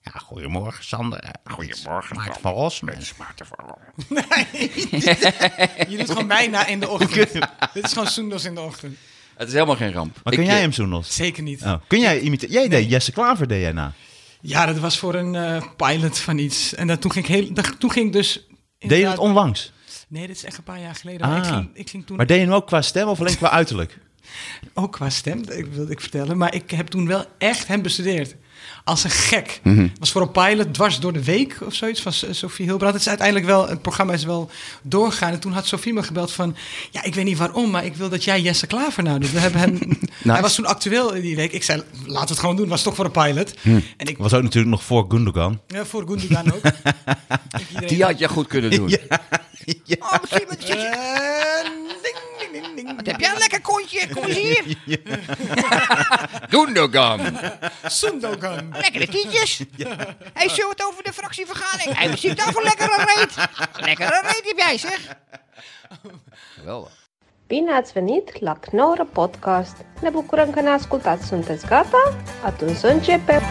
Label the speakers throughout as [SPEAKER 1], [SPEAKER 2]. [SPEAKER 1] Ja, goedemorgen Sander. Eh,
[SPEAKER 2] Goedemorgen.
[SPEAKER 1] Maart van Rossum.
[SPEAKER 2] Maarten van Rossum.
[SPEAKER 3] Je doet gewoon bijna in de ochtend. Dit is gewoon Soendos in de ochtend.
[SPEAKER 2] Het is helemaal geen ramp.
[SPEAKER 1] Maar
[SPEAKER 2] Ik,
[SPEAKER 1] kun jij
[SPEAKER 2] eh,
[SPEAKER 1] hem zoenos?
[SPEAKER 3] Zeker niet.
[SPEAKER 1] Oh, kun jij imiteren? Jij deed Jesse Klaver deed jij na.
[SPEAKER 3] Ja, dat was voor een eh, pilot van iets. En dat, toen, ging ik heel, dat, toen ging ik dus...
[SPEAKER 1] Deed je
[SPEAKER 3] inderdaad-
[SPEAKER 1] dat onlangs?
[SPEAKER 3] Nee, dit is echt een paar jaar geleden. maar
[SPEAKER 1] Ah.
[SPEAKER 3] ik, ging, ik ging toen
[SPEAKER 1] Maar deed je hem ook qua stem of alleen qua uiterlijk?
[SPEAKER 3] ook qua stem, dat wilde ik vertellen. Maar ik heb toen wel echt hem bestudeerd. Als een gek. Was voor een pilot dwars door de week of zoiets van S- Sophie Hilbrand. Het is uiteindelijk wel, het programma is wel doorgaan. En toen had Sophie me gebeld van, ja, ik weet niet waarom, maar ik wil dat jij Jesse Klaver nou doet. We hebben hem, Hij was toen actueel in die week. Ik zei, laten we het gewoon doen. Was toch voor een pilot. En ik,
[SPEAKER 1] Was ook natuurlijk nog voor Gundogan.
[SPEAKER 3] ja, voor Gundogan ook. Ik iedereen-
[SPEAKER 2] Die had je goed kunnen doen.
[SPEAKER 4] Oh, Simon,
[SPEAKER 3] Eh, ding, ding, ding, ding.
[SPEAKER 4] heb jij een lekker kontje? Kom eens hier.
[SPEAKER 2] Gundogan.
[SPEAKER 3] Sundogan.
[SPEAKER 4] Lekkere tietjes. Hij zult over de fractievergadering. Hij ziet daar voor lekkere reet. Lekkere reet heb jij, zeg.
[SPEAKER 2] Geweldig.
[SPEAKER 5] Bine ați venit la Knorr Podcast! Ne bucurăm că ne ascultați! Sunteți gata? Atunci să începem!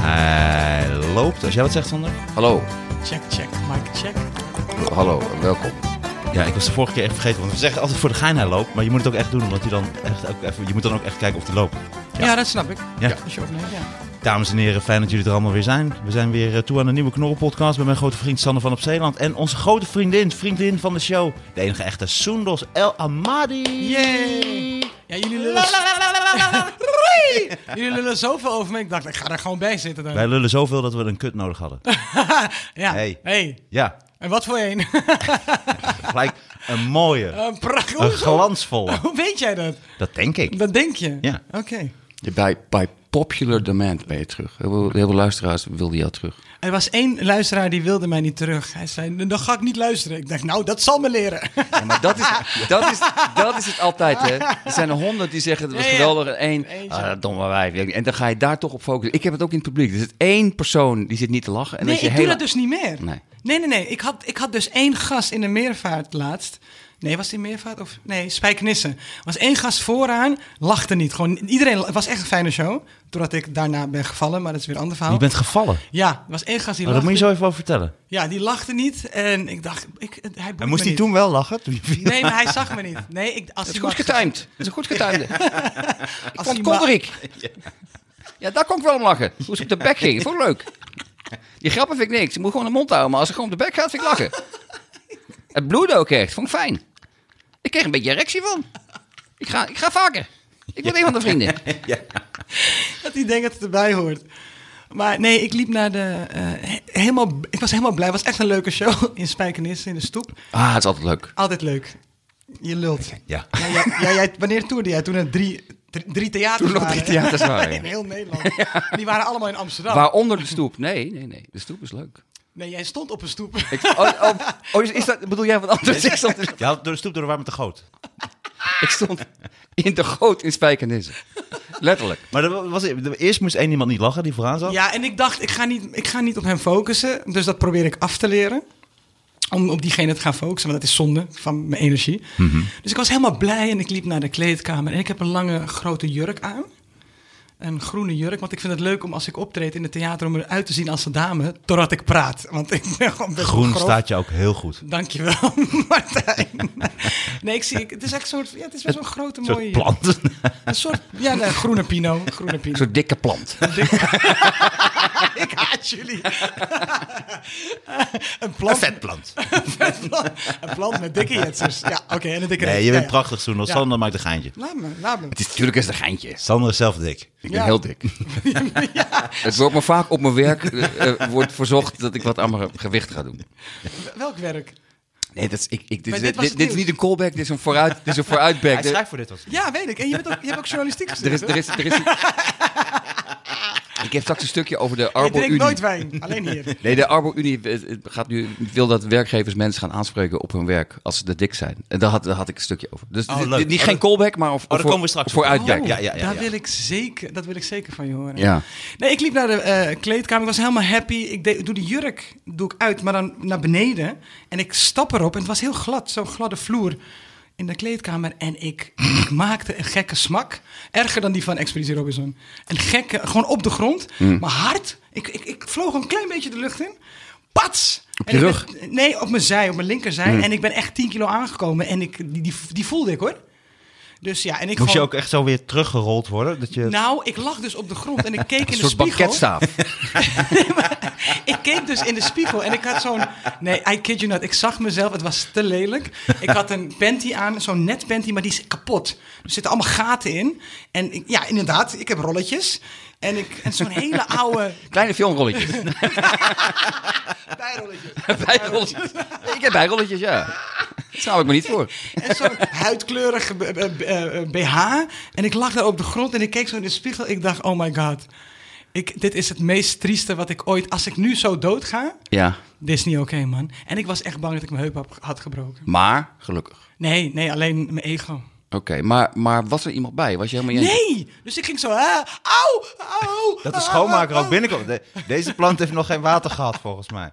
[SPEAKER 1] Hij loopt. Als jij wat zegt, Sander?
[SPEAKER 2] Hallo.
[SPEAKER 3] Check, check, Mike, check.
[SPEAKER 2] Hallo en welkom.
[SPEAKER 1] Ja, ik was de vorige keer echt vergeten. Want we zeggen altijd voor de gein hij loopt. Maar je moet het ook echt doen. Omdat hij dan echt ook even, je moet dan ook echt kijken of hij loopt.
[SPEAKER 3] Ja, dat snap ik.
[SPEAKER 1] Ja.
[SPEAKER 3] Als je opneemt, ja.
[SPEAKER 1] Dames en heren, fijn dat jullie er allemaal weer zijn. We zijn weer eh, toe aan een nieuwe knorrelpodcast met mijn grote vriend Sander van op Zeeland. En onze grote vriendin, vriendin van de show. De enige echte Soendos El Amadi.
[SPEAKER 3] Yay! Ja, jullie lullen, jullie lullen zoveel over me. Ik dacht, ik ga er gewoon bij zitten dan.
[SPEAKER 1] Wij lullen zoveel dat we een kut nodig hadden.
[SPEAKER 3] Ja.
[SPEAKER 1] Hey.
[SPEAKER 3] Hey.
[SPEAKER 1] Ja,
[SPEAKER 3] En wat voor een?
[SPEAKER 1] gelijk een mooie,
[SPEAKER 3] Een prachtig.
[SPEAKER 1] een
[SPEAKER 3] Hoezo?
[SPEAKER 1] glansvolle.
[SPEAKER 3] Hoe weet jij dat?
[SPEAKER 1] Dat denk ik.
[SPEAKER 3] Dat denk je?
[SPEAKER 1] Ja.
[SPEAKER 3] Oké.
[SPEAKER 2] Je Bij, bij popular demand ben je terug. Heel veel, heel veel luisteraars wilden jou terug.
[SPEAKER 3] Er was één luisteraar die wilde mij niet terug. Hij zei, dan ga ik niet luisteren. Ik dacht, nou, dat zal me leren.
[SPEAKER 2] Ja, maar dat is, dat, is, dat is het altijd, hè. Er zijn er honderd die zeggen, het was
[SPEAKER 3] Ja, ja.
[SPEAKER 2] geweldig. En één,
[SPEAKER 3] Eentje.
[SPEAKER 2] ah, dat domme wijf. En dan ga je daar toch op focussen. Ik heb het ook in het publiek. Er zit één persoon die zit niet te lachen. En
[SPEAKER 3] nee,
[SPEAKER 2] als
[SPEAKER 3] ik
[SPEAKER 2] je
[SPEAKER 3] doe
[SPEAKER 2] heel-
[SPEAKER 3] dat dus niet meer.
[SPEAKER 2] Nee.
[SPEAKER 3] nee, nee. nee. Ik, had, ik had dus één gast in de meervaart laatst. Nee, was die meervaart? Of, nee, Spijkenissen. Was één gast vooraan, lachte niet. Gewoon, iedereen, het was echt een fijne show. Totdat ik daarna ben gevallen, maar dat is weer een ander verhaal.
[SPEAKER 1] Je bent gevallen. Maar
[SPEAKER 3] Ja, er was één gast die
[SPEAKER 1] dat
[SPEAKER 3] Nou. lachte.
[SPEAKER 1] moet je zo even over vertellen.
[SPEAKER 3] Ja, die lachte niet. En ik dacht, ik, het- hij boeit
[SPEAKER 1] En moest
[SPEAKER 3] me
[SPEAKER 1] hij
[SPEAKER 3] niet.
[SPEAKER 1] toen wel lachen? Toen je viel?
[SPEAKER 3] Nee, maar hij zag me niet. Nee, ik, als
[SPEAKER 2] Het
[SPEAKER 3] hij
[SPEAKER 2] is goed
[SPEAKER 3] maar-
[SPEAKER 2] getimed. Het is een goed getimed.
[SPEAKER 3] als
[SPEAKER 2] Vond
[SPEAKER 3] hij maar-
[SPEAKER 2] Konderik. Ja, daar kon ik wel om lachen. Hoe ze op de bek ging. Vond ik leuk. Die grappen vind ik niks. Je moet gewoon de mond houden. Maar als ze gewoon op de bek gaat, vind ik lachen. Het bloedde ook echt. Vond ik fijn. Ik kreeg een beetje erectie van. Ik ga, ik ga vaker. Ik word een van de vrienden.
[SPEAKER 3] Dat hij denkt dat het erbij hoort. Maar nee, ik liep naar de... eh, he- helemaal, ik was helemaal blij. Het was echt een leuke show in Spijkenissen, in de stoep.
[SPEAKER 2] Ah, het is altijd leuk.
[SPEAKER 3] Altijd leuk. Je lult.
[SPEAKER 1] Ja.
[SPEAKER 3] Ja, jij- jij- jij- wanneer toerde jij? Toen er drie, drie, drie theaters
[SPEAKER 2] Toen nog
[SPEAKER 3] waren.
[SPEAKER 2] drie theaters waren, ja.
[SPEAKER 3] in heel Nederland. Die waren allemaal in Amsterdam.
[SPEAKER 2] Waaronder de stoep. Nee, nee, nee. De stoep is leuk.
[SPEAKER 3] Nee, jij stond op een stoep.
[SPEAKER 2] Ik, oh, oh, oh, is, is dat, bedoel jij wat anders? Ik stond,
[SPEAKER 1] Je had door de stoep door de warmte goot.
[SPEAKER 2] ik stond in de goot in Spijkenissen. Letterlijk.
[SPEAKER 1] Maar dat was, eerst moest één iemand niet lachen die vooraan zat.
[SPEAKER 3] Ja, en ik dacht, ik ga, niet, ik ga niet op hem focussen. Dus dat probeer ik af te leren. Om op diegene te gaan focussen, want dat is zonde van mijn energie.
[SPEAKER 2] Mhm.
[SPEAKER 3] Dus ik was helemaal blij en ik liep naar de kleedkamer. En ik heb een lange, grote jurk aan. Een groene jurk, want ik vind het leuk om als ik optreed in het theater... om eruit te zien als een dame, totdat ik praat. Want ik ben gewoon best wel
[SPEAKER 1] Groen
[SPEAKER 3] grof.
[SPEAKER 1] staat je ook heel goed.
[SPEAKER 3] Dankjewel, Martijn. Nee, ik zie, ik- het is echt een soort, ja, het is best wel een grote,
[SPEAKER 1] Een soort
[SPEAKER 3] mooie...
[SPEAKER 1] planten.
[SPEAKER 3] Een soort, ja, een groene pino, een groene pino.
[SPEAKER 2] Een soort dikke plant.
[SPEAKER 3] ik haat Ah, jullie. een plant.
[SPEAKER 1] vetplant.
[SPEAKER 3] Een plant, een plant met dikke jetsers. Ja, oké, en een dikke
[SPEAKER 1] Nee,
[SPEAKER 3] reet.
[SPEAKER 1] je bent
[SPEAKER 3] Ja, ja.
[SPEAKER 1] prachtig, Soenos.
[SPEAKER 3] Ja.
[SPEAKER 1] Sander maakt een geintje.
[SPEAKER 3] Laat me, laat me.
[SPEAKER 2] Het is natuurlijk eens een geintje.
[SPEAKER 1] Sander is zelf dik.
[SPEAKER 2] Ik
[SPEAKER 3] Ja.
[SPEAKER 2] ben heel dik. Het wordt me vaak op mijn werk eh, eh, wordt verzocht dat ik wat aan mijn gewicht ga doen.
[SPEAKER 3] Welk werk?
[SPEAKER 2] Nee, dat is, ik, ik, dit,
[SPEAKER 3] Maar
[SPEAKER 2] is-
[SPEAKER 3] dit
[SPEAKER 2] dit,
[SPEAKER 3] was het
[SPEAKER 2] dit is
[SPEAKER 3] nieuws.
[SPEAKER 2] niet een callback, dit is een, vooruit, dit is een vooruitback. Er,
[SPEAKER 1] voor dit was.
[SPEAKER 3] Ja, weet ik. En je, bent ook, je hebt ook journalistiek
[SPEAKER 2] er
[SPEAKER 3] gestudeerd.
[SPEAKER 2] is, er is, er is een- ik heb straks een stukje over de
[SPEAKER 3] hè? je drinkt nooit
[SPEAKER 2] Arbo-Unie.
[SPEAKER 3] wijn, alleen hier.
[SPEAKER 2] Nee, de Arbo-Unie eh, eh, gaat nu, wil dat werkgevers mensen gaan aanspreken op hun werk als ze te dik zijn. En daar had, daar had ik een stukje over. Dus
[SPEAKER 1] Oh,
[SPEAKER 2] dit-
[SPEAKER 1] leuk.
[SPEAKER 2] dit- niet
[SPEAKER 1] Oh,
[SPEAKER 2] geen
[SPEAKER 1] dat-
[SPEAKER 2] callback, maar of,
[SPEAKER 1] daar
[SPEAKER 2] voor-
[SPEAKER 1] komen we straks op.
[SPEAKER 2] vooruitback.
[SPEAKER 1] Oh. Ja, ja, ja,
[SPEAKER 3] daar
[SPEAKER 1] ja.
[SPEAKER 3] Wil ik zeker, dat wil ik zeker van je horen.
[SPEAKER 2] Ja.
[SPEAKER 3] Nee, ik liep naar de eh, kleedkamer. Ik was helemaal happy. Ik deed- doe de jurk doe ik uit, maar dan naar beneden. En ik stap erop. En het was heel glad, zo'n gladde vloer. in de kleedkamer en ik, ik maakte een gekke smak. Erger dan die van Expeditie Robinson. Een gekke, gewoon op de grond.
[SPEAKER 1] Mm.
[SPEAKER 3] Maar hard. Ik, ik, ik vloog een klein beetje de lucht in. Pats!
[SPEAKER 2] Op
[SPEAKER 3] En
[SPEAKER 2] je
[SPEAKER 3] ik ben- nee, op mijn zij, op mijn
[SPEAKER 1] Mm.
[SPEAKER 3] linkerzij. En ik ben echt 10 kilo aangekomen. En ik, die, die, die voelde ik hoor. Dus ja, en ik
[SPEAKER 1] Moest je
[SPEAKER 3] gewoon-
[SPEAKER 1] ook echt zo weer teruggerold worden? Dat je...
[SPEAKER 3] nou, ik lag dus op de grond en ik keek
[SPEAKER 2] Een
[SPEAKER 3] in de
[SPEAKER 2] soort
[SPEAKER 3] spiegel.
[SPEAKER 2] banketstaaf.
[SPEAKER 3] Ik keek dus in de spiegel en ik had zo'n... Nee, I kid you not. Ik zag mezelf. Het was te lelijk. Ik had een panty aan, zo'n net panty, maar die is kapot. Er zitten allemaal gaten in. En ik- ja, inderdaad, ik heb rolletjes. En, ik- en zo'n hele oude
[SPEAKER 2] Kleine filmrolletjes.
[SPEAKER 3] bijrolletjes.
[SPEAKER 2] bijrolletjes. Ik heb bijrolletjes, ja. Daar schaam ik me niet voor.
[SPEAKER 3] En zo'n huidkleurige b- b- b- eh, BH. En ik lag daar op de grond en ik keek zo in de spiegel. Ik dacht, oh my god. Ik, dit is het meest trieste wat ik ooit... Als ik nu zo dood ga...
[SPEAKER 2] Ja,
[SPEAKER 3] Dit is niet oké, man. En ik was echt bang dat ik mijn heup had- had gebroken.
[SPEAKER 2] maar gelukkig.
[SPEAKER 3] Nee, nee, alleen mijn ego.
[SPEAKER 2] Oké, maar, maar was er iemand bij? Was je helemaal niet?
[SPEAKER 3] Nee! Dus ik ging zo, ah, au, au.
[SPEAKER 1] Dat de
[SPEAKER 3] ah,
[SPEAKER 1] schoonmaker
[SPEAKER 3] au,
[SPEAKER 1] ook binnenkomt. De- deze plant heeft nog geen water gehad, volgens mij.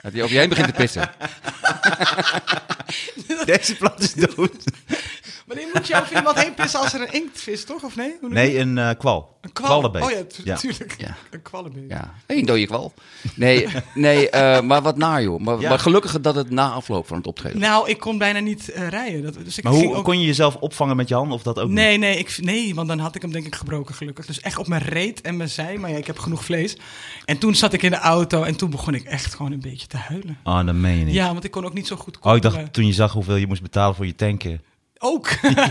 [SPEAKER 2] Dat hij over je heen begint te pissen.
[SPEAKER 1] Deze plant is dood.
[SPEAKER 3] au. Maar die moet je over iemand heen pissen als er een inktvis, toch? Of nee? Hoe noem je
[SPEAKER 1] Nee, een eh, kwal.
[SPEAKER 3] Een kwal.
[SPEAKER 1] Kwallenbeet.
[SPEAKER 3] Oh ja, tu- tuurlijk.
[SPEAKER 2] Ja.
[SPEAKER 3] Een kwallenbeet.
[SPEAKER 2] Ja, één dode kwal. Nee, nee eh, maar wat naar joh. Maar,
[SPEAKER 1] Ja.
[SPEAKER 2] maar gelukkig dat het na afloop van het optreden.
[SPEAKER 3] Nou, ik kon bijna niet eh, rijden. Dat, dus ik
[SPEAKER 1] Maar
[SPEAKER 3] ging
[SPEAKER 1] hoe
[SPEAKER 3] ook...
[SPEAKER 1] kon je jezelf opvangen met je handen of dat ook niet?
[SPEAKER 3] Nee, nee, ik, nee, want dan had ik hem denk ik gebroken gelukkig. Dus echt op mijn reet en mijn zij, maar ja, ik heb genoeg vlees. En toen zat ik in de auto en toen begon ik echt gewoon een beetje te huilen.
[SPEAKER 1] Oh, dat meen je niet.
[SPEAKER 3] Ja, want ik kon ook niet zo
[SPEAKER 1] Oh,
[SPEAKER 3] goed
[SPEAKER 1] ik
[SPEAKER 3] koppelen.
[SPEAKER 1] dacht toen je zag hoeveel je moest betalen voor je tanken.
[SPEAKER 3] Ook.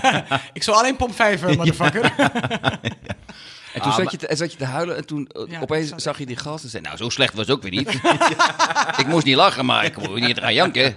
[SPEAKER 3] ik zou alleen pomp 5, motherfucker.
[SPEAKER 2] En toen zat, je te, en zat je te huilen en toen eh,
[SPEAKER 3] Ah, Ja,
[SPEAKER 2] opeens
[SPEAKER 3] zat-
[SPEAKER 2] zag je die gast en zei... Nou, zo slecht was het ook weer niet. Ik moest niet lachen, maar ik moest niet gaan janken.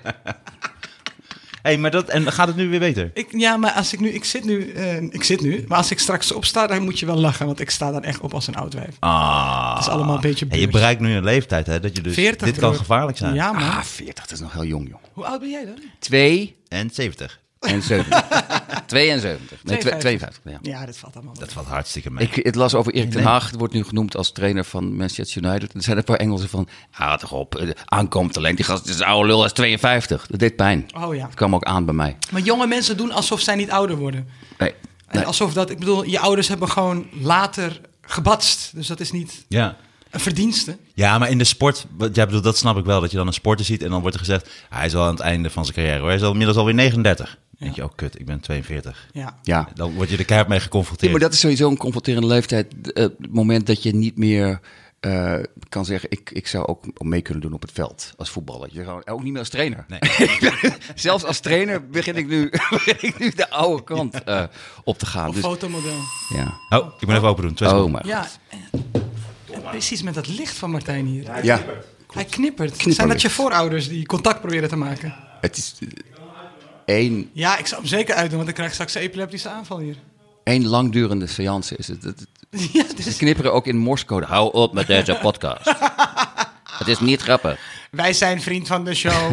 [SPEAKER 1] hey, maar dat... En gaat het nu weer beter?
[SPEAKER 3] Ik, ja, maar als ik nu, ik zit nu, eh, ik zit nu, maar als ik straks opsta, dan moet je wel lachen, want ik sta dan echt op als een oud wijf.
[SPEAKER 1] Ah.
[SPEAKER 3] Het is allemaal een beetje
[SPEAKER 1] En je
[SPEAKER 3] beurt.
[SPEAKER 1] bereikt nu een leeftijd, hè? Dat je dus...
[SPEAKER 3] 40,
[SPEAKER 1] dit kan
[SPEAKER 3] broer.
[SPEAKER 1] gevaarlijk zijn.
[SPEAKER 3] Ja, man.
[SPEAKER 2] Ah, 40, dat is nog heel jong joh.
[SPEAKER 3] Hoe oud ben jij dan?
[SPEAKER 2] Twee
[SPEAKER 1] En 70.
[SPEAKER 2] en 70. 72. Nee, twe- 52.
[SPEAKER 3] 52.
[SPEAKER 2] Ja.
[SPEAKER 3] Ja, dat valt allemaal. wel.
[SPEAKER 1] Dat valt hartstikke mee.
[SPEAKER 2] Ik, het las over Erik ten Haag. Het wordt nu genoemd als trainer van Manchester United. Er zijn een paar Engelsen van... Ah, toch op. eh, Aankomt alleen. Die gast is een oude lul. Hij is 52. Dat deed pijn.
[SPEAKER 3] Oh ja.
[SPEAKER 2] Het kwam ook aan bij mij.
[SPEAKER 3] Maar jonge mensen doen alsof zij niet ouder worden.
[SPEAKER 2] Nee.
[SPEAKER 3] En
[SPEAKER 2] nee.
[SPEAKER 3] alsof dat, ik bedoel, je ouders hebben gewoon later gebatst. Dus dat is niet
[SPEAKER 1] Ja.
[SPEAKER 3] een verdienste.
[SPEAKER 1] Ja, maar in de sport, wat jij bedoelt, dat snap ik wel. Dat je dan een sporter ziet en dan wordt er gezegd, "Ah, hij is al aan het einde van zijn carrière. hoor. Hij is al inmiddels alweer 39. Dan denk je, oh kut, ik ben 42.
[SPEAKER 3] Ja.
[SPEAKER 2] Ja.
[SPEAKER 1] Dan word je er keihard mee
[SPEAKER 2] Ja,
[SPEAKER 1] geconfronteerd.
[SPEAKER 2] maar dat is sowieso een confronterende leeftijd. Eh, Het moment dat je niet meer eh, kan zeggen, ik, ik zou ook mee kunnen doen op het veld als voetballer. Je gewoon, ook niet meer als trainer.
[SPEAKER 1] Nee.
[SPEAKER 2] Zelfs als trainer begin ik nu, begin ik nu de oude kant eh, op te gaan.
[SPEAKER 3] Of
[SPEAKER 2] Dus,
[SPEAKER 3] fotomodel.
[SPEAKER 2] ja.
[SPEAKER 1] Oh, ik moet even open doen. Twee
[SPEAKER 2] Oh,
[SPEAKER 1] seconden.
[SPEAKER 2] maar.
[SPEAKER 3] Ja. en- en Precies met dat licht van Martijn hier.
[SPEAKER 2] Ja,
[SPEAKER 3] Hij knippert. Zijn dat je voorouders die contact proberen te maken?
[SPEAKER 2] het is eh, één,
[SPEAKER 3] Ja, ik zou hem zeker uitdoen, want ik krijg straks een epileptische aanval hier.
[SPEAKER 2] één langdurende seance. Is het, het,
[SPEAKER 3] Ja, dus-
[SPEAKER 2] ze knipperen ook in morsecode. Hou op met deze podcast. het is niet grappig.
[SPEAKER 3] Wij zijn vriend van de show.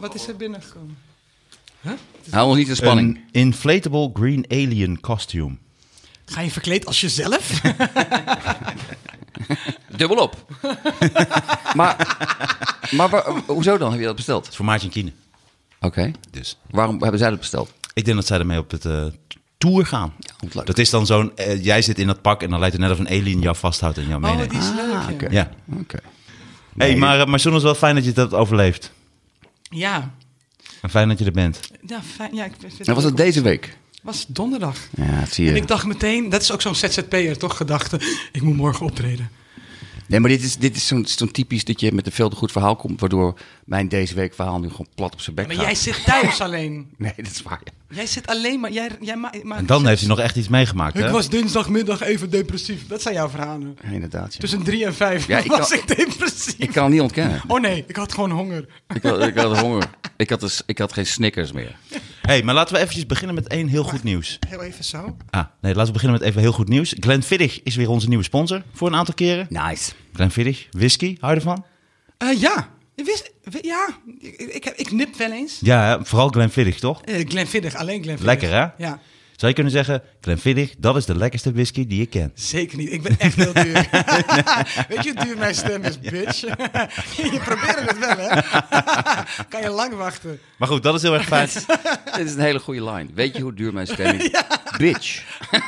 [SPEAKER 3] Wat is er binnengekomen?
[SPEAKER 2] Hou ons niet in spanning.
[SPEAKER 1] Een inflatable green alien costume.
[SPEAKER 3] Ga je verkleed als jezelf?
[SPEAKER 2] Dubbel op. maar maar waar- hoezo dan? Heb je dat besteld?
[SPEAKER 1] Het is voor Maartje Kine.
[SPEAKER 2] Oké.
[SPEAKER 1] Dus
[SPEAKER 2] Waarom hebben zij dat besteld?
[SPEAKER 1] ik denk dat zij ermee op het eh, tour gaan.
[SPEAKER 2] wat leuk.
[SPEAKER 1] dat is dan zo'n, eh, jij zit in dat pak en dan lijkt het net of een alien jou vasthoudt en jou
[SPEAKER 3] Oh,
[SPEAKER 1] meeneemt.
[SPEAKER 3] die is leuk. ja.
[SPEAKER 2] Ah, oké.
[SPEAKER 1] Ja.
[SPEAKER 2] Oké.
[SPEAKER 1] hey, maar, eh, maar John, het is wel fijn dat je dat overleeft.
[SPEAKER 3] Ja.
[SPEAKER 1] En fijn dat je er bent.
[SPEAKER 3] Ja, fijn. Ja, ik vind het
[SPEAKER 2] Nou, was
[SPEAKER 3] leuk
[SPEAKER 2] het deze week?
[SPEAKER 3] om- was donderdag.
[SPEAKER 2] Ja, dat zie
[SPEAKER 3] En ik dacht meteen, dat is ook zo'n ZZP'er, toch? Gedachte, ik moet morgen optreden.
[SPEAKER 2] Nee, maar dit is, dit is zo'n zo'n typisch dat je met een veel te goed verhaal komt, waardoor mijn deze week verhaal nu gewoon plat op zijn bek
[SPEAKER 3] Maar
[SPEAKER 2] gaat.
[SPEAKER 3] jij zit thuis alleen.
[SPEAKER 2] Nee, dat is waar. ja.
[SPEAKER 3] Jij zit alleen maar... Jij, jij ma maakt-
[SPEAKER 1] En dan heeft hij nog echt iets meegemaakt,
[SPEAKER 3] Ik
[SPEAKER 1] hè?
[SPEAKER 3] was dinsdagmiddag even depressief. Dat zijn jouw verhalen.
[SPEAKER 2] Ja, inderdaad. ja.
[SPEAKER 3] Tussen drie en vijf
[SPEAKER 2] Ja, ik
[SPEAKER 3] was
[SPEAKER 2] kan-
[SPEAKER 3] ik depressief.
[SPEAKER 2] Ik kan het niet ontkennen.
[SPEAKER 3] Oh nee, ik had gewoon honger.
[SPEAKER 2] Ik had, ik had honger. Ik had, dus, ik had geen Snickers meer.
[SPEAKER 1] hey, maar laten we eventjes beginnen met één heel goed nieuws.
[SPEAKER 3] Heel even zo.
[SPEAKER 1] Ah, nee, laten we beginnen met even heel goed nieuws. Glenfiddich is weer onze nieuwe sponsor voor een aantal keren.
[SPEAKER 2] Nice.
[SPEAKER 1] Glenfiddich, whisky, hou je ervan?
[SPEAKER 3] Eh, ja, ik wist, wi- ja. Ik, ik, ik heb- ik nip wel eens.
[SPEAKER 1] Ja, hè, vooral Glenfiddich, toch?
[SPEAKER 3] Eh, Glenfiddich, alleen Glenfiddich.
[SPEAKER 1] Lekker, hè?
[SPEAKER 3] Ja.
[SPEAKER 1] Zou je kunnen zeggen, Glenfiddich, dat is de lekkerste whisky die je kent.
[SPEAKER 3] Zeker niet. Ik ben echt heel duur. Weet je hoe duur mijn stem is, bitch? je probeert het wel, hè? kan je lang wachten.
[SPEAKER 1] Maar goed, dat is heel erg fijn.
[SPEAKER 2] Dit is een hele goede line. Weet je hoe duur mijn stem is? Bitch.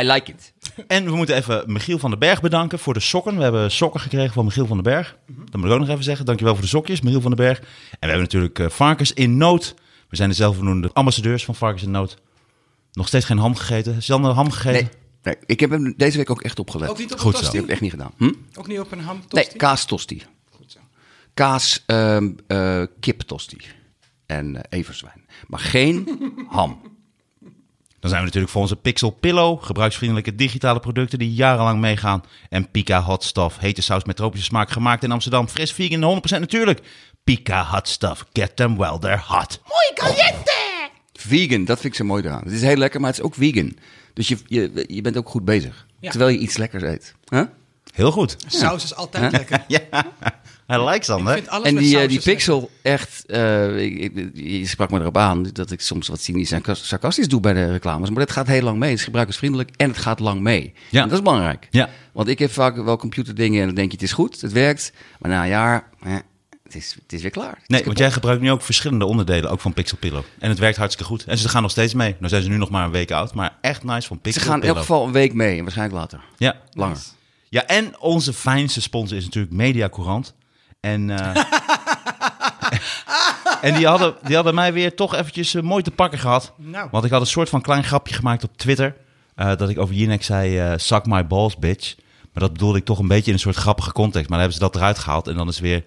[SPEAKER 2] I like it.
[SPEAKER 1] En we moeten even Michiel van den Berg bedanken voor de sokken. We hebben sokken gekregen van Michiel van den Berg. Dat moet ik ook nog even zeggen. Dankjewel voor de sokjes, Michiel van den Berg. En we hebben natuurlijk eh, Varkens in Nood. We zijn de zelfbenoemde ambassadeurs van Varkens in Nood. Nog steeds geen ham gegeten. Sander, ham gegeten?
[SPEAKER 2] Nee, nee, ik heb hem deze week ook echt opgelet.
[SPEAKER 3] Ook niet op een
[SPEAKER 1] Goed zo.
[SPEAKER 2] Ik heb
[SPEAKER 3] tosti?
[SPEAKER 2] het echt niet gedaan. Hm?
[SPEAKER 3] Ook niet op een ham
[SPEAKER 2] Nee,
[SPEAKER 3] tosti?
[SPEAKER 2] kaas tosti. Kaas ehm eh, kip tosti. En eh everzwijn. Maar geen ham.
[SPEAKER 1] Dan zijn we natuurlijk voor onze Pixel Pillow, gebruiksvriendelijke digitale producten die jarenlang meegaan. En Pika Hot Stuff, hete saus met tropische smaak gemaakt in Amsterdam. Fris, vegan, 100% natuurlijk. Pika Hot Stuff, get them while they're hot.
[SPEAKER 2] Vegan, dat vind ik zo mooi eraan. Het is heel lekker, maar het is ook vegan. Dus je, je, je bent ook goed bezig.
[SPEAKER 3] Ja.
[SPEAKER 2] Terwijl je iets lekkers eet. Huh?
[SPEAKER 1] Heel goed.
[SPEAKER 3] Saus is altijd lekker.
[SPEAKER 1] Ja, hij likes dan, hè?
[SPEAKER 3] Ik vind alles
[SPEAKER 2] En
[SPEAKER 3] met
[SPEAKER 2] die, eh,
[SPEAKER 3] saus
[SPEAKER 2] die
[SPEAKER 3] is lekker.
[SPEAKER 2] pixel echt, eh, ik- ik- je sprak me erop aan dat ik soms wat cynisch en sarcas- sarcastisch doe bij de reclames. Maar dat gaat heel lang mee. Het is gebruikersvriendelijk en het gaat lang mee.
[SPEAKER 1] Ja.
[SPEAKER 2] En dat is belangrijk.
[SPEAKER 1] Ja.
[SPEAKER 2] Want ik heb vaak wel computerdingen en dan denk je het is goed, het werkt. Maar na een jaar, eh, het, is, het is weer klaar. Het is
[SPEAKER 1] Nee,
[SPEAKER 2] kapot.
[SPEAKER 1] want jij gebruikt nu ook verschillende onderdelen, ook van Pixel Pillow. En het werkt hartstikke goed. En ze gaan nog steeds mee. Nou zijn ze nu nog maar een week oud, maar echt nice van
[SPEAKER 2] Ze
[SPEAKER 1] Pixel
[SPEAKER 2] gaan in elk
[SPEAKER 1] Pillow.
[SPEAKER 2] geval een week mee en waarschijnlijk later.
[SPEAKER 1] Ja.
[SPEAKER 2] Langer.
[SPEAKER 1] ja, en onze fijnste sponsor is natuurlijk Media Courant. En, eh, en die, hadden, die hadden mij weer toch eventjes eh, mooi te pakken gehad.
[SPEAKER 3] Nou.
[SPEAKER 1] Want ik had een soort van klein grapje gemaakt op Twitter. eh, dat ik over Jinek zei, eh suck my balls, bitch. Maar dat bedoelde ik toch een beetje in een soort grappige context. Maar dan hebben ze dat eruit gehaald. En dan is weer,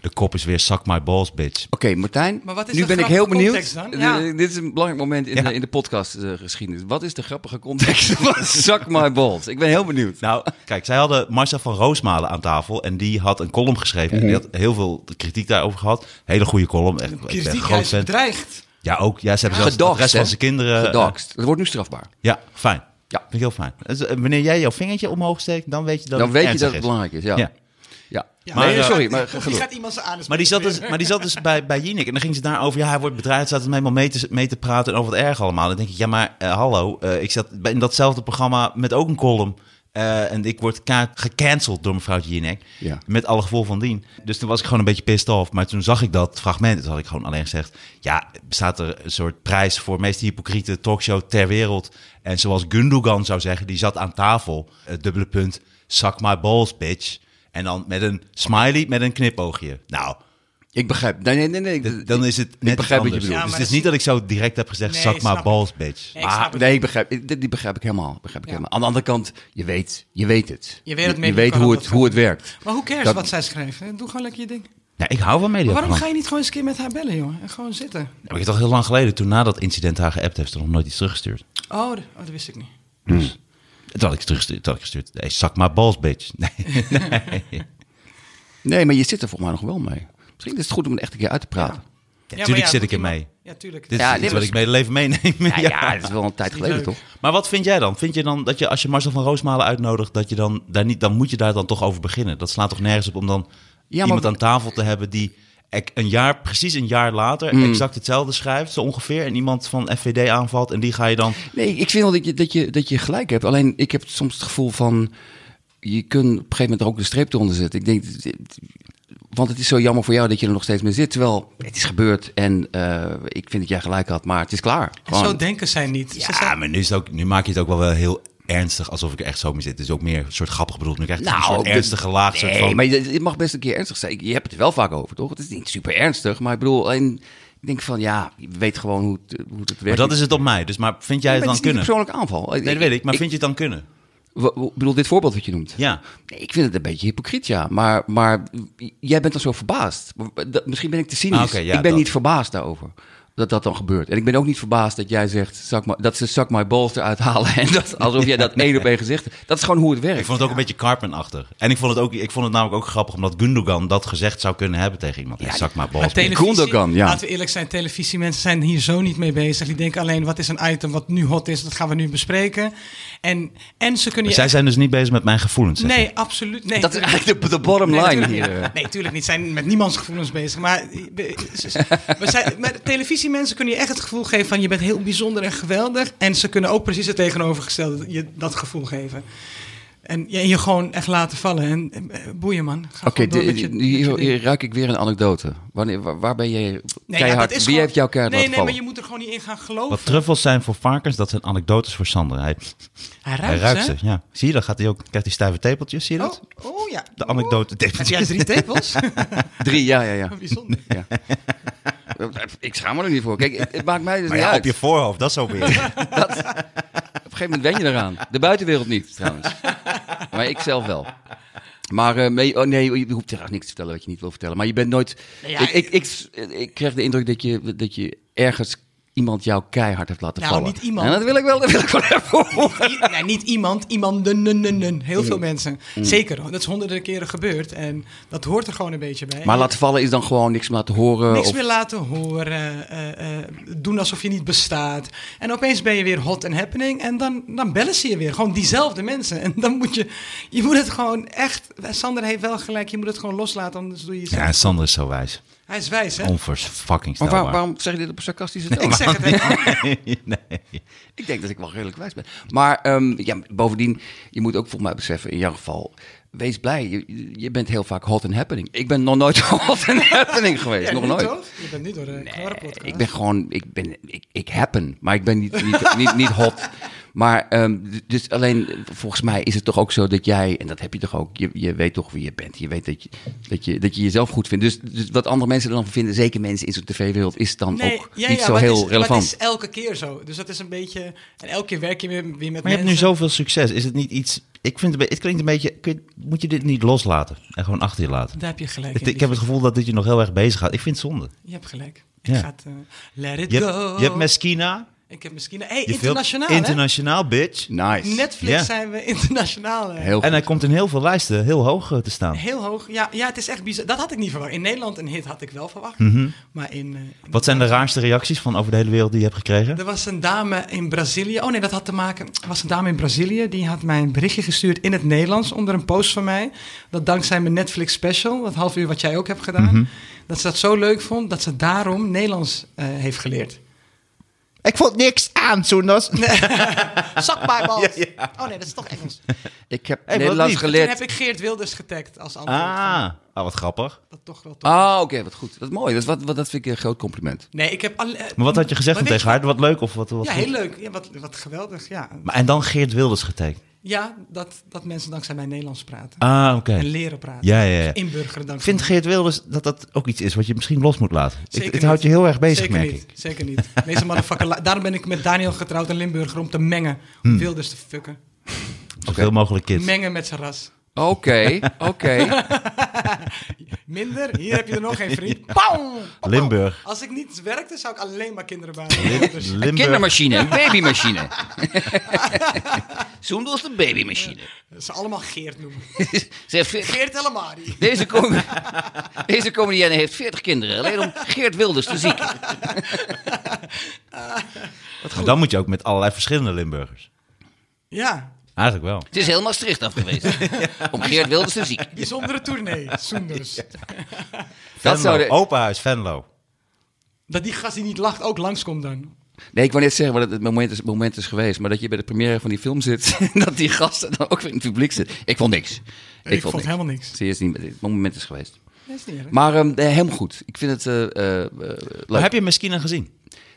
[SPEAKER 1] de kop is weer, suck my balls, bitch.
[SPEAKER 2] Oké, Martijn,
[SPEAKER 3] Maar wat is
[SPEAKER 2] nu
[SPEAKER 3] de
[SPEAKER 2] ben ik heel
[SPEAKER 3] grappige
[SPEAKER 2] benieuwd.
[SPEAKER 3] context dan?
[SPEAKER 2] Eh,
[SPEAKER 3] Ja.
[SPEAKER 2] Dit is een belangrijk moment in,
[SPEAKER 1] Ja.
[SPEAKER 2] de, in de podcastgeschiedenis. Wat is de grappige context van Suck My Balls? Ik ben heel benieuwd.
[SPEAKER 1] Nou, kijk, zij hadden Marcel van Roosmalen aan tafel. En die had een column geschreven. En die
[SPEAKER 3] Mhm.
[SPEAKER 1] had heel veel kritiek daarover gehad. Hele goede column. Echt, ik ben een
[SPEAKER 3] Kritiek, hij
[SPEAKER 1] groot
[SPEAKER 3] is
[SPEAKER 1] fan.
[SPEAKER 3] bedreigd.
[SPEAKER 1] Ja, ook. Ja, ze hebben zelfs
[SPEAKER 2] Gedoxt,
[SPEAKER 1] de rest van
[SPEAKER 2] hè?
[SPEAKER 1] zijn kinderen... eh,
[SPEAKER 2] Gedoxt. Dat wordt nu strafbaar.
[SPEAKER 1] Ja, fijn.
[SPEAKER 2] Ja.
[SPEAKER 1] Vind ik heel fijn. Dus, eh, wanneer jij jouw vingertje omhoog steekt, dan weet je dat
[SPEAKER 2] Dan
[SPEAKER 1] het
[SPEAKER 2] weet je
[SPEAKER 1] ernstig
[SPEAKER 2] dat het belangrijk is, ja.
[SPEAKER 1] Ja.
[SPEAKER 2] ja.
[SPEAKER 3] Ja,
[SPEAKER 1] Maar,
[SPEAKER 2] nee,
[SPEAKER 1] eh,
[SPEAKER 2] sorry, maar
[SPEAKER 3] Die
[SPEAKER 2] genoeg.
[SPEAKER 3] gaat iemand zijn anus
[SPEAKER 1] Maar die zat dus,
[SPEAKER 3] proberen.
[SPEAKER 1] maar die zat dus bij, bij Jinek. En dan ging ze daarover. Ja, hij wordt bedreigd. Zaten hem helemaal mee te, mee te praten en over het erg allemaal. Dan denk ik, ja, maar eh, hallo. eh, ik zat bij- in datzelfde programma met ook een column. Eh, en ik word ka- gecanceld door mevrouw Jinek.
[SPEAKER 2] Ja.
[SPEAKER 1] Met alle gevolgen van dien. Dus toen was ik gewoon een beetje pissed off. Maar toen zag ik dat fragment. Toen had ik gewoon alleen gezegd... Ja, bestaat er een soort prijs voor meest hypocriete talkshow ter wereld. En zoals Gundogan zou zeggen, die zat aan tafel. Het dubbele punt. Suck my balls, bitch. En dan met een smiley met een knipoogje. Nou,
[SPEAKER 2] Ik begrijp. Nee, nee, nee. nee.
[SPEAKER 1] D- dan is het net iets
[SPEAKER 2] begrijp wat je
[SPEAKER 1] anders.
[SPEAKER 2] bedoelt.
[SPEAKER 1] dus
[SPEAKER 3] Ja, maar
[SPEAKER 1] het is
[SPEAKER 3] dat-
[SPEAKER 1] niet dat ik zo direct heb gezegd,
[SPEAKER 3] Nee,
[SPEAKER 1] zak
[SPEAKER 3] snap
[SPEAKER 1] maar
[SPEAKER 3] ik.
[SPEAKER 1] balls, bitch. Nou,
[SPEAKER 3] Nee, ik snap
[SPEAKER 2] Ah,
[SPEAKER 3] het.
[SPEAKER 2] nee, ik begrijp, ik- die begrijp ik helemaal. Begrijp ik helemaal. Aan de andere kant, je weet, je weet het.
[SPEAKER 3] Je weet het
[SPEAKER 2] Je
[SPEAKER 3] medium
[SPEAKER 2] weet
[SPEAKER 3] kan
[SPEAKER 2] hoe
[SPEAKER 3] ook
[SPEAKER 2] het,
[SPEAKER 3] wat
[SPEAKER 2] hoe het werkt.
[SPEAKER 3] Maar hoe cares
[SPEAKER 2] Dat-
[SPEAKER 3] wat zij schreef? hè? Doe gewoon lekker je ding.
[SPEAKER 1] Nou, ik hou van media.
[SPEAKER 3] Waarom ga
[SPEAKER 1] je...
[SPEAKER 3] je niet gewoon eens een keer met haar bellen, jongen? En gewoon zitten.
[SPEAKER 1] Ik heb het al heel lang geleden, toen na dat incident haar geappt heeft, ze nog nooit iets teruggestuurd.
[SPEAKER 3] Oh, d- oh, dat wist ik niet.
[SPEAKER 1] Toen had ik het teruggestuurd, toen had ik gestuurd, nee, zak maar balls, bitch. Nee, nee.
[SPEAKER 2] Nee, maar je zit er volgens mij nog wel mee. Misschien is het goed om het echt een keer uit te praten.
[SPEAKER 3] Ja,
[SPEAKER 1] tuurlijk
[SPEAKER 3] maar ja,
[SPEAKER 1] zit
[SPEAKER 3] moet
[SPEAKER 1] ik er
[SPEAKER 3] iemand-
[SPEAKER 1] mee.
[SPEAKER 3] Ja, tuurlijk.
[SPEAKER 1] Dit
[SPEAKER 2] Ja,
[SPEAKER 1] is
[SPEAKER 2] dit
[SPEAKER 1] iets wat
[SPEAKER 2] was-
[SPEAKER 1] ik mijn leven meeneem.
[SPEAKER 2] Ja, ja, dat is wel een tijd
[SPEAKER 3] niet
[SPEAKER 2] geleden,
[SPEAKER 3] leuk.
[SPEAKER 2] toch?
[SPEAKER 1] Maar wat vind jij dan? Vind je dan dat je als je Marcel van Roosmalen uitnodigt, dat je dan daar niet, dan moet je daar dan toch over beginnen? Dat slaat toch nergens op om dan
[SPEAKER 2] maar-
[SPEAKER 1] iemand aan tafel te hebben die ec- een jaar, precies een jaar later, exact hetzelfde schrijft, zo ongeveer, en iemand van FVD aanvalt en die ga je dan
[SPEAKER 2] Nee, ik vind wel dat je, dat, je, dat je gelijk hebt. Alleen ik heb soms het gevoel van. Je kunt op een gegeven moment er ook de streep eronder zetten. Ik denk. dit- dit- Want het is zo jammer voor jou dat je er nog steeds mee zit. Terwijl het is gebeurd en eh, ik vind dat jij gelijk had, maar het is klaar.
[SPEAKER 3] En
[SPEAKER 2] Gewoon.
[SPEAKER 3] zo denken zij niet. Ze
[SPEAKER 1] Ja,
[SPEAKER 3] zijn-
[SPEAKER 1] maar nu, is het ook, nu maak je het ook wel wel heel ernstig, alsof ik er echt zo mee zit. Het is ook meer een soort grappig bedoeld. Nu krijg je een soort
[SPEAKER 2] de-
[SPEAKER 1] ernstige laag.
[SPEAKER 2] Nee,
[SPEAKER 1] soort van,
[SPEAKER 2] maar je- het mag best een keer ernstig zijn. Je hebt het er wel vaak over, toch? Het is niet super ernstig, maar ik bedoel, alleen, ik denk van ja, je weet gewoon hoe het, hoe het werkt.
[SPEAKER 1] maar dat is het op mij. Dus maar vind jij het dan kunnen?
[SPEAKER 2] een persoonlijke aanval.
[SPEAKER 1] Nee, dat weet ik. Maar vind je het dan kunnen?
[SPEAKER 2] Wa- wa- Ik bedoel, dit voorbeeld wat je noemt.
[SPEAKER 1] Ja.
[SPEAKER 2] Nee, ik vind het een beetje hypocriet, ja. Maar, maar jij bent dan zo verbaasd. Dat- Misschien ben ik te cynisch.
[SPEAKER 1] Ah, oké, ja,
[SPEAKER 2] ik ben
[SPEAKER 1] dat.
[SPEAKER 2] niet verbaasd daarover. Dat dat dan gebeurt. En ik ben ook niet verbaasd dat jij zegt zak maar, dat ze zak my balls eruit halen. En dat, alsof jij dat één op één gezegd hebt. Dat is gewoon hoe het werkt.
[SPEAKER 1] Ik vond het ook een beetje Cartman-achtig. En ik vond, het ook, ik vond het namelijk ook grappig, omdat Gundogan dat gezegd zou kunnen hebben tegen iemand. Ja,
[SPEAKER 2] Ja,
[SPEAKER 1] zak maar
[SPEAKER 3] Maar
[SPEAKER 1] balls. bitch.
[SPEAKER 3] televisie,
[SPEAKER 2] Gundogan, ja.
[SPEAKER 3] laten we eerlijk zijn, televisiemensen zijn hier zo niet mee bezig. Die denken alleen, wat is een item wat nu hot is, dat gaan we nu bespreken. En, en ze kunnen
[SPEAKER 1] Maar
[SPEAKER 3] je...
[SPEAKER 1] Zij zijn dus niet bezig met mijn gevoelens. zeg je.
[SPEAKER 3] nee, absoluut. Nee,
[SPEAKER 2] Dat is
[SPEAKER 3] tuurlijk-
[SPEAKER 2] eigenlijk de, de bottom
[SPEAKER 3] Nee,
[SPEAKER 2] line
[SPEAKER 3] natuurlijk
[SPEAKER 2] hier.
[SPEAKER 3] eh, niet. Nee, tuurlijk niet. Zijn met niemands gevoelens bezig. Maar, eh, we zijn, maar televisie politiemensen kunnen je echt het gevoel geven van je bent heel bijzonder en geweldig. En ze kunnen ook precies het tegenovergestelde je dat gevoel geven. En je, je gewoon echt laten vallen. En eh, boeien man. Ga
[SPEAKER 2] Oké,
[SPEAKER 3] gewoon door
[SPEAKER 2] die-
[SPEAKER 3] met je-
[SPEAKER 2] die-
[SPEAKER 3] met je
[SPEAKER 2] hier,
[SPEAKER 3] ding.
[SPEAKER 2] hier ruik ik weer een anekdote. Wanneer, waar, waar ben jij
[SPEAKER 3] Nee, ja,
[SPEAKER 2] keihard?
[SPEAKER 3] dat is
[SPEAKER 2] Wie
[SPEAKER 3] gewoon-
[SPEAKER 2] heeft jouw keihard
[SPEAKER 3] Nee, nee,
[SPEAKER 2] laten vallen?
[SPEAKER 3] maar je moet er gewoon niet in gaan geloven.
[SPEAKER 1] Wat truffels zijn voor varkens, dat zijn anekdotes voor Sander. Hij,
[SPEAKER 3] Hij ruikt,
[SPEAKER 1] hij ruikt
[SPEAKER 3] hè?
[SPEAKER 1] ze. Ja. Zie je, dan gaat hij ook, krijgt hij stuive tepeltjes. Zie je dat?
[SPEAKER 3] Oh, oh ja.
[SPEAKER 1] De anekdote
[SPEAKER 3] Heb
[SPEAKER 1] tepeltjes.
[SPEAKER 3] jij drie tepels?
[SPEAKER 2] Drie, ja, ja, ja.
[SPEAKER 3] Bijzonder.
[SPEAKER 2] Ik schaam me er niet voor. Kijk, het het maakt mij dus
[SPEAKER 1] Maar
[SPEAKER 2] niet
[SPEAKER 1] ja,
[SPEAKER 2] uit.
[SPEAKER 1] op je voorhoofd, dat is ook weer.
[SPEAKER 2] Dat, op een gegeven moment wen je eraan. De buitenwereld niet, trouwens. Maar ik zelf wel. Maar eh, nee, oh nee, je hoeft echt niks te vertellen wat je niet wil vertellen. Maar je bent nooit... ik, ik, ik, ik kreeg de indruk dat je, dat je ergens iemand jou keihard heeft laten
[SPEAKER 3] Nou,
[SPEAKER 2] vallen.
[SPEAKER 3] niet iemand.
[SPEAKER 2] En dat wil ik wel, dat wil ik wel even horen.
[SPEAKER 3] I- nee, niet iemand, iemand, de nun, nun, nun. Heel
[SPEAKER 2] Mm.
[SPEAKER 3] veel mensen. Zeker, dat is honderden keren gebeurd. En dat hoort er gewoon een beetje bij.
[SPEAKER 2] Maar laten vallen is dan gewoon niks meer laten horen.
[SPEAKER 3] Niks
[SPEAKER 2] of,
[SPEAKER 3] meer laten horen, eh, eh, doen alsof je niet bestaat. En opeens ben je weer hot and happening en dan, dan bellen ze je weer. Gewoon diezelfde mensen. En dan moet je, je moet het gewoon echt, Sander heeft wel gelijk, je moet het gewoon loslaten, anders doe je jezelf.
[SPEAKER 1] Ja, en Sander is zo wijs.
[SPEAKER 3] Hij is wijs, hè?
[SPEAKER 1] Onvers fucking
[SPEAKER 2] Maar waar-
[SPEAKER 1] stelbaar.
[SPEAKER 2] waarom zeg je dit op een sarcastische toon?
[SPEAKER 3] Ik zeg het even.
[SPEAKER 1] nee.
[SPEAKER 2] Ik denk dat ik wel redelijk wijs ben. Maar ehm, ja, bovendien, je moet ook volgens mij beseffen, in jouw geval, wees blij. Je, je bent heel vaak hot and happening. Ik ben nog nooit hot and happening geweest. nog
[SPEAKER 3] Nu
[SPEAKER 2] nooit.
[SPEAKER 3] toch? Je bent nu door eh, de knorren podcast.
[SPEAKER 2] Ik ben gewoon, ik ben, ik, ik happen, maar ik ben niet, niet, niet, niet hot. Maar ehm, dus alleen, volgens mij is het toch ook zo dat jij, en dat heb je toch ook, je, je weet toch wie je bent. Je weet dat je, dat je, dat je jezelf goed vindt. Dus, dus wat andere mensen er dan van vinden, zeker mensen in zo'n tv-wereld, is dan ook niet zo
[SPEAKER 3] maar het
[SPEAKER 2] heel
[SPEAKER 3] is-
[SPEAKER 2] relevant.
[SPEAKER 3] Maar het is elke keer zo. Dus dat is een beetje. En elke keer werk je weer, weer met mensen.
[SPEAKER 1] Maar je hebt nu zoveel succes. Is het niet iets... Ik vind het, be- het klinkt een beetje... kun je- moet je dit niet loslaten? En gewoon achter je laten?
[SPEAKER 3] Daar heb je gelijk.
[SPEAKER 1] Het-
[SPEAKER 3] in,
[SPEAKER 1] ik heb het
[SPEAKER 3] lief.
[SPEAKER 1] gevoel dat dit je nog heel erg bezig gaat. Ik vind het zonde.
[SPEAKER 3] Je hebt gelijk.
[SPEAKER 1] Ja.
[SPEAKER 3] Ik ga het, eh, let it
[SPEAKER 1] Je
[SPEAKER 3] go.
[SPEAKER 1] hebt, je hebt Meskina.
[SPEAKER 3] Ik heb misschien. Hey,
[SPEAKER 1] Je
[SPEAKER 3] internationaal.
[SPEAKER 1] Veel,
[SPEAKER 3] hè?
[SPEAKER 1] internationaal, bitch.
[SPEAKER 2] nice.
[SPEAKER 3] Netflix
[SPEAKER 1] Ja.
[SPEAKER 3] zijn we internationaal. hè?
[SPEAKER 2] heel goed.
[SPEAKER 1] En hij komt in heel veel lijsten heel hoog eh, te staan.
[SPEAKER 3] Heel hoog. Ja, ja, het is echt bizar. Dat had ik niet verwacht. In Nederland een hit had ik wel verwacht.
[SPEAKER 1] Mhm.
[SPEAKER 3] Maar in. eh, in-
[SPEAKER 1] Wat zijn de raarste reacties van over de hele wereld die je hebt gekregen?
[SPEAKER 3] Er was een dame in Brazilië. Oh nee, dat had te maken. Er was een dame in Brazilië. Die had mij een berichtje gestuurd in het Nederlands. onder een post van mij. Dat dankzij mijn Netflix special. dat half uur wat jij ook hebt gedaan.
[SPEAKER 1] Mhm.
[SPEAKER 3] dat ze dat zo leuk vond. dat ze daarom Nederlands eh, heeft geleerd.
[SPEAKER 1] Ik vond niks aan, Soenos.
[SPEAKER 3] Zak bij bal. Oh nee, dat is toch Engels.
[SPEAKER 2] Ik heb
[SPEAKER 1] wat
[SPEAKER 2] Nederlands
[SPEAKER 1] lief.
[SPEAKER 3] Toen
[SPEAKER 2] geleerd.
[SPEAKER 3] heb ik Geert Wilders getagd als antwoord.
[SPEAKER 1] Ah, ah, wat grappig.
[SPEAKER 3] Dat toch wel tof.
[SPEAKER 2] Ah, oké, wat goed. Dat is mooi. Dat, is wat, wat, dat vind ik een groot compliment.
[SPEAKER 3] Nee, ik heb. alle-
[SPEAKER 1] Maar wat had je gezegd
[SPEAKER 3] Maar
[SPEAKER 1] dan
[SPEAKER 3] weet
[SPEAKER 1] tegen haar? Wat leuk of wat? wat
[SPEAKER 3] Ja,
[SPEAKER 1] goed?
[SPEAKER 3] heel leuk. Ja, wat, wat geweldig. Ja,
[SPEAKER 1] Maar, en dan Geert Wilders getekend.
[SPEAKER 3] ja dat, dat mensen dankzij mij Nederlands praten.
[SPEAKER 1] Ah, oké.
[SPEAKER 3] En leren praten.
[SPEAKER 1] Ja, ja, ja.
[SPEAKER 3] Inburgeren
[SPEAKER 1] Ik
[SPEAKER 3] dankzij
[SPEAKER 1] vind Geert Wilders dat dat ook iets is wat je misschien los moet laten. Ik-
[SPEAKER 3] Zeker
[SPEAKER 1] het houdt je
[SPEAKER 3] niet.
[SPEAKER 1] heel erg bezig,
[SPEAKER 3] Zeker
[SPEAKER 1] merk
[SPEAKER 3] niet,
[SPEAKER 1] ik.
[SPEAKER 3] Zeker niet. Deze motherfucker. la- Daarom ben ik met Daniel getrouwd in Limburger om te mengen. Om
[SPEAKER 1] Hmm.
[SPEAKER 3] Wilders te fucken.
[SPEAKER 1] Zoveel mogelijk kids.
[SPEAKER 3] Mengen met zijn ras.
[SPEAKER 2] Oké, oké.
[SPEAKER 3] Minder, hier heb je er nog geen vriend. Pauw! Pauw!
[SPEAKER 1] Limburg.
[SPEAKER 3] Als ik niet werkte, zou ik alleen maar kinderen baren. Dus
[SPEAKER 2] Een
[SPEAKER 1] Limburg.
[SPEAKER 2] kindermachine, een babymachine. Zoen was de babymachine.
[SPEAKER 3] ze allemaal Geert noemen.
[SPEAKER 2] Ze heeft veert-
[SPEAKER 3] Geert Ellemari.
[SPEAKER 2] deze, com deze comedienne heeft 40 kinderen. Alleen om Geert Wilders te zieken.
[SPEAKER 1] Maar dan moet je ook met allerlei verschillende Limburgers.
[SPEAKER 3] Ja,
[SPEAKER 1] Eigenlijk wel.
[SPEAKER 2] Het is heel Maastricht af geweest. Om Geert Wilders te zieken.
[SPEAKER 3] bijzondere tournee. Soenders.
[SPEAKER 2] Dat
[SPEAKER 1] Venlo, Oh.
[SPEAKER 2] zou de-
[SPEAKER 1] Openhuis, Venlo.
[SPEAKER 3] Dat die gast die niet lacht ook langskomt dan.
[SPEAKER 2] Nee, ik wou net zeggen, maar dat het moment is, moment is geweest. Maar dat je bij de première van die film zit. en dat die gasten dan ook weer in het publiek zitten. Ik vond niks. Ik,
[SPEAKER 3] Ik, vond helemaal niks.
[SPEAKER 2] Serieus niet. Het moment is geweest.
[SPEAKER 3] Dat is niet erg.
[SPEAKER 2] Maar ehm, nee, helemaal goed. Ik vind het eh, eh, eh, leuk.
[SPEAKER 1] Maar heb je Meskina gezien?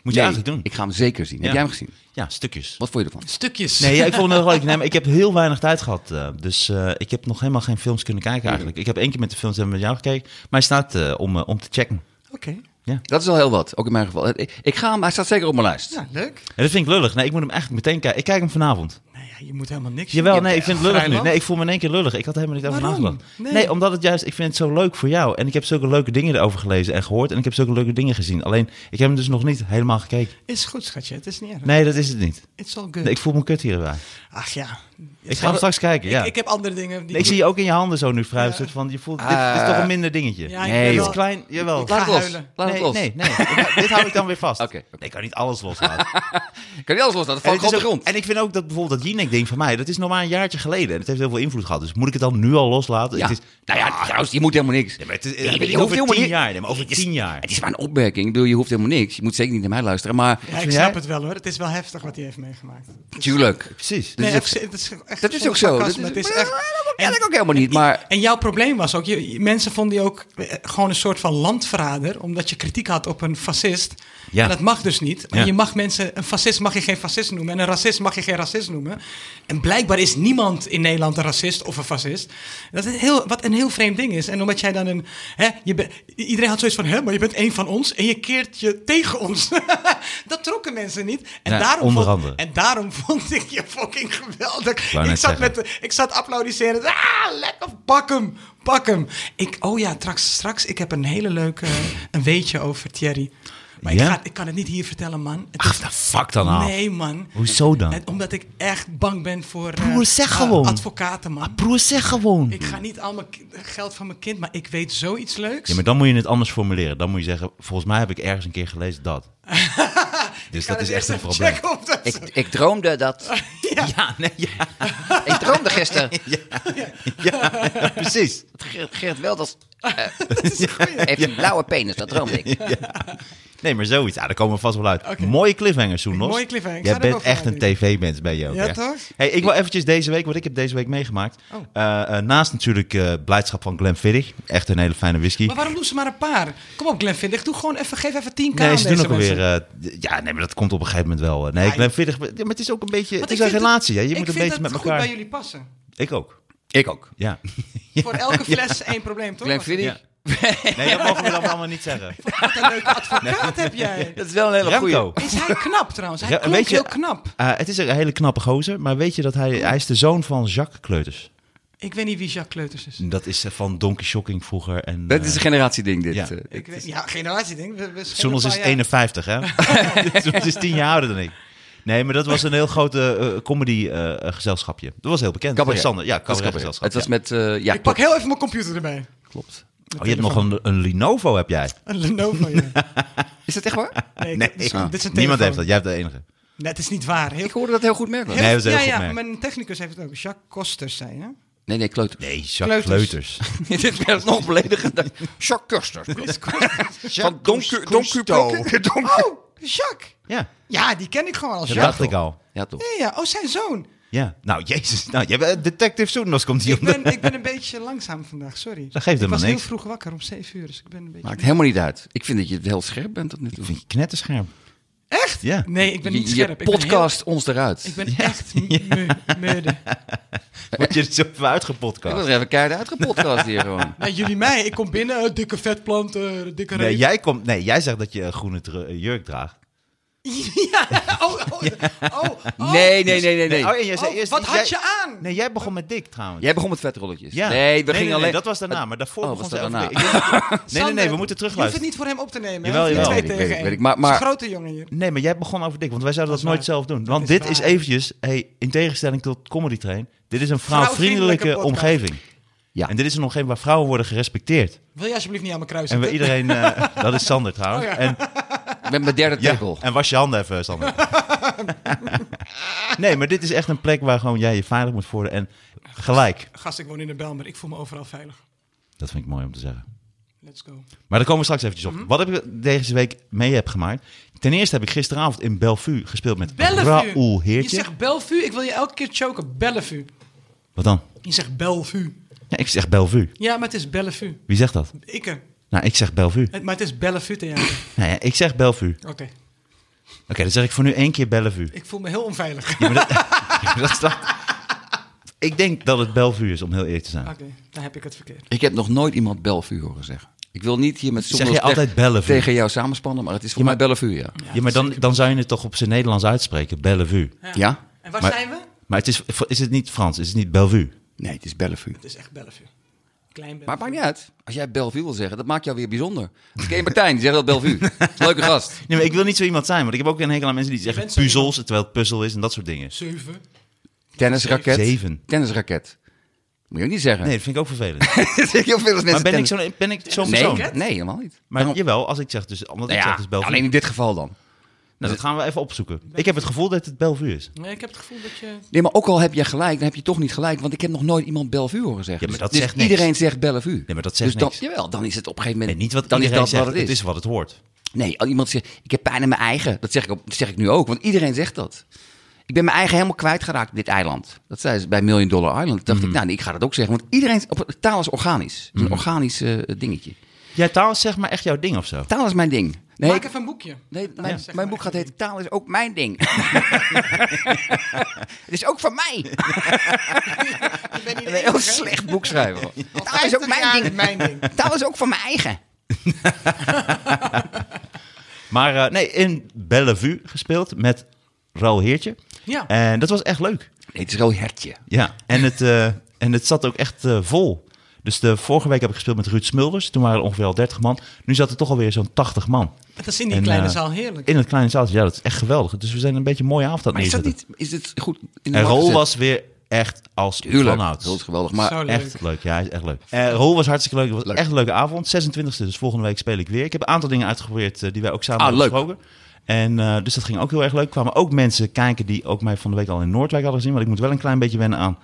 [SPEAKER 1] Moet je
[SPEAKER 2] Nee,
[SPEAKER 1] eigenlijk doen.
[SPEAKER 2] Ik ga hem zeker zien.
[SPEAKER 1] Ja.
[SPEAKER 2] Heb jij hem gezien?
[SPEAKER 1] Ja, stukjes.
[SPEAKER 2] Wat vond je ervan?
[SPEAKER 3] Stukjes.
[SPEAKER 1] Nee, ja, ik vond het wel leuk. Nee, maar ik heb heel weinig tijd gehad. eh, dus eh, ik heb nog helemaal geen films kunnen kijken eigenlijk. Ik heb één keer met de films hebben met jou gekeken. Maar hij staat eh, om, eh, om te checken.
[SPEAKER 3] Oké.
[SPEAKER 2] Dat is al heel wat, ook in mijn geval. Ik, ik ga hem, hij staat zeker op mijn lijst.
[SPEAKER 3] Ja, leuk.
[SPEAKER 1] En dat vind ik lullig. Nee, ik moet hem eigenlijk meteen kijken. Ik kijk hem vanavond.
[SPEAKER 3] Nou ja, je moet helemaal niks
[SPEAKER 1] Jawel,
[SPEAKER 3] doen.
[SPEAKER 1] nee, ik vind het lullig nu.
[SPEAKER 3] Vrijland.
[SPEAKER 1] Nee, ik voel me in één keer lullig. Ik had er helemaal niet over
[SPEAKER 3] Waarom?
[SPEAKER 1] nagedacht. Nee.
[SPEAKER 3] Nee.
[SPEAKER 1] omdat het juist, ik vind het zo leuk voor jou. En ik heb zulke leuke dingen erover gelezen en gehoord. En ik heb zulke leuke dingen gezien. Alleen, ik heb hem dus nog niet helemaal gekeken.
[SPEAKER 3] Is goed, schatje. Het is niet erg.
[SPEAKER 1] Nee, dat is het niet.
[SPEAKER 3] It's all good.
[SPEAKER 1] Nee, ik voel me kut hierbij.
[SPEAKER 3] Ach ja.
[SPEAKER 1] Ik ga hem straks kijken, ja.
[SPEAKER 3] Ik, ik heb andere dingen. Die
[SPEAKER 1] Nee, ik zie je ook in je handen zo nu vrij. soort van, je
[SPEAKER 2] Ah.
[SPEAKER 1] voelt, dit, dit is toch een minder dingetje.
[SPEAKER 3] Ja, ik
[SPEAKER 2] Nee,
[SPEAKER 3] ben
[SPEAKER 1] Dit
[SPEAKER 2] joh.
[SPEAKER 1] is klein, jawel.
[SPEAKER 3] Ik
[SPEAKER 2] Laat
[SPEAKER 3] ga
[SPEAKER 2] het los.
[SPEAKER 3] huilen.
[SPEAKER 2] Laat
[SPEAKER 1] nee,
[SPEAKER 2] het los.
[SPEAKER 1] Nee, nee. dit hou ik dan weer vast.
[SPEAKER 2] Oké.
[SPEAKER 1] Nee, ik kan niet alles loslaten.
[SPEAKER 2] Kan je alles loslaten?
[SPEAKER 1] En het
[SPEAKER 2] Dat valt
[SPEAKER 1] is
[SPEAKER 2] op de
[SPEAKER 1] ook-
[SPEAKER 2] grond.
[SPEAKER 1] En ik vind ook dat bijvoorbeeld dat ik denk van mij, dat is nog maar een jaartje geleden. En het heeft heel veel invloed gehad. Dus moet ik het dan nu al loslaten?
[SPEAKER 2] Ja.
[SPEAKER 1] Het is,
[SPEAKER 2] Nou ja, trouwens, je moet helemaal niks.
[SPEAKER 1] Nee, maar het is-
[SPEAKER 2] Nee,
[SPEAKER 1] heb
[SPEAKER 2] maar
[SPEAKER 1] je
[SPEAKER 2] je
[SPEAKER 1] over
[SPEAKER 2] hoeft helemaal
[SPEAKER 1] tien
[SPEAKER 2] niet-
[SPEAKER 1] jaar. Nee, maar over
[SPEAKER 2] Het is-
[SPEAKER 1] tien jaar.
[SPEAKER 2] Het is maar een opmerking. Ik bedoel, je hoeft helemaal niks. Je moet zeker niet naar mij luisteren. Maar
[SPEAKER 3] Ja, ik snap het wel hoor. Het is wel heftig wat hij heeft meegemaakt.
[SPEAKER 2] tuurlijk.
[SPEAKER 1] Precies.
[SPEAKER 3] Nee,
[SPEAKER 2] is ook-
[SPEAKER 3] echt- het is echt
[SPEAKER 2] Dat is
[SPEAKER 3] zonder
[SPEAKER 2] ook zo. Dat
[SPEAKER 3] sarcasme,
[SPEAKER 2] is,
[SPEAKER 3] het is
[SPEAKER 2] maar
[SPEAKER 3] echt-
[SPEAKER 2] dat ken
[SPEAKER 3] en-
[SPEAKER 2] ik ook helemaal niet. Maar
[SPEAKER 3] En jouw probleem was ook, je, je- mensen vonden je ook eh, gewoon een soort van landverrader, omdat je kritiek had op een fascist.
[SPEAKER 1] Ja.
[SPEAKER 3] En dat mag dus niet. En
[SPEAKER 1] Ja.
[SPEAKER 3] Je mag mensen, een fascist mag je geen fascist noemen en een racist mag je geen racist noemen. En blijkbaar is niemand in Nederland een racist of een fascist. Dat is heel, wat een heel vreemd ding is. En omdat jij dan een, hè, je bent- iedereen had zoiets van, hè, maar je bent één van ons en je keert je tegen ons. dat trokken mensen niet. En,
[SPEAKER 1] Ja,
[SPEAKER 3] daarom
[SPEAKER 1] onder
[SPEAKER 3] vond,
[SPEAKER 1] andere.
[SPEAKER 3] en daarom vond ik je fucking geweldig.
[SPEAKER 1] wou
[SPEAKER 3] Ik
[SPEAKER 1] net
[SPEAKER 3] zat,
[SPEAKER 1] zeggen.
[SPEAKER 3] met, de- ik zat applaudisseren. Ah, lekker, pak hem, pak hem. Ik, oh ja, straks, straks, ik heb een hele leuke, eh, een weetje over Thierry. Maar
[SPEAKER 1] Ja?
[SPEAKER 3] ik, ga, ik kan het niet hier vertellen, man. Het
[SPEAKER 1] Ach,
[SPEAKER 3] is-
[SPEAKER 1] de fuck dan af.
[SPEAKER 3] Nee, man.
[SPEAKER 1] Hoezo dan?
[SPEAKER 3] Het- omdat ik echt bang ben voor eh,
[SPEAKER 1] Broer, zeg
[SPEAKER 3] eh,
[SPEAKER 1] gewoon.
[SPEAKER 3] advocaten, man.
[SPEAKER 1] Broer, zeg gewoon.
[SPEAKER 3] Ik ga niet al mijn ki- geld van mijn kind, maar ik weet zoiets leuks.
[SPEAKER 1] Ja, maar dan moet je het anders formuleren. Dan moet je zeggen, volgens mij heb ik ergens een keer gelezen dat. dus
[SPEAKER 3] Ik ga
[SPEAKER 1] dat is
[SPEAKER 3] het
[SPEAKER 1] echt een
[SPEAKER 3] eerst even
[SPEAKER 1] probleem.
[SPEAKER 3] checken of dat
[SPEAKER 2] ik, ik droomde dat.
[SPEAKER 1] Ja, nee, ja,
[SPEAKER 2] Ik droomde gisteren.
[SPEAKER 1] ja, ja, precies.
[SPEAKER 2] dat Geert, Geert Wilders eh,
[SPEAKER 3] is een goeie.
[SPEAKER 2] heeft een blauwe penis. Dat droomde ik.
[SPEAKER 1] Nee, maar zoiets. Ja, daar komen we vast wel uit.
[SPEAKER 3] Oké.
[SPEAKER 1] Mooie cliffhanger, Soenos.
[SPEAKER 3] Mooie cliffhanger. Ik
[SPEAKER 1] Jij
[SPEAKER 3] ga er
[SPEAKER 1] bent
[SPEAKER 3] wel
[SPEAKER 1] echt
[SPEAKER 3] voor
[SPEAKER 1] een tv-mens ben je ook.
[SPEAKER 3] Ja,
[SPEAKER 1] hè?
[SPEAKER 3] toch?
[SPEAKER 1] Hey, ik wil eventjes deze week, wat ik heb deze week meegemaakt.
[SPEAKER 3] Oh.
[SPEAKER 1] Eh, eh, naast natuurlijk eh blijdschap van Glenfiddich. Echt een hele fijne whisky.
[SPEAKER 3] Maar waarom doen ze maar een paar? Kom op, Glenfiddich, doe gewoon even, geef even 10k aan
[SPEAKER 1] Nee, ze
[SPEAKER 3] deze
[SPEAKER 1] doen ook
[SPEAKER 3] mensen.
[SPEAKER 1] alweer... eh, d- ja, nee, maar dat komt op een gegeven moment wel. eh. Nee,
[SPEAKER 3] Ja,
[SPEAKER 1] Glenfiddich... ja, maar het is ook een beetje... Het
[SPEAKER 3] Want
[SPEAKER 1] is
[SPEAKER 3] ik
[SPEAKER 1] een
[SPEAKER 3] vind
[SPEAKER 1] relatie, hè. Je
[SPEAKER 3] ik
[SPEAKER 1] moet een
[SPEAKER 3] vind
[SPEAKER 1] beetje met
[SPEAKER 3] dat het
[SPEAKER 1] elkaar...
[SPEAKER 3] goed bij jullie passen.
[SPEAKER 1] Ik ook.
[SPEAKER 2] Ik ook.
[SPEAKER 1] Ja.
[SPEAKER 3] Voor elke fles één probleem, toch?
[SPEAKER 2] Glenn Fiddy.
[SPEAKER 1] Ja. Nee, dat mogen we dan allemaal niet zeggen.
[SPEAKER 3] Wat een leuke advocaat heb jij.
[SPEAKER 2] Dat is wel een hele
[SPEAKER 1] Remco.
[SPEAKER 2] goede.
[SPEAKER 3] Is hij knap trouwens? Hij
[SPEAKER 1] Ja,
[SPEAKER 3] klonk
[SPEAKER 1] weet je-
[SPEAKER 3] heel knap.
[SPEAKER 1] Eh, het is een hele knappe gozer, maar weet je dat hij... Hij is de zoon van Jacques Kleuters.
[SPEAKER 3] Ik weet niet wie Jacques Kleuters is.
[SPEAKER 1] Dat is eh, van Donkey Shocking vroeger. En,
[SPEAKER 2] Dat
[SPEAKER 1] eh,
[SPEAKER 2] is een generatieding dit.
[SPEAKER 1] Ja.
[SPEAKER 2] eh.
[SPEAKER 3] Ik weet, ja, generatie denk ik. We- we schelen
[SPEAKER 1] Soms
[SPEAKER 3] een
[SPEAKER 1] is
[SPEAKER 3] paar jaar.
[SPEAKER 1] 51, hè? Soms is 10 jaar ouder dan ik. Nee, maar dat was een heel groot comedy-gezelschapje. dat was heel bekend.
[SPEAKER 2] Cabaret.
[SPEAKER 1] Sander, ja,
[SPEAKER 2] Dat is grappig.
[SPEAKER 1] cabaret-gezelschap.
[SPEAKER 2] Het was
[SPEAKER 1] ja.
[SPEAKER 2] met... eh, ja,
[SPEAKER 3] Ik pak heel even mijn computer erbij.
[SPEAKER 2] klopt.
[SPEAKER 1] Oh, je hebt nog een, een Lenovo, heb jij?
[SPEAKER 3] Een Lenovo, ja.
[SPEAKER 2] Is dat echt waar?
[SPEAKER 3] Nee, ik-
[SPEAKER 1] Nee,
[SPEAKER 3] dit is-
[SPEAKER 1] ja.
[SPEAKER 3] dit is een
[SPEAKER 1] niemand heeft
[SPEAKER 3] telefoon.
[SPEAKER 1] dat. Jij hebt de enige.
[SPEAKER 3] Nee, het is niet waar. Heel,
[SPEAKER 2] Ik hoorde dat heel goed merken.
[SPEAKER 1] Nee, dat is een heel
[SPEAKER 3] ja,
[SPEAKER 1] goed
[SPEAKER 3] ja,
[SPEAKER 1] merk.
[SPEAKER 3] mijn technicus heeft het ook. Jacques Kosters zei, hè?
[SPEAKER 2] Nee, nee, kleuter.
[SPEAKER 1] Nee, Jacques Kleuters.
[SPEAKER 3] Kleuters.
[SPEAKER 2] Dit werd nog beledigender. Jacques Kuster. Van Donku... Donku...
[SPEAKER 3] Oh, Jacques.
[SPEAKER 1] Ja,
[SPEAKER 3] Ja, die ken ik gewoon als
[SPEAKER 1] dat
[SPEAKER 3] Jacques.
[SPEAKER 1] dacht ik al.
[SPEAKER 2] Ja, toch.
[SPEAKER 3] Ja, ja. Oh, zijn zoon.
[SPEAKER 1] Ja, nou, jezus. Nou, je bent- Detective Soenos komt hier
[SPEAKER 3] Ik
[SPEAKER 1] om de-
[SPEAKER 3] ben, ik ben een beetje langzaam vandaag, sorry.
[SPEAKER 1] Dat geeft
[SPEAKER 3] ik
[SPEAKER 1] helemaal
[SPEAKER 3] was heel
[SPEAKER 1] niks.
[SPEAKER 3] vroeg wakker, om 7 uur, dus ik ben een beetje...
[SPEAKER 2] Maakt helemaal niet uit. Ik vind dat je heel scherp bent tot nu toe.
[SPEAKER 1] Vind je knetterscherm?
[SPEAKER 3] Echt?
[SPEAKER 1] Ja.
[SPEAKER 3] Nee, ik ben niet
[SPEAKER 2] Je-
[SPEAKER 3] scherp.
[SPEAKER 2] Je
[SPEAKER 3] Ik ben heel-
[SPEAKER 2] podcast ons eruit.
[SPEAKER 3] Ik ben echt mu- muurde.
[SPEAKER 1] Word je er zo van
[SPEAKER 2] Ik was
[SPEAKER 1] uitgepodcast?
[SPEAKER 2] er even keihard uitgepodcast hier gewoon.
[SPEAKER 3] Nee, jullie mij. Ik kom binnen, eh, dikke vetplant, eh, dikke
[SPEAKER 1] Nee
[SPEAKER 3] reet.
[SPEAKER 1] jij, komt, nee, jij zegt dat je een groene dru- jurk draagt.
[SPEAKER 3] ja, oh, oh, oh, oh.
[SPEAKER 2] Nee, nee, nee, nee, nee.
[SPEAKER 1] Oh, en jij zei
[SPEAKER 3] Oh,
[SPEAKER 1] eerst-
[SPEAKER 3] wat
[SPEAKER 1] jij-
[SPEAKER 3] had je aan?
[SPEAKER 1] Nee, jij begon met dik trouwens.
[SPEAKER 2] Jij begon met vetrolletjes.
[SPEAKER 1] Ja.
[SPEAKER 2] Nee, we
[SPEAKER 1] nee,
[SPEAKER 2] gingen
[SPEAKER 1] nee,
[SPEAKER 2] alleen...
[SPEAKER 1] dat was daarna, maar daarvoor
[SPEAKER 2] Oh,
[SPEAKER 1] begon
[SPEAKER 2] was
[SPEAKER 1] ze
[SPEAKER 2] dat
[SPEAKER 1] over
[SPEAKER 2] daarna?
[SPEAKER 1] dik. Ik denk dat- Nee, nee,
[SPEAKER 3] Sander,
[SPEAKER 1] nee, we moeten
[SPEAKER 3] Je hoeft het
[SPEAKER 1] terugluisteren.
[SPEAKER 3] niet voor hem op te nemen.
[SPEAKER 1] Jawel,
[SPEAKER 3] hè?
[SPEAKER 1] jawel.
[SPEAKER 3] Twee
[SPEAKER 1] Weet
[SPEAKER 2] ik,
[SPEAKER 3] tegen
[SPEAKER 2] weet ik,
[SPEAKER 3] één.
[SPEAKER 2] weet ik. Maar- maar-
[SPEAKER 3] Het is een grote jongen hier.
[SPEAKER 1] Nee, maar jij begon over dik, want wij zouden
[SPEAKER 3] Dat
[SPEAKER 1] dat,
[SPEAKER 3] is
[SPEAKER 1] nooit
[SPEAKER 3] waar.
[SPEAKER 1] zelf doen.
[SPEAKER 3] Dat
[SPEAKER 1] Want
[SPEAKER 3] is
[SPEAKER 1] dit
[SPEAKER 3] waar.
[SPEAKER 1] is eventjes, hey, in tegenstelling tot Comedy Train, dit is een vrouwvriendelijke
[SPEAKER 3] Vrouwvriendelijke podcast.
[SPEAKER 1] omgeving.
[SPEAKER 2] Ja.
[SPEAKER 1] En dit is een omgeving waar vrouwen worden gerespecteerd.
[SPEAKER 3] Wil je alsjeblieft niet aan mijn kruis
[SPEAKER 1] En waar
[SPEAKER 3] zitten?
[SPEAKER 1] iedereen, eh, dat is Sander trouwens.
[SPEAKER 3] Oh ja.
[SPEAKER 1] En
[SPEAKER 2] Met mijn derde
[SPEAKER 1] Ja,
[SPEAKER 2] tackle.
[SPEAKER 1] en was je handen even, Sander. nee, maar dit is echt een plek waar gewoon jij je veilig moet voelen. En gelijk.
[SPEAKER 3] Gast, ik woon in de Belmer. Ik voel me overal veilig.
[SPEAKER 1] Dat vind ik mooi om te zeggen. Mhm.
[SPEAKER 3] Let's go.
[SPEAKER 1] Maar daar komen we straks eventjes op. Wat heb ik deze week mee heb gemaakt? Ten eerste heb ik gisteravond in Bellevue gespeeld met Raoul
[SPEAKER 3] Bellevue. Je
[SPEAKER 1] Heertje.
[SPEAKER 3] zegt Bellevue. Ik wil je elke keer choken. Bellevue.
[SPEAKER 1] Wat dan?
[SPEAKER 3] Je zegt Bellevue.
[SPEAKER 1] Ja, ik zeg Bellevue.
[SPEAKER 3] Ja, maar het is Bellevue.
[SPEAKER 1] Wie zegt dat?
[SPEAKER 3] Ikke.
[SPEAKER 1] Nou, ik zeg Bellevue.
[SPEAKER 3] Het- Maar het is Bellevue theater.
[SPEAKER 1] Nou ja, ik zeg Bellevue.
[SPEAKER 3] Oké.
[SPEAKER 1] Oké, dan zeg ik voor nu één keer Bellevue.
[SPEAKER 3] Ik voel me heel onveilig.
[SPEAKER 1] Ja, maar dat- Ja, dat staat... Ik denk dat het Bellevue is, om heel eerlijk te zijn.
[SPEAKER 3] Oké, dan heb ik het verkeerd.
[SPEAKER 2] Ik heb nog nooit iemand Bellevue horen zeggen. Ik wil niet hier met
[SPEAKER 1] Zeg
[SPEAKER 2] Sommers
[SPEAKER 1] jij altijd
[SPEAKER 2] teg-
[SPEAKER 1] Bellevue?
[SPEAKER 2] tegen jou samenspannen, maar het is voor mij Bellevue, ja.
[SPEAKER 1] Ja, maar dan, dan zou je het toch op zijn Nederlands uitspreken, Bellevue.
[SPEAKER 2] Ja?
[SPEAKER 3] En waar
[SPEAKER 1] Maar-
[SPEAKER 3] zijn we?
[SPEAKER 1] Maar het is, is het niet Frans, is het niet Bellevue?
[SPEAKER 2] Nee, het is Bellevue.
[SPEAKER 3] Het is echt Bellevue. Klein Bellevue.
[SPEAKER 2] Maar het maakt niet uit. Als jij Bellevue wil zeggen, dat maakt jou weer bijzonder. Ik ken je Martijn, die zegt dat Bellevue. Dat is een leuke gast.
[SPEAKER 1] Nee, maar ik wil niet zo iemand zijn, want ik heb ook een hekel aan mensen die zeggen
[SPEAKER 3] bent zo iemand.
[SPEAKER 1] puzzels, terwijl het puzzel is en dat soort dingen.
[SPEAKER 3] Zeven.
[SPEAKER 2] Tennisraket.
[SPEAKER 1] Zeven.
[SPEAKER 2] Tennisraket. Moet je ook niet zeggen.
[SPEAKER 1] Nee, dat vind ik ook vervelend.
[SPEAKER 2] dat zeg heel veel als mensen
[SPEAKER 1] maar ben ik
[SPEAKER 2] tennis-
[SPEAKER 1] zo'n ben ik zo'n
[SPEAKER 2] Nee,
[SPEAKER 1] persoon?
[SPEAKER 2] nee, helemaal niet.
[SPEAKER 1] Maar
[SPEAKER 2] Daarom-
[SPEAKER 1] jawel, als ik zeg dus, omdat
[SPEAKER 2] Nou
[SPEAKER 1] ik
[SPEAKER 2] ja,
[SPEAKER 1] zeg dus België.
[SPEAKER 2] alleen in dit geval dan.
[SPEAKER 1] Nou, dat gaan we even opzoeken. Ik heb het gevoel dat het Bellevue is.
[SPEAKER 3] Nee, ik heb het gevoel dat je...
[SPEAKER 2] Nee, maar ook al heb je gelijk, dan heb je toch niet gelijk. Want ik heb nog nooit iemand Bellevue horen zeggen.
[SPEAKER 1] Ja, maar dat
[SPEAKER 2] dus
[SPEAKER 1] zegt niks.
[SPEAKER 2] iedereen zegt Bellevue.
[SPEAKER 1] Nee, maar dat zegt
[SPEAKER 2] dus dan,
[SPEAKER 1] niks.
[SPEAKER 2] Jawel, dan is het op een gegeven
[SPEAKER 1] Nee,
[SPEAKER 2] moment...
[SPEAKER 1] niet wat
[SPEAKER 2] dan
[SPEAKER 1] iedereen
[SPEAKER 2] is dat
[SPEAKER 1] zegt.
[SPEAKER 2] wat
[SPEAKER 1] het is wat het hoort.
[SPEAKER 2] Nee, als iemand zegt, ik heb pijn in mijn eigen. Dat zeg, ik, op- dat zeg ik nu ook, want iedereen zegt dat. Ik ben mijn eigen helemaal kwijtgeraakt op dit eiland. Dat zei ze bij Million Dollar Island. Toen dacht
[SPEAKER 1] Mhm.
[SPEAKER 2] ik, nou, nee, ik ga dat ook zeggen. Want iedereen, op, taal is organisch. Het is Een organisch eh, dingetje.
[SPEAKER 1] Jij taal is zeg maar echt jouw ding of zo.
[SPEAKER 2] Taal is mijn ding. Nee,
[SPEAKER 3] Maak
[SPEAKER 2] ik-
[SPEAKER 3] even een boekje.
[SPEAKER 2] nee mijn,
[SPEAKER 3] zeg
[SPEAKER 2] mijn
[SPEAKER 3] maar.
[SPEAKER 2] boek gaat heten Taal is ook mijn ding. het is ook van mij. een heel slecht boek schrijven. Taal is ook
[SPEAKER 3] 50 jaar
[SPEAKER 2] mijn ding.
[SPEAKER 3] Mijn ding.
[SPEAKER 2] Taal is ook van mijn eigen.
[SPEAKER 1] Maar eh, nee, in Bellevue gespeeld met Raoul Heertje.
[SPEAKER 3] Ja.
[SPEAKER 1] En dat was echt leuk.
[SPEAKER 2] Nee, het is wel hertje.
[SPEAKER 1] Ja, en het, eh, en het zat ook echt eh, vol. Dus de vorige week heb ik gespeeld met Ruud Smulders. Toen waren er ongeveer al 30 man. Nu zat er toch alweer zo'n 80 man.
[SPEAKER 3] Dat is in die
[SPEAKER 1] En,
[SPEAKER 3] kleine
[SPEAKER 1] eh,
[SPEAKER 3] zaal heerlijk.
[SPEAKER 1] In het kleine zaaltje. Ja, dat is echt geweldig. Dus we zijn een beetje een mooie avond aan
[SPEAKER 2] Maar
[SPEAKER 1] het
[SPEAKER 2] is dat
[SPEAKER 1] neerzetten.
[SPEAKER 2] niet, is het goed in de
[SPEAKER 1] En
[SPEAKER 2] markt
[SPEAKER 1] Rol
[SPEAKER 2] gezet?
[SPEAKER 1] was weer echt als
[SPEAKER 2] Tuurlijk,
[SPEAKER 1] vanouds.
[SPEAKER 2] dat is geweldig. Maar
[SPEAKER 3] Zo leuk.
[SPEAKER 1] Echt leuk, ja, hij is echt leuk. Eh Rol was hartstikke leuk. Het was
[SPEAKER 2] Leuk.
[SPEAKER 1] echt een leuke avond. 26e, dus volgende week speel ik weer. Ik heb een aantal dingen uitgeprobeerd eh, die wij ook samen
[SPEAKER 2] Ah,
[SPEAKER 1] hebben
[SPEAKER 2] leuk.
[SPEAKER 1] besproken. En eh, dus dat ging ook heel erg leuk. Kwamen ook mensen kijken die ook mij van de week al in Noordwijk hadden gezien. Want ik moet wel een klein beetje wennen aan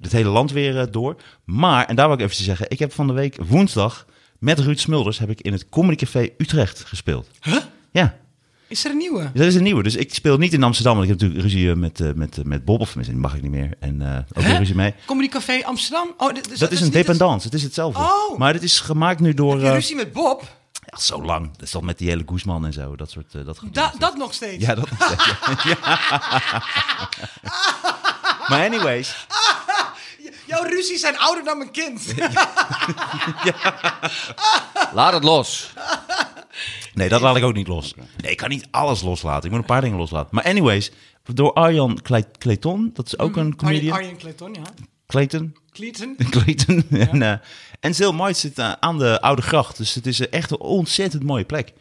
[SPEAKER 1] het hele land weer eh, door. Maar, en daar wil ik even zeggen, ik heb van de week woensdag met Ruud Smulders heb ik in het Comedy Café Utrecht gespeeld. Huh? Ja.
[SPEAKER 3] Is er een nieuwe?
[SPEAKER 1] Dus dat is een nieuwe. Dus ik speel niet in Amsterdam, want ik heb natuurlijk ruzie eh, met, eh, met, eh, met Bob. Of tenminste, die mag ik niet meer. En eh, ook weer
[SPEAKER 3] Hè?
[SPEAKER 1] ruzie mee.
[SPEAKER 3] Comedy Café Amsterdam? Oh, dit- dus
[SPEAKER 1] Dat is een
[SPEAKER 3] niet het-
[SPEAKER 1] dependance, het is hetzelfde.
[SPEAKER 3] Oh.
[SPEAKER 1] Maar dit is gemaakt nu door...
[SPEAKER 3] Die
[SPEAKER 1] eh,
[SPEAKER 3] ruzie met Bob?
[SPEAKER 1] ja, zo lang. Dat is dan met die hele Guzman en zo, dat soort... eh, dat gedoe.
[SPEAKER 3] Da- dat nog steeds.
[SPEAKER 1] Ja, dat nog steeds, ja. Ja. Maar anyways,
[SPEAKER 3] Jouw ruzies zijn ouder dan mijn kind.
[SPEAKER 2] Laat het los.
[SPEAKER 1] nee, dat laat ik ook niet los. Nee, ik kan niet alles loslaten. Ik moet een paar dingen loslaten. Maar anyways, door Arjan Klei- Clayton, dat is
[SPEAKER 3] Mhm.
[SPEAKER 1] ook een comedian.
[SPEAKER 3] Arjen, Arjen Clayton, ja.
[SPEAKER 1] Clayton,
[SPEAKER 3] Clayton.
[SPEAKER 1] Clayton. En, eh, en Zeel Mooi zit eh, aan de Oude Gracht. Dus het is eh, echt een ontzettend mooie plek.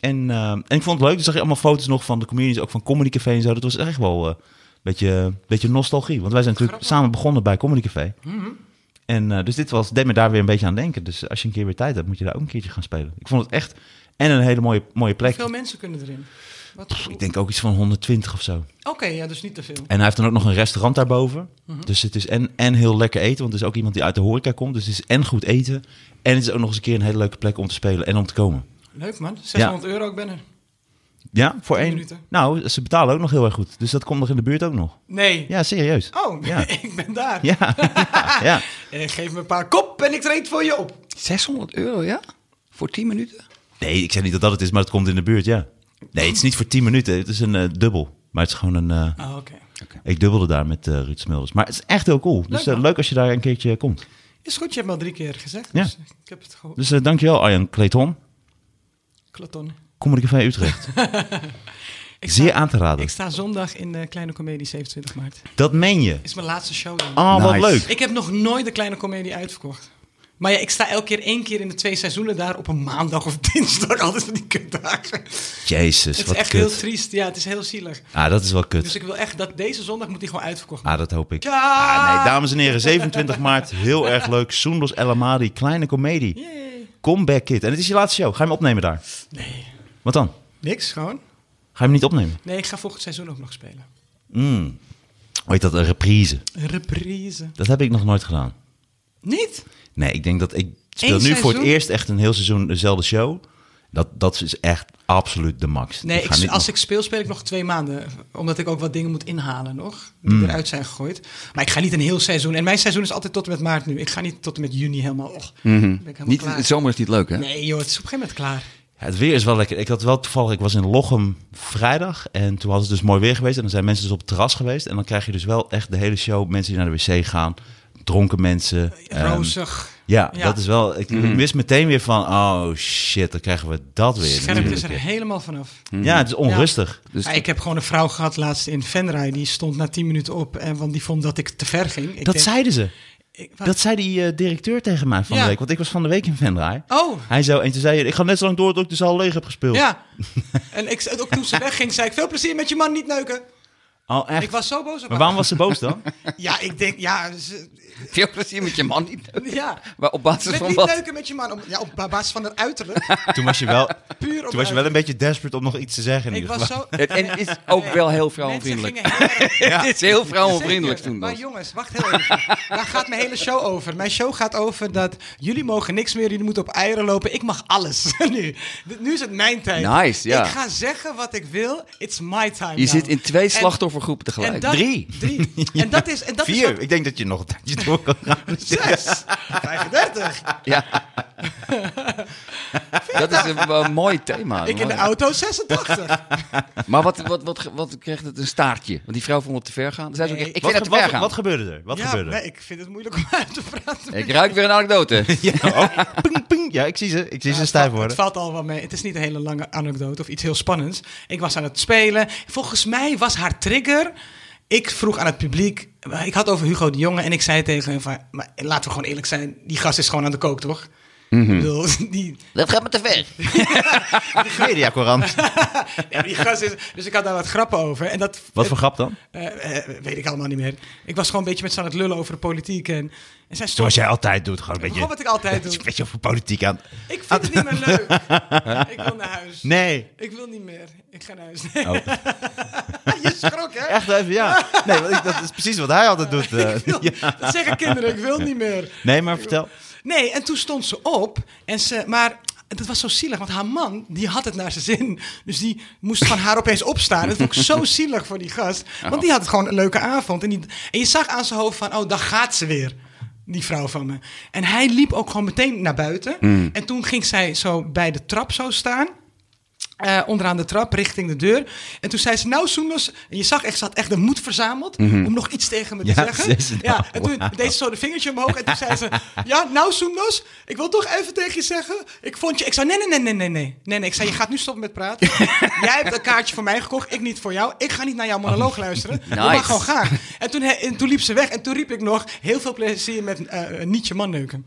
[SPEAKER 1] En, eh, en ik vond het leuk. Er zag je allemaal foto's nog van de comedians, ook van Comedy Café en zo. Dat was echt wel eh, een beetje, beetje nostalgie. Want wij zijn natuurlijk samen begonnen bij Comedy Café. En eh, dus dit was, deed me daar weer een beetje aan denken. Dus als je een keer weer tijd hebt, moet je daar ook een keertje gaan spelen. Ik vond het echt en een hele mooie, mooie plek.
[SPEAKER 3] Veel mensen kunnen erin. Wat-
[SPEAKER 1] Ik denk ook iets van 120 of zo.
[SPEAKER 3] Oké, ja, dus niet te veel.
[SPEAKER 1] En hij heeft dan ook nog een restaurant daarboven.
[SPEAKER 3] Mhm.
[SPEAKER 1] Dus het is en, en heel lekker eten, want het is ook iemand die uit de horeca komt. Dus het is en goed eten. En het is ook nog eens een keer een hele leuke plek om te spelen en om te komen.
[SPEAKER 3] Leuk man. 600 euro, ik ben er.
[SPEAKER 1] Ja, voor
[SPEAKER 3] Tien
[SPEAKER 1] één.
[SPEAKER 3] minuten.
[SPEAKER 1] Nou, ze betalen ook nog heel erg goed. Dus dat komt nog in de buurt ook nog.
[SPEAKER 3] Nee.
[SPEAKER 1] Ja, serieus.
[SPEAKER 3] Oh,
[SPEAKER 1] Ja.
[SPEAKER 3] ik ben daar.
[SPEAKER 1] Ja, ja, ja.
[SPEAKER 3] Eh, geef me een paar kop en ik treed voor je op.
[SPEAKER 2] 600 euro, ja? Voor 10 minuten?
[SPEAKER 1] Nee, ik zeg niet dat dat het is, maar het komt in de buurt, ja. Nee, het is niet voor 10 minuten. Het is een eh, dubbel. Maar het is gewoon een... eh,
[SPEAKER 3] Oh, oké.
[SPEAKER 1] Ik dubbelde daar met eh, Ruud Smulders. Maar het is echt heel cool. Dus
[SPEAKER 3] Leuk,
[SPEAKER 1] eh,
[SPEAKER 3] man.
[SPEAKER 1] leuk als je daar een keertje komt.
[SPEAKER 3] Is goed, je hebt me al drie keer gezegd.
[SPEAKER 1] Ja.
[SPEAKER 3] Dus ik heb het gehoord.
[SPEAKER 1] Dus eh, dankjewel Arjan Clayton.
[SPEAKER 3] Clayton.
[SPEAKER 1] Comedy Café Utrecht.
[SPEAKER 3] Ik sta,
[SPEAKER 1] Zeer aan te raden.
[SPEAKER 3] ik sta zondag in de Kleine Comedie 27 maart.
[SPEAKER 1] Dat meen je.
[SPEAKER 3] Is mijn laatste show dan.
[SPEAKER 1] Ah, wat
[SPEAKER 2] Nice.
[SPEAKER 1] leuk.
[SPEAKER 3] Ik heb nog nooit de Kleine Comedie uitverkocht. Maar ja, ik sta elke keer één keer in de twee seizoenen daar op een maandag of dinsdag. Altijd van die kutdagen.
[SPEAKER 1] Jezus,
[SPEAKER 3] Het is
[SPEAKER 1] wat
[SPEAKER 3] echt
[SPEAKER 1] kut.
[SPEAKER 3] heel triest. Ja, het is heel zielig.
[SPEAKER 1] Ah, dat is wel kut.
[SPEAKER 3] Dus ik wil echt dat deze zondag moet die gewoon uitverkocht worden.
[SPEAKER 1] Ah, dat hoop ik.
[SPEAKER 3] Ja!
[SPEAKER 1] Ah, nee, dames en heren, 27 maart. Heel erg leuk. Soendos El Amadi, kleine komedie.
[SPEAKER 3] Yay.
[SPEAKER 1] Comeback Kid. En het is je laatste show. Ga je hem opnemen daar?
[SPEAKER 3] Nee.
[SPEAKER 1] Wat dan?
[SPEAKER 3] Niks, gewoon.
[SPEAKER 1] Ga je hem niet opnemen?
[SPEAKER 3] Nee, ik ga volgend seizoen ook nog spelen.
[SPEAKER 1] Mm. Hoe heet dat? Een reprise.
[SPEAKER 3] Een Reprise.
[SPEAKER 1] Dat heb ik nog nooit gedaan.
[SPEAKER 3] Niet?
[SPEAKER 1] Nee, ik denk dat ik speel nu voor
[SPEAKER 3] Eén
[SPEAKER 1] het
[SPEAKER 3] seizoen?
[SPEAKER 1] eerst echt een heel seizoen dezelfde show. Dat, dat is echt absoluut de max.
[SPEAKER 3] Nee, ik,
[SPEAKER 1] ga niet
[SPEAKER 3] als
[SPEAKER 1] nog-
[SPEAKER 3] ik speel, speel ik nog twee maanden. Omdat ik ook wat dingen moet inhalen nog. Die
[SPEAKER 1] Mm.
[SPEAKER 3] eruit zijn gegooid. Maar ik ga niet een heel seizoen. En mijn seizoen is altijd tot en met maart nu. Ik ga niet tot en met juni helemaal. oh,
[SPEAKER 1] Mhm.
[SPEAKER 3] ben ik helemaal
[SPEAKER 2] Niet,
[SPEAKER 3] klaar.
[SPEAKER 2] het zomer is niet leuk, hè?
[SPEAKER 3] Nee joh, het is op een gegeven moment klaar.
[SPEAKER 1] Ja, het weer is wel lekker. Ik had wel toevallig, ik was in Lochem vrijdag en toen was het dus mooi weer geweest. En dan zijn mensen dus op het terras geweest. En dan krijg je dus wel echt de hele show mensen die naar de wc gaan, dronken mensen. ehm,
[SPEAKER 3] Rozig.
[SPEAKER 1] ja,
[SPEAKER 3] Ja.
[SPEAKER 1] dat is wel. Ik wist meteen weer van, oh shit, dan krijgen we dat weer.
[SPEAKER 3] Scherp is er helemaal vanaf.
[SPEAKER 1] Ja, het is onrustig.
[SPEAKER 2] Dus
[SPEAKER 3] Maar ik heb gewoon een vrouw gehad laatst in Venray. Die stond na 10 minuten op. En, want die vond dat ik te ver ging. Ik
[SPEAKER 1] Dat
[SPEAKER 3] denk,
[SPEAKER 1] zeiden ze.
[SPEAKER 3] ik- wat-
[SPEAKER 1] Dat zei die eh, directeur tegen mij van
[SPEAKER 3] Ja.
[SPEAKER 1] de week. Want ik was van de week in Venray.
[SPEAKER 3] Oh.
[SPEAKER 1] Hij zo, en toen zei hij, ik ga net zo lang door dat ik de zaal leeg heb gespeeld.
[SPEAKER 3] Ja. en ik, ook toen ze wegging, zei ik veel plezier met je man niet neuken.
[SPEAKER 1] Oh, echt?
[SPEAKER 3] Ik was zo boos op
[SPEAKER 1] Maar
[SPEAKER 3] haar.
[SPEAKER 1] waarom was ze boos dan?
[SPEAKER 3] Ja, ik denk, ja, ze-
[SPEAKER 2] Veel plezier met je man niet.
[SPEAKER 3] ja.
[SPEAKER 2] Maar op basis
[SPEAKER 3] Met
[SPEAKER 2] van
[SPEAKER 3] niet
[SPEAKER 2] wat?
[SPEAKER 3] leuker met je man. Op, ja, op basis van het uiterlijk.
[SPEAKER 1] Toen was je wel,
[SPEAKER 3] Puur op
[SPEAKER 1] toen was je wel een beetje desperate om nog iets te zeggen. In
[SPEAKER 3] Ik
[SPEAKER 1] ieder
[SPEAKER 3] was
[SPEAKER 1] geval.
[SPEAKER 3] zo...
[SPEAKER 2] Het, en het is ook wel heel vrouwenvriendelijk.
[SPEAKER 3] Mensen gingen heel erg-
[SPEAKER 2] Het is heel vrouwenvriendelijk
[SPEAKER 3] Zeker.
[SPEAKER 2] toen.
[SPEAKER 3] Maar
[SPEAKER 2] Dat.
[SPEAKER 3] jongens, wacht heel even. Daar gaat mijn hele show over. Mijn show gaat over dat jullie mogen niks meer, jullie moeten op eieren lopen. Ik mag alles nu. Dit- Nu is het mijn tijd.
[SPEAKER 2] Nice, ja.
[SPEAKER 3] Ik ga zeggen wat ik wil. It's my time
[SPEAKER 2] Je
[SPEAKER 3] now.
[SPEAKER 2] zit in twee
[SPEAKER 3] En-
[SPEAKER 2] slachtoffergroepen
[SPEAKER 3] en
[SPEAKER 2] tegelijk.
[SPEAKER 3] dat-
[SPEAKER 2] Drie.
[SPEAKER 3] Drie. En dat is... En dat Is
[SPEAKER 1] Vier.
[SPEAKER 3] wat-
[SPEAKER 1] Ik denk dat je nog een tijdje door kan gaan.
[SPEAKER 3] Zes. 35.
[SPEAKER 2] Ja. Dat is een, eh, mooi thema.
[SPEAKER 3] Ik in de auto 86.
[SPEAKER 2] Maar wat, wat, wat, wat kreeg het een staartje? Want die vrouw vond het te ver gaan. Zij zei ook,
[SPEAKER 3] Nee.
[SPEAKER 2] ik
[SPEAKER 1] Wat,
[SPEAKER 2] vind
[SPEAKER 1] ge-
[SPEAKER 2] het te ver
[SPEAKER 1] wat,
[SPEAKER 2] gaan.
[SPEAKER 1] wat gebeurde er? Wat
[SPEAKER 3] ja,
[SPEAKER 1] gebeurde
[SPEAKER 3] nee,
[SPEAKER 1] er?
[SPEAKER 3] ik vind het moeilijk om uit te praten.
[SPEAKER 2] Ik ruik weer een anekdote.
[SPEAKER 1] Ja, oh, ping, ping. ja, ik zie ze. Ik zie ze stijf
[SPEAKER 3] Het
[SPEAKER 1] worden.
[SPEAKER 3] valt al wel mee. Het is niet een hele lange anekdote of iets heel spannends. Ik was aan het spelen. Volgens mij was haar trigger. Ik vroeg aan het publiek. Ik had over Hugo de Jonge en ik zei tegen hem van, maar laten we gewoon eerlijk zijn. Die gast is gewoon aan de kook, toch?
[SPEAKER 1] Mhm.
[SPEAKER 3] Ik bedoel, die,
[SPEAKER 2] Dat gaat me te ver.
[SPEAKER 1] Mediacorant.
[SPEAKER 3] ja, die gast is. Dus ik had daar wat grappen over. En dat,
[SPEAKER 1] Wat voor grap dan?
[SPEAKER 3] eh, eh, weet ik allemaal niet meer. Ik was gewoon een beetje met z'n aan het lullen over de politiek. En, en zij stond.
[SPEAKER 1] Zoals jij altijd doet. Gewoon een
[SPEAKER 3] Gewoon wat
[SPEAKER 1] beetje,
[SPEAKER 3] ik altijd doe.
[SPEAKER 1] een beetje over politiek aan.
[SPEAKER 3] Ik vind het niet meer leuk. Ik wil naar huis.
[SPEAKER 1] Nee.
[SPEAKER 3] Ik wil niet meer. Ik ga naar huis.
[SPEAKER 1] Oh.
[SPEAKER 3] Je schrok, hè?
[SPEAKER 1] Echt even, ja. Nee, want ik- dat is precies wat hij altijd doet. eh.
[SPEAKER 3] Ik wil- Dat zeggen kinderen, ik wil niet meer.
[SPEAKER 1] Nee, maar vertel.
[SPEAKER 3] Nee, en toen stond ze op. En ze, maar dat was zo zielig, want haar man die had het naar zijn zin. Dus die moest van haar opeens opstaan. Dat vond ik zo zielig voor die gast.
[SPEAKER 1] Oh.
[SPEAKER 3] Want die had het gewoon een leuke avond. En, die, en je zag aan zijn hoofd van, oh, daar gaat ze weer. Die vrouw van me. En hij liep ook gewoon meteen naar buiten.
[SPEAKER 1] Hmm.
[SPEAKER 3] En toen ging zij zo bij de trap zo staan. Eh, onderaan de trap, richting de deur. En toen zei ze, nou Soenos... En je zag echt, ze had echt de moed verzameld... om nog iets tegen me te
[SPEAKER 1] Mhm. Ja,
[SPEAKER 3] zeggen.
[SPEAKER 1] zei ze,
[SPEAKER 3] ja,
[SPEAKER 1] nou,
[SPEAKER 3] en toen
[SPEAKER 1] wauw.
[SPEAKER 3] deed ze zo de vingertje omhoog. En toen zei ze, ja, nou Soenos... ik wil toch even tegen je zeggen... ik vond je... Ik zei, nee, nee, nee, nee, nee, nee. Nee, nee, ik zei, je gaat nu stoppen met praten. Jij hebt een kaartje voor mij gekocht, ik niet voor jou. Ik ga niet naar jouw monoloog luisteren. Je
[SPEAKER 2] Nice.
[SPEAKER 3] mag gewoon gaan. En toen, he- en toen liep ze weg. En toen riep ik nog, heel veel plezier met eh, niet je man neuken.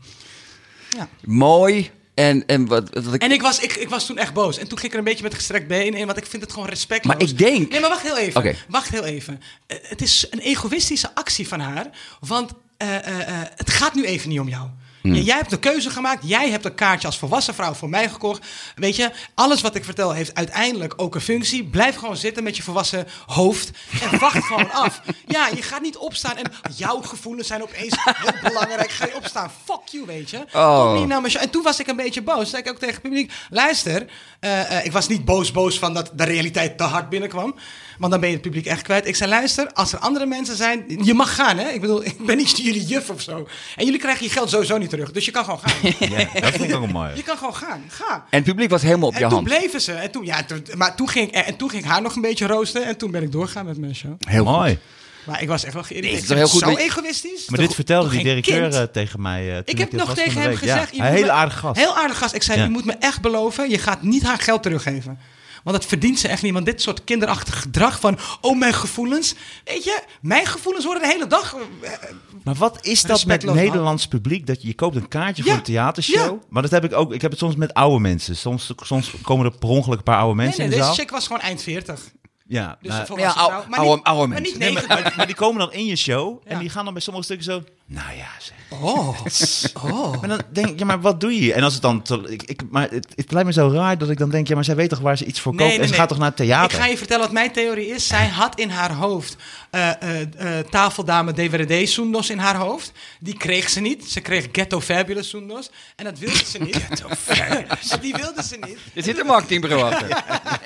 [SPEAKER 2] Mooi. En, en wat, wat ik...
[SPEAKER 3] En ik was, ik, ik was toen echt boos. En toen ging ik er een beetje met gestrekt been in, want ik vind het gewoon respectloos.
[SPEAKER 2] Maar ik denk-
[SPEAKER 3] Nee, maar wacht heel even.
[SPEAKER 2] Oké.
[SPEAKER 3] Wacht heel even. Eh, het is een egoïstische actie van haar, want eh, eh, eh, het gaat nu even niet om jou.
[SPEAKER 2] Hmm.
[SPEAKER 3] J- Jij hebt een keuze gemaakt. Jij hebt een kaartje als volwassen vrouw voor mij gekocht. Weet je, alles wat ik vertel heeft uiteindelijk ook een functie. Blijf gewoon zitten met je volwassen hoofd en wacht gewoon af. Ja, je gaat niet opstaan en jouw gevoelens zijn opeens heel belangrijk. Ga je opstaan? Fuck you, weet je.
[SPEAKER 2] Oh.
[SPEAKER 3] Kom niet naar mijn show. En toen was ik een beetje boos. Toen zei ik ook tegen het publiek: luister, eh, eh, ik was niet boos, boos van dat de realiteit te hard binnenkwam. Want dan ben je het publiek echt kwijt. Ik zei: luister, als er andere mensen zijn, je mag gaan, hè? Ik bedoel, ik ben niet jullie juf of zo. En jullie krijgen je geld sowieso niet terug. Dus je kan gewoon gaan.
[SPEAKER 1] Ja, dat vond ik ook een mooie.
[SPEAKER 3] je kan gewoon gaan. Ga.
[SPEAKER 2] En het publiek was helemaal op je
[SPEAKER 3] En toen
[SPEAKER 2] hand.
[SPEAKER 3] bleven ze. En toen, ja, toen- maar toen ging, ik- eh, en toen ging ik haar nog een beetje roosten. En toen ben ik doorgegaan met mijn show.
[SPEAKER 2] Heel goed.
[SPEAKER 1] Mooi.
[SPEAKER 3] Maar ik was echt wel geïrriteerd.
[SPEAKER 2] Nee, het is toch heel goed
[SPEAKER 3] Zo
[SPEAKER 2] dat je-
[SPEAKER 3] egoïstisch.
[SPEAKER 1] Maar dit vertelde
[SPEAKER 3] toch
[SPEAKER 1] die
[SPEAKER 3] geen
[SPEAKER 1] directeur
[SPEAKER 3] kind?
[SPEAKER 1] eh, tegen mij. eh, toen
[SPEAKER 3] Ik heb
[SPEAKER 1] dit
[SPEAKER 3] nog
[SPEAKER 1] was van
[SPEAKER 3] tegen
[SPEAKER 1] de
[SPEAKER 3] hem
[SPEAKER 1] week. Ja,
[SPEAKER 3] gezegd. je
[SPEAKER 1] Een
[SPEAKER 3] moet
[SPEAKER 1] hele
[SPEAKER 3] me-
[SPEAKER 1] aardige gast.
[SPEAKER 3] Heel aardig gast. Ik zei,
[SPEAKER 1] Ja.
[SPEAKER 3] je moet me echt beloven, je gaat niet haar geld teruggeven. Want dat verdient ze echt niet. Want dit soort kinderachtig gedrag van, oh mijn gevoelens. Weet je, mijn gevoelens worden de hele dag. eh, eh,
[SPEAKER 1] Maar wat is dat met
[SPEAKER 3] Respectloos
[SPEAKER 1] Nederlands publiek? Dat je, je koopt een kaartje voor
[SPEAKER 3] Ja,
[SPEAKER 1] een theatershow.
[SPEAKER 3] ja.
[SPEAKER 1] Maar dat heb ik ook. Ik heb het soms met oude mensen. Soms, soms komen er per ongeluk een paar oude
[SPEAKER 3] Nee,
[SPEAKER 1] mensen
[SPEAKER 3] nee,
[SPEAKER 1] in de
[SPEAKER 3] deze
[SPEAKER 1] zaal.
[SPEAKER 3] chick was gewoon eind 40.
[SPEAKER 1] Ja,
[SPEAKER 3] Dus
[SPEAKER 1] maar-
[SPEAKER 3] een volwassen
[SPEAKER 2] ja, ou-
[SPEAKER 3] vrouw.
[SPEAKER 2] oude-
[SPEAKER 3] niet,
[SPEAKER 2] oude
[SPEAKER 3] maar niet
[SPEAKER 2] mensen.
[SPEAKER 3] 90.
[SPEAKER 1] maar, maar die komen dan in je show. En
[SPEAKER 3] Ja.
[SPEAKER 1] die gaan dan bij sommige stukken zo. Nou ja, zeg.
[SPEAKER 3] Oh, oh.
[SPEAKER 1] Maar dan denk ik, ja, maar wat doe je? hier? En als het dan. te- ik, ik, maar het, het lijkt me zo raar dat ik dan denk, ja, maar zij weet toch waar ze iets voor koopt? en ze gaat toch naar het theater?
[SPEAKER 3] Ik ga je vertellen wat mijn theorie is. Zij had in haar hoofd eh, eh, eh, tafeldame DVD Soendos in haar hoofd. Die kreeg ze niet. Ze kreeg Ghetto Fabulous Soendos. En dat wilde ze niet. Ghetto Fabulous. die wilde ze niet.
[SPEAKER 2] Er zit een marketingbureau achter.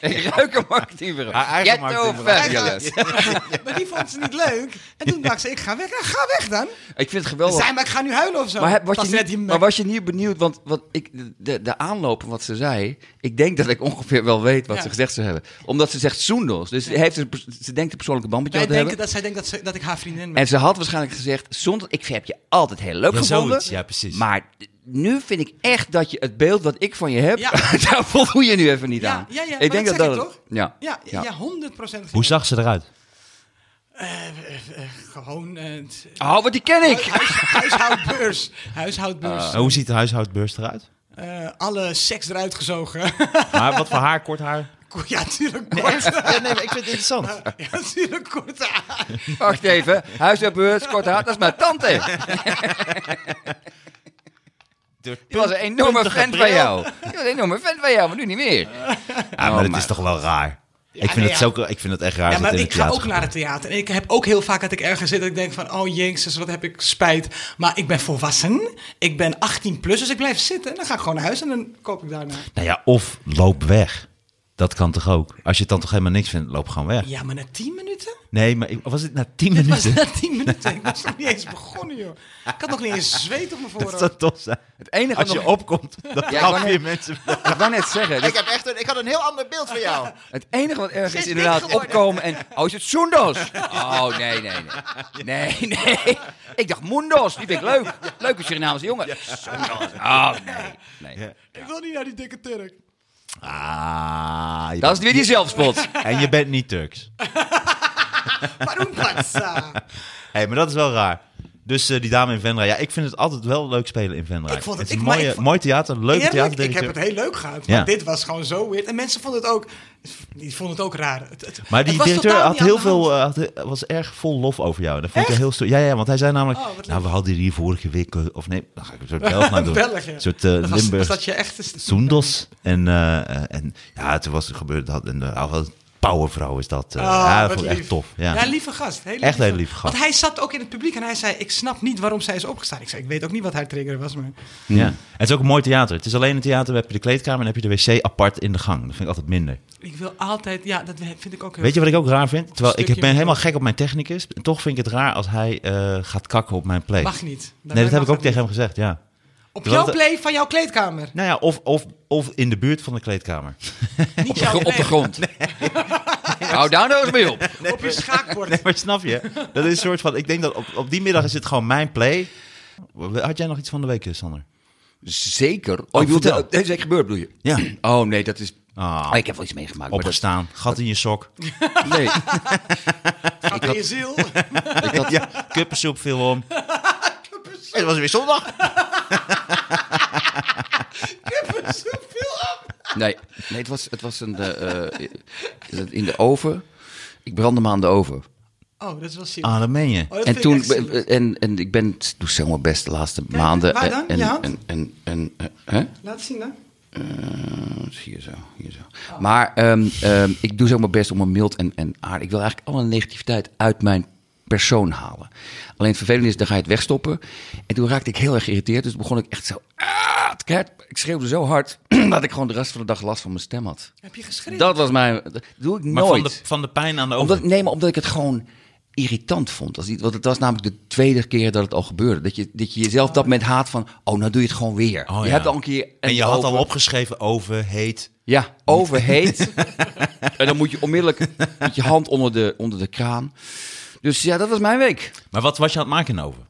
[SPEAKER 2] Ik ruik een marketingbureau.
[SPEAKER 1] Haar eigen
[SPEAKER 2] Ghetto
[SPEAKER 1] marketingbureau.
[SPEAKER 2] fabulous.
[SPEAKER 3] Maar die vond ze niet leuk. En toen dacht ze, ik ga weg. Ja, ga weg dan.
[SPEAKER 2] Ik vind het geweldig.
[SPEAKER 3] Zij, maar ik ga nu huilen of zo.
[SPEAKER 2] Oh. Maar, heb- was
[SPEAKER 3] Dat
[SPEAKER 2] je
[SPEAKER 3] net
[SPEAKER 2] niet,
[SPEAKER 3] die
[SPEAKER 2] maar was je niet benieuwd? Want wat ik, de, de aanloop wat ze zei, ik denk dat ik ongeveer wel weet wat
[SPEAKER 3] Ja.
[SPEAKER 2] ze gezegd zou hebben. Omdat ze zegt Soendos. Dus ze heeft een pers- ze denkt een persoonlijke band met jou
[SPEAKER 3] Wij
[SPEAKER 2] te hebben.
[SPEAKER 3] denken dat zij denkt dat, ze, dat ik haar vriendin ben.
[SPEAKER 2] En ze had waarschijnlijk gezegd, Soendos, ik heb je altijd heel leuk
[SPEAKER 1] Ja,
[SPEAKER 2] gevonden.
[SPEAKER 1] zoiets. Ja, precies.
[SPEAKER 2] Maar nu vind ik echt dat je het beeld wat ik van je heb,
[SPEAKER 3] Ja.
[SPEAKER 2] daar voldoe je nu even niet
[SPEAKER 3] Ja,
[SPEAKER 2] aan.
[SPEAKER 3] ja, ja, maar
[SPEAKER 2] ik denk
[SPEAKER 3] dat
[SPEAKER 2] dat
[SPEAKER 3] zeg ik
[SPEAKER 2] dat
[SPEAKER 3] toch?
[SPEAKER 2] Ja.
[SPEAKER 3] Ja, ja,
[SPEAKER 2] Ja.
[SPEAKER 3] 100
[SPEAKER 1] Hoe zag ze eruit?
[SPEAKER 3] Gewoon eh, t-
[SPEAKER 2] Oh, wat die ken ik!
[SPEAKER 3] huis- huishoudbeurs. Huishoudbeurs.
[SPEAKER 1] En hoe ziet de huishoudbeurs eruit?
[SPEAKER 3] Eh, alle seks eruit gezogen.
[SPEAKER 1] Maar wat voor haar, kort haar?
[SPEAKER 3] Ko- Ja, natuurlijk kort.
[SPEAKER 1] Ja, nee, maar ik vind het interessant.
[SPEAKER 3] Ja, natuurlijk kort. Ah,
[SPEAKER 2] Wacht even. Huis op beurt, kort haar, dat is mijn tante.
[SPEAKER 1] Door
[SPEAKER 2] Die was een enorme
[SPEAKER 1] puntige
[SPEAKER 2] fan van
[SPEAKER 1] bril.
[SPEAKER 2] jou. Die was een enorme fan van jou, maar nu niet meer.
[SPEAKER 1] Ja,
[SPEAKER 2] Oh,
[SPEAKER 1] Ah, maar het
[SPEAKER 2] maar-
[SPEAKER 1] is toch wel raar. ik, vind
[SPEAKER 3] nee,
[SPEAKER 1] het
[SPEAKER 3] ja.
[SPEAKER 1] zo, ik vind het echt raar.
[SPEAKER 3] Ja,
[SPEAKER 1] dat
[SPEAKER 3] maar
[SPEAKER 1] het in
[SPEAKER 3] ik
[SPEAKER 1] het
[SPEAKER 3] ga
[SPEAKER 1] theater
[SPEAKER 3] ook naar het theater. En ik heb ook heel vaak dat ik ergens zit en ik denk van... Oh, jezus, wat heb ik spijt. Maar ik ben volwassen. Ik ben 18 plus, dus ik blijf zitten. En dan ga ik gewoon naar huis en dan koop ik daarna.
[SPEAKER 1] Nou ja, of loop weg. Dat kan toch ook? Als je het dan toch helemaal niks vindt, loop gewoon weg.
[SPEAKER 3] Ja, maar na 10 minuten?
[SPEAKER 1] Nee, maar ik- was het na 10
[SPEAKER 3] Was
[SPEAKER 1] minuten?
[SPEAKER 3] na 10 minuten? Ik was nog niet eens begonnen, joh. Ik had nog niet eens zweet op
[SPEAKER 1] Dat
[SPEAKER 3] mijn voorhoofd.
[SPEAKER 1] zou toch zijn.
[SPEAKER 2] Het enige
[SPEAKER 1] Als
[SPEAKER 2] wat
[SPEAKER 1] je
[SPEAKER 2] nog-
[SPEAKER 1] opkomt, dan
[SPEAKER 2] ik
[SPEAKER 1] gaan
[SPEAKER 2] wou
[SPEAKER 1] vier
[SPEAKER 2] net-
[SPEAKER 1] mensen weg.
[SPEAKER 2] Ik wou net zeggen,
[SPEAKER 6] Ik,
[SPEAKER 2] dus
[SPEAKER 6] heb echt een, ik had een heel ander beeld van jou.
[SPEAKER 2] het enige wat erg is
[SPEAKER 6] dit
[SPEAKER 2] inderdaad
[SPEAKER 6] geworden?
[SPEAKER 2] opkomen en... Oh, is het Soendos? Oh, nee, nee, nee. Nee, nee. Ik dacht Moendos, die vind ik leuk. Leuke Surinaamse jongen. Soendos. Oh, nee. nee.
[SPEAKER 3] Ik wil niet naar die dikke Turk.
[SPEAKER 1] Ah, je
[SPEAKER 2] Dat is weer die zelfspot.
[SPEAKER 1] bent- En je bent niet Turks.
[SPEAKER 3] Waarom Patsa?
[SPEAKER 1] hey, maar dat is wel raar. Dus eh, die dame in Venray. Ja, ik vind het altijd wel leuk spelen in Venray.
[SPEAKER 3] Ik vond het-
[SPEAKER 1] is
[SPEAKER 3] ik-
[SPEAKER 1] een
[SPEAKER 3] maar
[SPEAKER 1] mooie,
[SPEAKER 3] ik vond-
[SPEAKER 1] mooi theater, leuke
[SPEAKER 3] Eerlijk, ik heb
[SPEAKER 1] theaterdirecteur.
[SPEAKER 3] het heel leuk gehad. Maar
[SPEAKER 1] Ja.
[SPEAKER 3] dit was gewoon zo weird. En mensen vonden het ook... Die vonden het ook raar. Het- het-
[SPEAKER 1] Maar
[SPEAKER 3] het
[SPEAKER 1] die
[SPEAKER 3] was
[SPEAKER 1] directeur
[SPEAKER 3] totaal
[SPEAKER 1] had
[SPEAKER 3] niet aan
[SPEAKER 1] heel
[SPEAKER 3] de hand.
[SPEAKER 1] veel, eh, had, eh, was erg vol lof over jou. Dat vond ik heel sto- ja, ja, want hij zei namelijk,
[SPEAKER 3] Oh, wat leuk.
[SPEAKER 1] nou, we hadden hier vorige week, eh, of nee, dan ga ik een soort Belg nou doen.
[SPEAKER 3] Belg, ja.
[SPEAKER 1] Een soort eh,
[SPEAKER 3] Dat was-
[SPEAKER 1] Limburg.
[SPEAKER 3] was dat je echt...
[SPEAKER 1] Soendos. En, eh, eh, en ja, toen was er gebeurd dat. En, eh, wat een powervrouw is dat. eh.
[SPEAKER 3] Ah,
[SPEAKER 1] ja, dat
[SPEAKER 3] wat
[SPEAKER 1] vond ik
[SPEAKER 3] lief.
[SPEAKER 1] echt tof. Ja.
[SPEAKER 3] Ja, lieve gast. Heel
[SPEAKER 1] Echt heel lieve gast.
[SPEAKER 3] Want hij zat ook in het publiek en hij zei... ik snap niet waarom zij is opgestaan. Ik zei, ik weet ook niet wat haar trigger was, maar...
[SPEAKER 1] Ja. En het is ook een mooi theater. Het is alleen een theater, heb je de kleedkamer en heb je de wc apart in de gang. Dat vind ik altijd minder.
[SPEAKER 3] Ik wil altijd... Ja, dat vind ik ook heel...
[SPEAKER 1] Weet je wat ik ook raar vind? Terwijl ik
[SPEAKER 3] Stukje
[SPEAKER 1] ben helemaal
[SPEAKER 3] minder.
[SPEAKER 1] gek op mijn technicus. En toch vind ik het raar als hij eh, gaat kakken op mijn play.
[SPEAKER 3] Mag niet. Bij
[SPEAKER 1] Nee,
[SPEAKER 3] mij
[SPEAKER 1] dat heb
[SPEAKER 3] mag
[SPEAKER 1] ik ook tegen hem gezegd, ja.
[SPEAKER 3] niet. Op jouw
[SPEAKER 1] Want-
[SPEAKER 3] play van jouw kleedkamer.
[SPEAKER 1] Nou ja, of, of, of in de buurt van de kleedkamer.
[SPEAKER 3] Niet
[SPEAKER 2] Op de,
[SPEAKER 3] jouw
[SPEAKER 2] gr- op de
[SPEAKER 3] play.
[SPEAKER 2] grond. Hou daar nou eens mee op.
[SPEAKER 3] Op je schaakbord.
[SPEAKER 1] Nee, maar snap je? Dat is een soort van... Ik denk dat op, op die middag is het gewoon mijn play. Had jij nog iets van de week, eh, Sander?
[SPEAKER 2] Zeker. Oh,
[SPEAKER 1] Oh,
[SPEAKER 2] je bedoelt,
[SPEAKER 1] vertel.
[SPEAKER 2] eh, deze week gebeurd, bedoel je?
[SPEAKER 1] Ja.
[SPEAKER 2] Oh, nee, dat is...
[SPEAKER 1] Ah.
[SPEAKER 2] Oh, ik heb wel iets meegemaakt. maar dat-
[SPEAKER 1] Opgestaan, gat in je sok.
[SPEAKER 2] Nee.
[SPEAKER 3] Gaat in je ziel.
[SPEAKER 1] Ja, kuppensoep viel om.
[SPEAKER 6] Het was weer zondag.
[SPEAKER 2] Nee, nee het, was, het was een, eh, eh, is het in de oven. Ik brandde me aan de oven.
[SPEAKER 3] Oh, dat is wel ziel.
[SPEAKER 1] Ah, dat meen je.
[SPEAKER 3] Oh, dat vind
[SPEAKER 2] en
[SPEAKER 3] ik
[SPEAKER 2] toen,
[SPEAKER 3] echt zielig.
[SPEAKER 2] en, en ik ben, doe zo mijn best de laatste maanden.
[SPEAKER 3] waar dan?
[SPEAKER 2] En,
[SPEAKER 3] Je hand?
[SPEAKER 2] en, en, en, eh, hè?
[SPEAKER 3] Laat zien dan.
[SPEAKER 2] Eh, hier zo, hier zo. Maar ehm, ehm, ik doe zo mijn best om een mild en, en aardig. Ik wil eigenlijk alle negativiteit uit mijn persoon halen. Alleen het vervelende is, dan ga je het wegstoppen. En toen raakte ik heel erg geïrriteerd. Dus begon ik echt zo... Ah, het keihard- ik schreeuwde zo hard dat ik gewoon de rest van de dag last van mijn stem had.
[SPEAKER 3] Heb je geschreven?
[SPEAKER 2] Dat was mijn... Dat doe ik
[SPEAKER 1] Maar
[SPEAKER 2] nooit.
[SPEAKER 1] van de, van de pijn aan de ogen.
[SPEAKER 2] Omdat, nee, maar omdat ik het gewoon irritant vond. Als die, want het was namelijk de tweede keer dat het al gebeurde. Dat je, dat je jezelf op dat moment haat van... Oh, nou doe je het gewoon weer.
[SPEAKER 1] Oh,
[SPEAKER 2] je
[SPEAKER 1] ja.
[SPEAKER 2] hebt al een keer...
[SPEAKER 1] En je had
[SPEAKER 2] over-
[SPEAKER 1] al opgeschreven over, heet.
[SPEAKER 2] Ja, overheet. en dan moet je onmiddellijk met je hand onder de, onder de kraan. Dus ja, dat was mijn week.
[SPEAKER 1] Maar wat was je aan het maken over?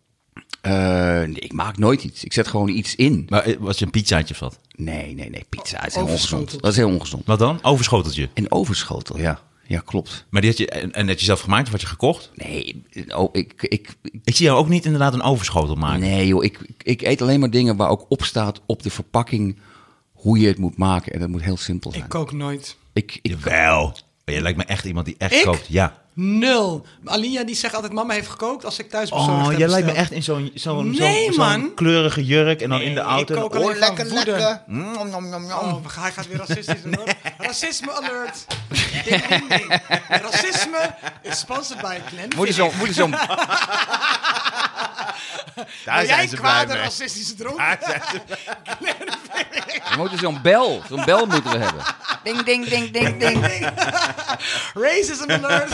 [SPEAKER 2] Eh, nee, ik maak nooit iets. Ik zet gewoon iets in.
[SPEAKER 1] Maar, eh, was je een pizzaatje of wat?
[SPEAKER 2] Nee, nee, nee. Pizza is heel
[SPEAKER 3] Overschoteld.
[SPEAKER 2] ongezond. Dat is heel ongezond.
[SPEAKER 1] Wat dan? Overschoteltje.
[SPEAKER 2] En overschotel, ja. Ja, klopt.
[SPEAKER 1] Maar die had je, en, en dat je zelf gemaakt of had je gekocht?
[SPEAKER 2] Nee, oh, ik, ik, ik-
[SPEAKER 1] Ik zie jou ook niet inderdaad een overschotel maken.
[SPEAKER 2] nee joh, ik, ik- ik eet alleen maar dingen waar ook op staat op de verpakking hoe je het moet maken. En dat moet heel simpel zijn.
[SPEAKER 3] Ik kook nooit.
[SPEAKER 2] Ik, ik,
[SPEAKER 1] Jawel. Je lijkt me echt iemand die echt
[SPEAKER 3] Ik?
[SPEAKER 1] kookt. Ja.
[SPEAKER 3] Nul. Alinea die zegt altijd, mama heeft gekookt als ik thuis bezorgd
[SPEAKER 1] Oh,
[SPEAKER 3] heb
[SPEAKER 1] jij lijkt me
[SPEAKER 3] besteld.
[SPEAKER 1] echt in zo'n zo'n
[SPEAKER 3] Nee,
[SPEAKER 1] zo'n-
[SPEAKER 3] man.
[SPEAKER 1] zo'n kleurige jurk en dan in de auto.
[SPEAKER 3] ik kook
[SPEAKER 6] Oh,
[SPEAKER 3] alleen van
[SPEAKER 6] lekker,
[SPEAKER 3] woede.
[SPEAKER 6] lekker. Mm, nom, nom, nom, nom.
[SPEAKER 3] Oh, we gaan- hij gaat weer racistisch doen. hoor. Racisme alert. Ding, ding, ding. Racisme is sponsored by Glenn.
[SPEAKER 2] moet je zo, moet je zo,
[SPEAKER 1] Daar
[SPEAKER 3] jij
[SPEAKER 1] zijn ze blij
[SPEAKER 3] kwade
[SPEAKER 1] mee.
[SPEAKER 3] racistische droom?
[SPEAKER 2] moet je zo'n bel, zo'n bel moeten we hebben.
[SPEAKER 4] Ding, ding, ding, ding, ding.
[SPEAKER 3] Racism alert.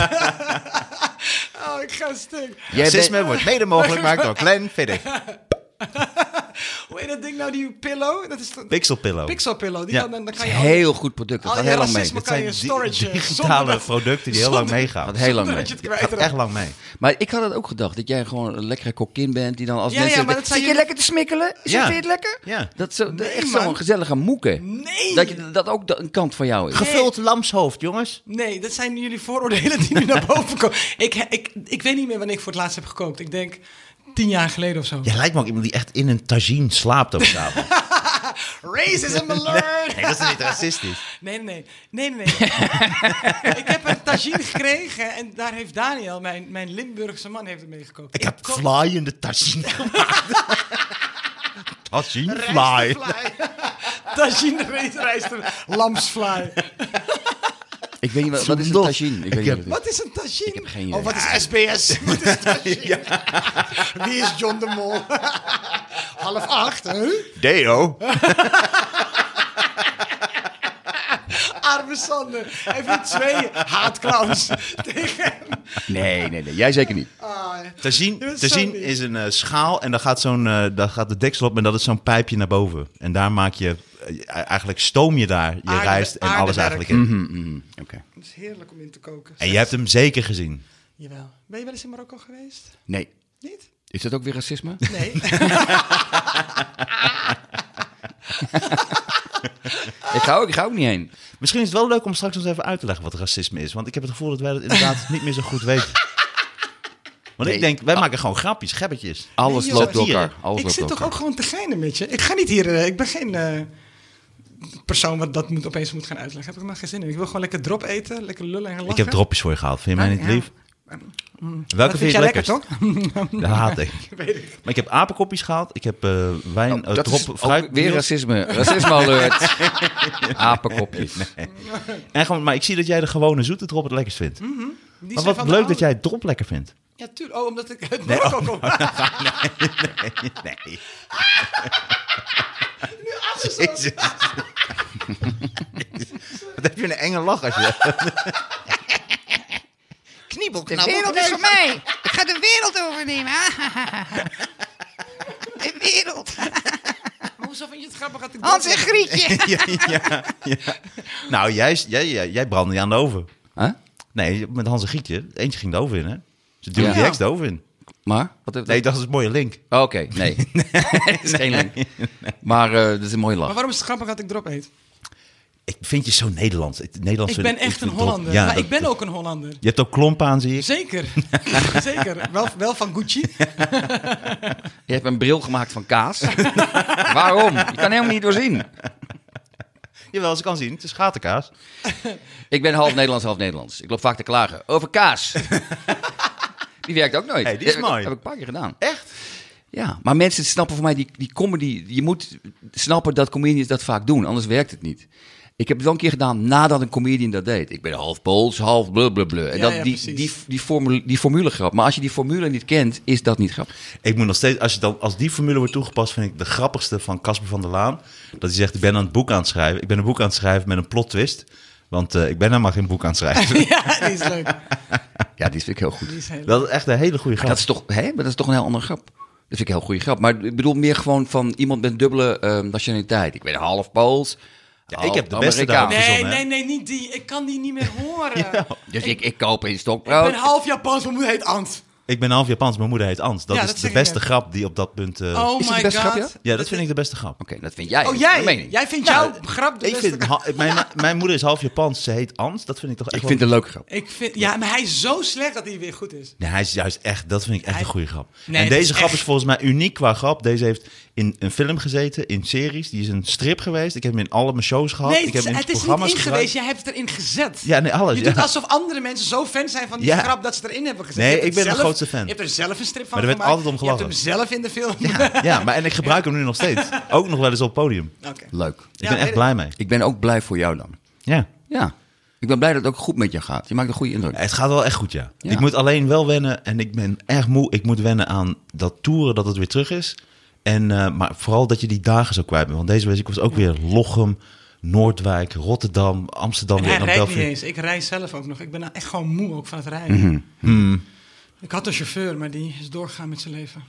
[SPEAKER 3] oh, ik ga stuk.
[SPEAKER 2] Jij bent-
[SPEAKER 6] Racisme wordt mede mogelijk gemaakt door Glenn Fiddig.
[SPEAKER 3] Hoe heet dat ding nou, die pillow? Dat is toch-
[SPEAKER 1] Pixelpillow.
[SPEAKER 3] Pixel pillow. Die
[SPEAKER 1] Ja.
[SPEAKER 3] kan, dan, dan kan je al-
[SPEAKER 2] Heel goed product. Dat
[SPEAKER 3] al
[SPEAKER 2] gaat
[SPEAKER 3] je
[SPEAKER 2] heel lang mee.
[SPEAKER 3] racisme
[SPEAKER 1] Het
[SPEAKER 3] kan je
[SPEAKER 1] di-
[SPEAKER 3] storage. eh,
[SPEAKER 1] digitale producten die heel lang meegaan.
[SPEAKER 2] Gaat heel lang
[SPEAKER 3] Zonder
[SPEAKER 2] mee.
[SPEAKER 3] dat je het
[SPEAKER 1] Ja,
[SPEAKER 3] kwijt
[SPEAKER 1] gaat
[SPEAKER 3] raakt.
[SPEAKER 1] echt lang mee.
[SPEAKER 2] Maar ik had het ook gedacht. Dat jij gewoon een lekkere kokkin bent. Die dan als
[SPEAKER 3] Ja,
[SPEAKER 2] mensen...
[SPEAKER 3] ja, maar dat zijn
[SPEAKER 2] Zit je
[SPEAKER 3] jullie-
[SPEAKER 2] lekker te smikkelen? Zit
[SPEAKER 1] Ja.
[SPEAKER 2] je het lekker?
[SPEAKER 1] Ja.
[SPEAKER 2] Dat zo, dat
[SPEAKER 3] Nee,
[SPEAKER 2] echt
[SPEAKER 3] man.
[SPEAKER 2] zo'n gezellige moeke.
[SPEAKER 3] Nee.
[SPEAKER 2] Dat, je, dat ook de- een kant van jou is.
[SPEAKER 1] Gevuld lamshoofd, jongens.
[SPEAKER 3] Nee, dat zijn jullie vooroordelen die nu naar boven komen. Ik, ik, ik weet niet meer wanneer ik voor het laatst heb gekookt. Ik denk tien jaar geleden of zo.
[SPEAKER 1] Jij lijkt me ook iemand die echt in een tagine slaapt op de avond.
[SPEAKER 3] Racism alert!
[SPEAKER 6] Nee, dat is niet racistisch.
[SPEAKER 3] Nee, nee, nee. nee, nee, nee. ik heb een tagine gekregen en daar heeft Daniel, mijn, mijn Limburgse man, heeft het mee gekookt.
[SPEAKER 1] Ik heb
[SPEAKER 3] ko-
[SPEAKER 1] flyende tagine gemaakt. Tagine fly.
[SPEAKER 3] Tagine rijst- rijster, lamsfly.
[SPEAKER 2] Ik weet niet, wat, wat is een
[SPEAKER 1] Zondag.
[SPEAKER 2] tagine? Ik
[SPEAKER 1] Ik
[SPEAKER 2] weet niet
[SPEAKER 1] heb-
[SPEAKER 2] wat het is.
[SPEAKER 3] Wat is een tagine?
[SPEAKER 2] Ik heb geen idee.
[SPEAKER 3] Oh, wat is SBS? Wat is tagine? Wie is John de Mol? Half acht, hè?
[SPEAKER 6] Deo.
[SPEAKER 3] Arme Sander. Even twee haatclowns tegen hem.
[SPEAKER 2] Nee, nee, nee. Jij zeker niet.
[SPEAKER 3] Ah, ja.
[SPEAKER 1] Tagine,
[SPEAKER 3] Dat is zo
[SPEAKER 1] tagine
[SPEAKER 3] lief.
[SPEAKER 1] is een eh, schaal en daar gaat, zo'n, eh, daar gaat de deksel op en dat is zo'n pijpje naar boven. En daar maak je, eh, eigenlijk stoom je daar je
[SPEAKER 3] Aarde-
[SPEAKER 1] rijst en alles
[SPEAKER 3] aardewerk. Mm-hmm.
[SPEAKER 1] eigenlijk in.
[SPEAKER 2] Oké.
[SPEAKER 3] Het is heerlijk om in te koken.
[SPEAKER 1] En je hebt hem zeker gezien.
[SPEAKER 3] Jawel. Ben je wel eens in Marokko geweest?
[SPEAKER 2] Nee.
[SPEAKER 3] Niet?
[SPEAKER 2] Is dat ook weer racisme?
[SPEAKER 3] Nee.
[SPEAKER 2] ik, ga ook, ik ga ook niet heen.
[SPEAKER 1] Misschien is het wel leuk om straks ons even uit te leggen wat racisme is. Want ik heb het gevoel dat wij dat inderdaad niet meer zo goed weten. Want
[SPEAKER 2] Nee.
[SPEAKER 1] ik denk, wij maken gewoon grapjes, gebbetjes.
[SPEAKER 2] Alles
[SPEAKER 3] Nee, joh.
[SPEAKER 2] loopt door elkaar.
[SPEAKER 1] Dieren.
[SPEAKER 2] Alles
[SPEAKER 3] ik
[SPEAKER 2] loopt
[SPEAKER 3] zit
[SPEAKER 2] door elkaar.
[SPEAKER 3] toch ook gewoon te geinen met je. Ik ga niet hier. eh, ik ben geen eh, persoon wat dat moet, opeens moet gaan uitleggen. Heb ik maar geen zin in. Ik wil gewoon lekker drop eten, lekker lullen en lachen.
[SPEAKER 1] Ik heb dropjes voor je gehaald. Vind je mij
[SPEAKER 3] Ah,
[SPEAKER 1] niet
[SPEAKER 3] ja. Mm.
[SPEAKER 1] lief? Welke
[SPEAKER 3] Dat
[SPEAKER 1] vind je
[SPEAKER 3] jij
[SPEAKER 1] het
[SPEAKER 3] lekker,
[SPEAKER 1] lekkerst?
[SPEAKER 3] toch?
[SPEAKER 1] Dat haat ik. Maar ik heb apenkopjes gehaald. Ik heb eh, wijn,
[SPEAKER 3] Oh,
[SPEAKER 1] eh,
[SPEAKER 2] Dat is
[SPEAKER 1] drop,
[SPEAKER 2] ook
[SPEAKER 1] fruit.
[SPEAKER 2] weer racisme. Racisme alert. Apenkopjes.
[SPEAKER 1] En gewoon, maar ik zie dat jij de gewone zoete drop het lekkerst vindt.
[SPEAKER 3] Die
[SPEAKER 1] maar
[SPEAKER 3] zijn
[SPEAKER 1] wat
[SPEAKER 3] van
[SPEAKER 1] leuk
[SPEAKER 3] de oude-
[SPEAKER 1] dat jij het drop lekker vindt.
[SPEAKER 3] Ja, tuurlijk. Oh, omdat ik uit Marokko kom.
[SPEAKER 1] Nee.
[SPEAKER 6] Jezus. Wat heb je een enge lach als je...
[SPEAKER 4] De wereld is voor mij. Ik ga de wereld overnemen. De wereld.
[SPEAKER 3] Maar hoezo vind je het grappig dat
[SPEAKER 1] Ah.
[SPEAKER 3] ik
[SPEAKER 4] Hans en
[SPEAKER 3] drop-
[SPEAKER 4] Grietje.
[SPEAKER 1] ja, ja, ja. Nou, jij, jij, jij, jij brandde je aan de oven.
[SPEAKER 2] Huh?
[SPEAKER 1] Nee, met Hans en Gietje. Eentje ging de oven in, hè? Ze duwde
[SPEAKER 2] Ja.
[SPEAKER 1] die ex de oven in.
[SPEAKER 2] Maar? Wat heeft
[SPEAKER 1] Nee, dat is een mooie link.
[SPEAKER 2] Oké, nee. Het is geen link. Maar eh dat is een mooie
[SPEAKER 3] Maar
[SPEAKER 2] lach.
[SPEAKER 3] waarom is het grappig dat ik drop eet?
[SPEAKER 1] Ik vind je zo Nederlands. Het Nederlands
[SPEAKER 3] Ik
[SPEAKER 1] vind
[SPEAKER 3] ben echt
[SPEAKER 1] vind
[SPEAKER 3] een
[SPEAKER 1] het
[SPEAKER 3] Hollander.
[SPEAKER 1] dom. Ja,
[SPEAKER 3] maar
[SPEAKER 1] dat-
[SPEAKER 3] ik ben ook een Hollander.
[SPEAKER 1] Je hebt ook klompen aan, zie ik.
[SPEAKER 3] Zeker. Zeker. Wel, wel van Gucci.
[SPEAKER 2] Je hebt een bril gemaakt van kaas. waarom? Je kan helemaal niet doorzien.
[SPEAKER 1] Jawel, ze kan zien. Het is gatenkaas.
[SPEAKER 2] Ik ben half Nederlands, half Nederlands. Ik loop vaak te klagen over kaas. die werkt ook nooit.
[SPEAKER 1] Hey, die is
[SPEAKER 2] Ja,
[SPEAKER 1] mooi.
[SPEAKER 2] Heb ik een paar keer gedaan.
[SPEAKER 1] Echt?
[SPEAKER 2] Ja, maar mensen snappen voor mij die, die comedy. Je moet snappen dat comedians dat vaak doen, anders werkt het niet. Ik heb het wel een keer gedaan nadat een comedian dat deed. Ik ben half Pools, half blablabla. En
[SPEAKER 3] Ja,
[SPEAKER 2] dat,
[SPEAKER 3] ja,
[SPEAKER 2] die,
[SPEAKER 3] precies.
[SPEAKER 2] die, die, formule, die formule grap. Maar als je die formule niet kent, is dat niet grap.
[SPEAKER 1] Ik moet nog steeds, als, je dan, als die formule wordt toegepast, vind ik de grappigste van Casper van der Laan. Dat hij zegt: Ik ben aan het boek aan het schrijven. Ik ben een boek aan het schrijven met een plot twist. Want eh, ik ben helemaal geen boek aan het schrijven.
[SPEAKER 3] ja, die is leuk.
[SPEAKER 2] Ja, die vind ik heel goed.
[SPEAKER 3] Die is heel leuk.
[SPEAKER 1] dat is echt een hele goede grap.
[SPEAKER 2] Dat is toch, hè? Maar dat is toch een heel andere grap. Dat vind ik een heel goede grap. Maar ik bedoel meer gewoon van iemand met dubbele ehm, nationaliteit. Ik ben half Pools. half
[SPEAKER 1] ik heb de beste
[SPEAKER 2] Amerikaan.
[SPEAKER 1] daarop.
[SPEAKER 3] Nee,
[SPEAKER 1] Verzonnen, Ah, hè?
[SPEAKER 3] nee, nee, niet die. Ik kan die niet meer horen.
[SPEAKER 2] Dus ik, ik koop in
[SPEAKER 3] Ik
[SPEAKER 2] stokbrood.
[SPEAKER 3] ben half Japans, mijn moeder heet Ant.
[SPEAKER 1] Ik ben half Japans, mijn moeder heet Ans. Dat
[SPEAKER 3] Ja,
[SPEAKER 1] is
[SPEAKER 3] dat zeg
[SPEAKER 1] de
[SPEAKER 3] ik
[SPEAKER 1] beste
[SPEAKER 3] net.
[SPEAKER 1] grap die op dat punt. eh,
[SPEAKER 3] Oh
[SPEAKER 2] Is het
[SPEAKER 3] my
[SPEAKER 2] de beste
[SPEAKER 3] god.
[SPEAKER 2] grap, ja?
[SPEAKER 1] ja, dat vind ik de beste grap.
[SPEAKER 2] Oké, dat vind jij.
[SPEAKER 3] Oh,
[SPEAKER 2] Dat is mijn
[SPEAKER 3] jij?
[SPEAKER 2] mening.
[SPEAKER 3] Jij vindt jouw grap de
[SPEAKER 1] Nou, Ik
[SPEAKER 3] beste
[SPEAKER 1] vind, ha- mijn, mijn moeder is half Japans, ze heet Ans. Dat vind ik toch echt.
[SPEAKER 2] Ik vind het een leuke grap.
[SPEAKER 3] Ik vind, ja, maar hij is zo slecht dat hij weer goed is.
[SPEAKER 1] Nee, hij is juist echt, dat vind ik echt een goede grap.
[SPEAKER 3] Nee,
[SPEAKER 1] en
[SPEAKER 3] dat
[SPEAKER 1] deze
[SPEAKER 3] is
[SPEAKER 1] grap
[SPEAKER 3] echt-
[SPEAKER 1] is volgens mij uniek qua grap. Deze heeft in een film gezeten, in series. Die is een strip geweest. Ik heb hem in alle mijn shows gehad.
[SPEAKER 3] nee,
[SPEAKER 1] ik heb hem in
[SPEAKER 3] het is niet
[SPEAKER 1] programma's
[SPEAKER 3] in
[SPEAKER 1] gebruikt.
[SPEAKER 3] geweest. Jij hebt het erin gezet.
[SPEAKER 1] Ja, nee, alles.
[SPEAKER 3] je
[SPEAKER 1] ja.
[SPEAKER 3] doet alsof andere mensen zo fan zijn van die
[SPEAKER 1] Ja.
[SPEAKER 3] grap dat ze het erin hebben gezet.
[SPEAKER 1] Nee,
[SPEAKER 3] Je hebt
[SPEAKER 1] ik ben
[SPEAKER 3] het
[SPEAKER 1] de grootste fan.
[SPEAKER 3] Je hebt er zelf een strip van
[SPEAKER 1] Maar er werd
[SPEAKER 3] gemaakt.
[SPEAKER 1] altijd om
[SPEAKER 3] Je hebt
[SPEAKER 1] gelachen.
[SPEAKER 3] hem zelf in de film.
[SPEAKER 1] ja, maar en ik gebruik hem nu nog steeds. Ook nog wel eens op het podium. Ik
[SPEAKER 3] Oké.
[SPEAKER 2] Leuk.
[SPEAKER 3] Ja,
[SPEAKER 1] ben
[SPEAKER 3] weet
[SPEAKER 1] echt
[SPEAKER 3] ik.
[SPEAKER 1] blij mee.
[SPEAKER 2] Ik ben ook blij voor jou dan.
[SPEAKER 1] Ja.
[SPEAKER 2] Ja. Ik ben blij dat het ook goed met je gaat. Je maakt een goede indruk.
[SPEAKER 1] Het gaat wel echt goed, ja.
[SPEAKER 2] Ja.
[SPEAKER 1] Ik moet alleen wel wennen en ik ben echt moe. Ik moet wennen aan dat toeren dat het weer terug is. En, eh, maar vooral dat je die dagen zo kwijt bent. Want deze week ik was ook weer Lochem, Noordwijk, Rotterdam, Amsterdam.
[SPEAKER 3] En
[SPEAKER 1] weer
[SPEAKER 3] hij
[SPEAKER 1] naar
[SPEAKER 3] rijdt niet
[SPEAKER 1] Delft.
[SPEAKER 3] eens. Ik rij zelf ook nog. Ik ben nou echt gewoon moe ook van het rijden.
[SPEAKER 1] Mhm.
[SPEAKER 3] Ik had een chauffeur, maar die is doorgegaan met zijn leven.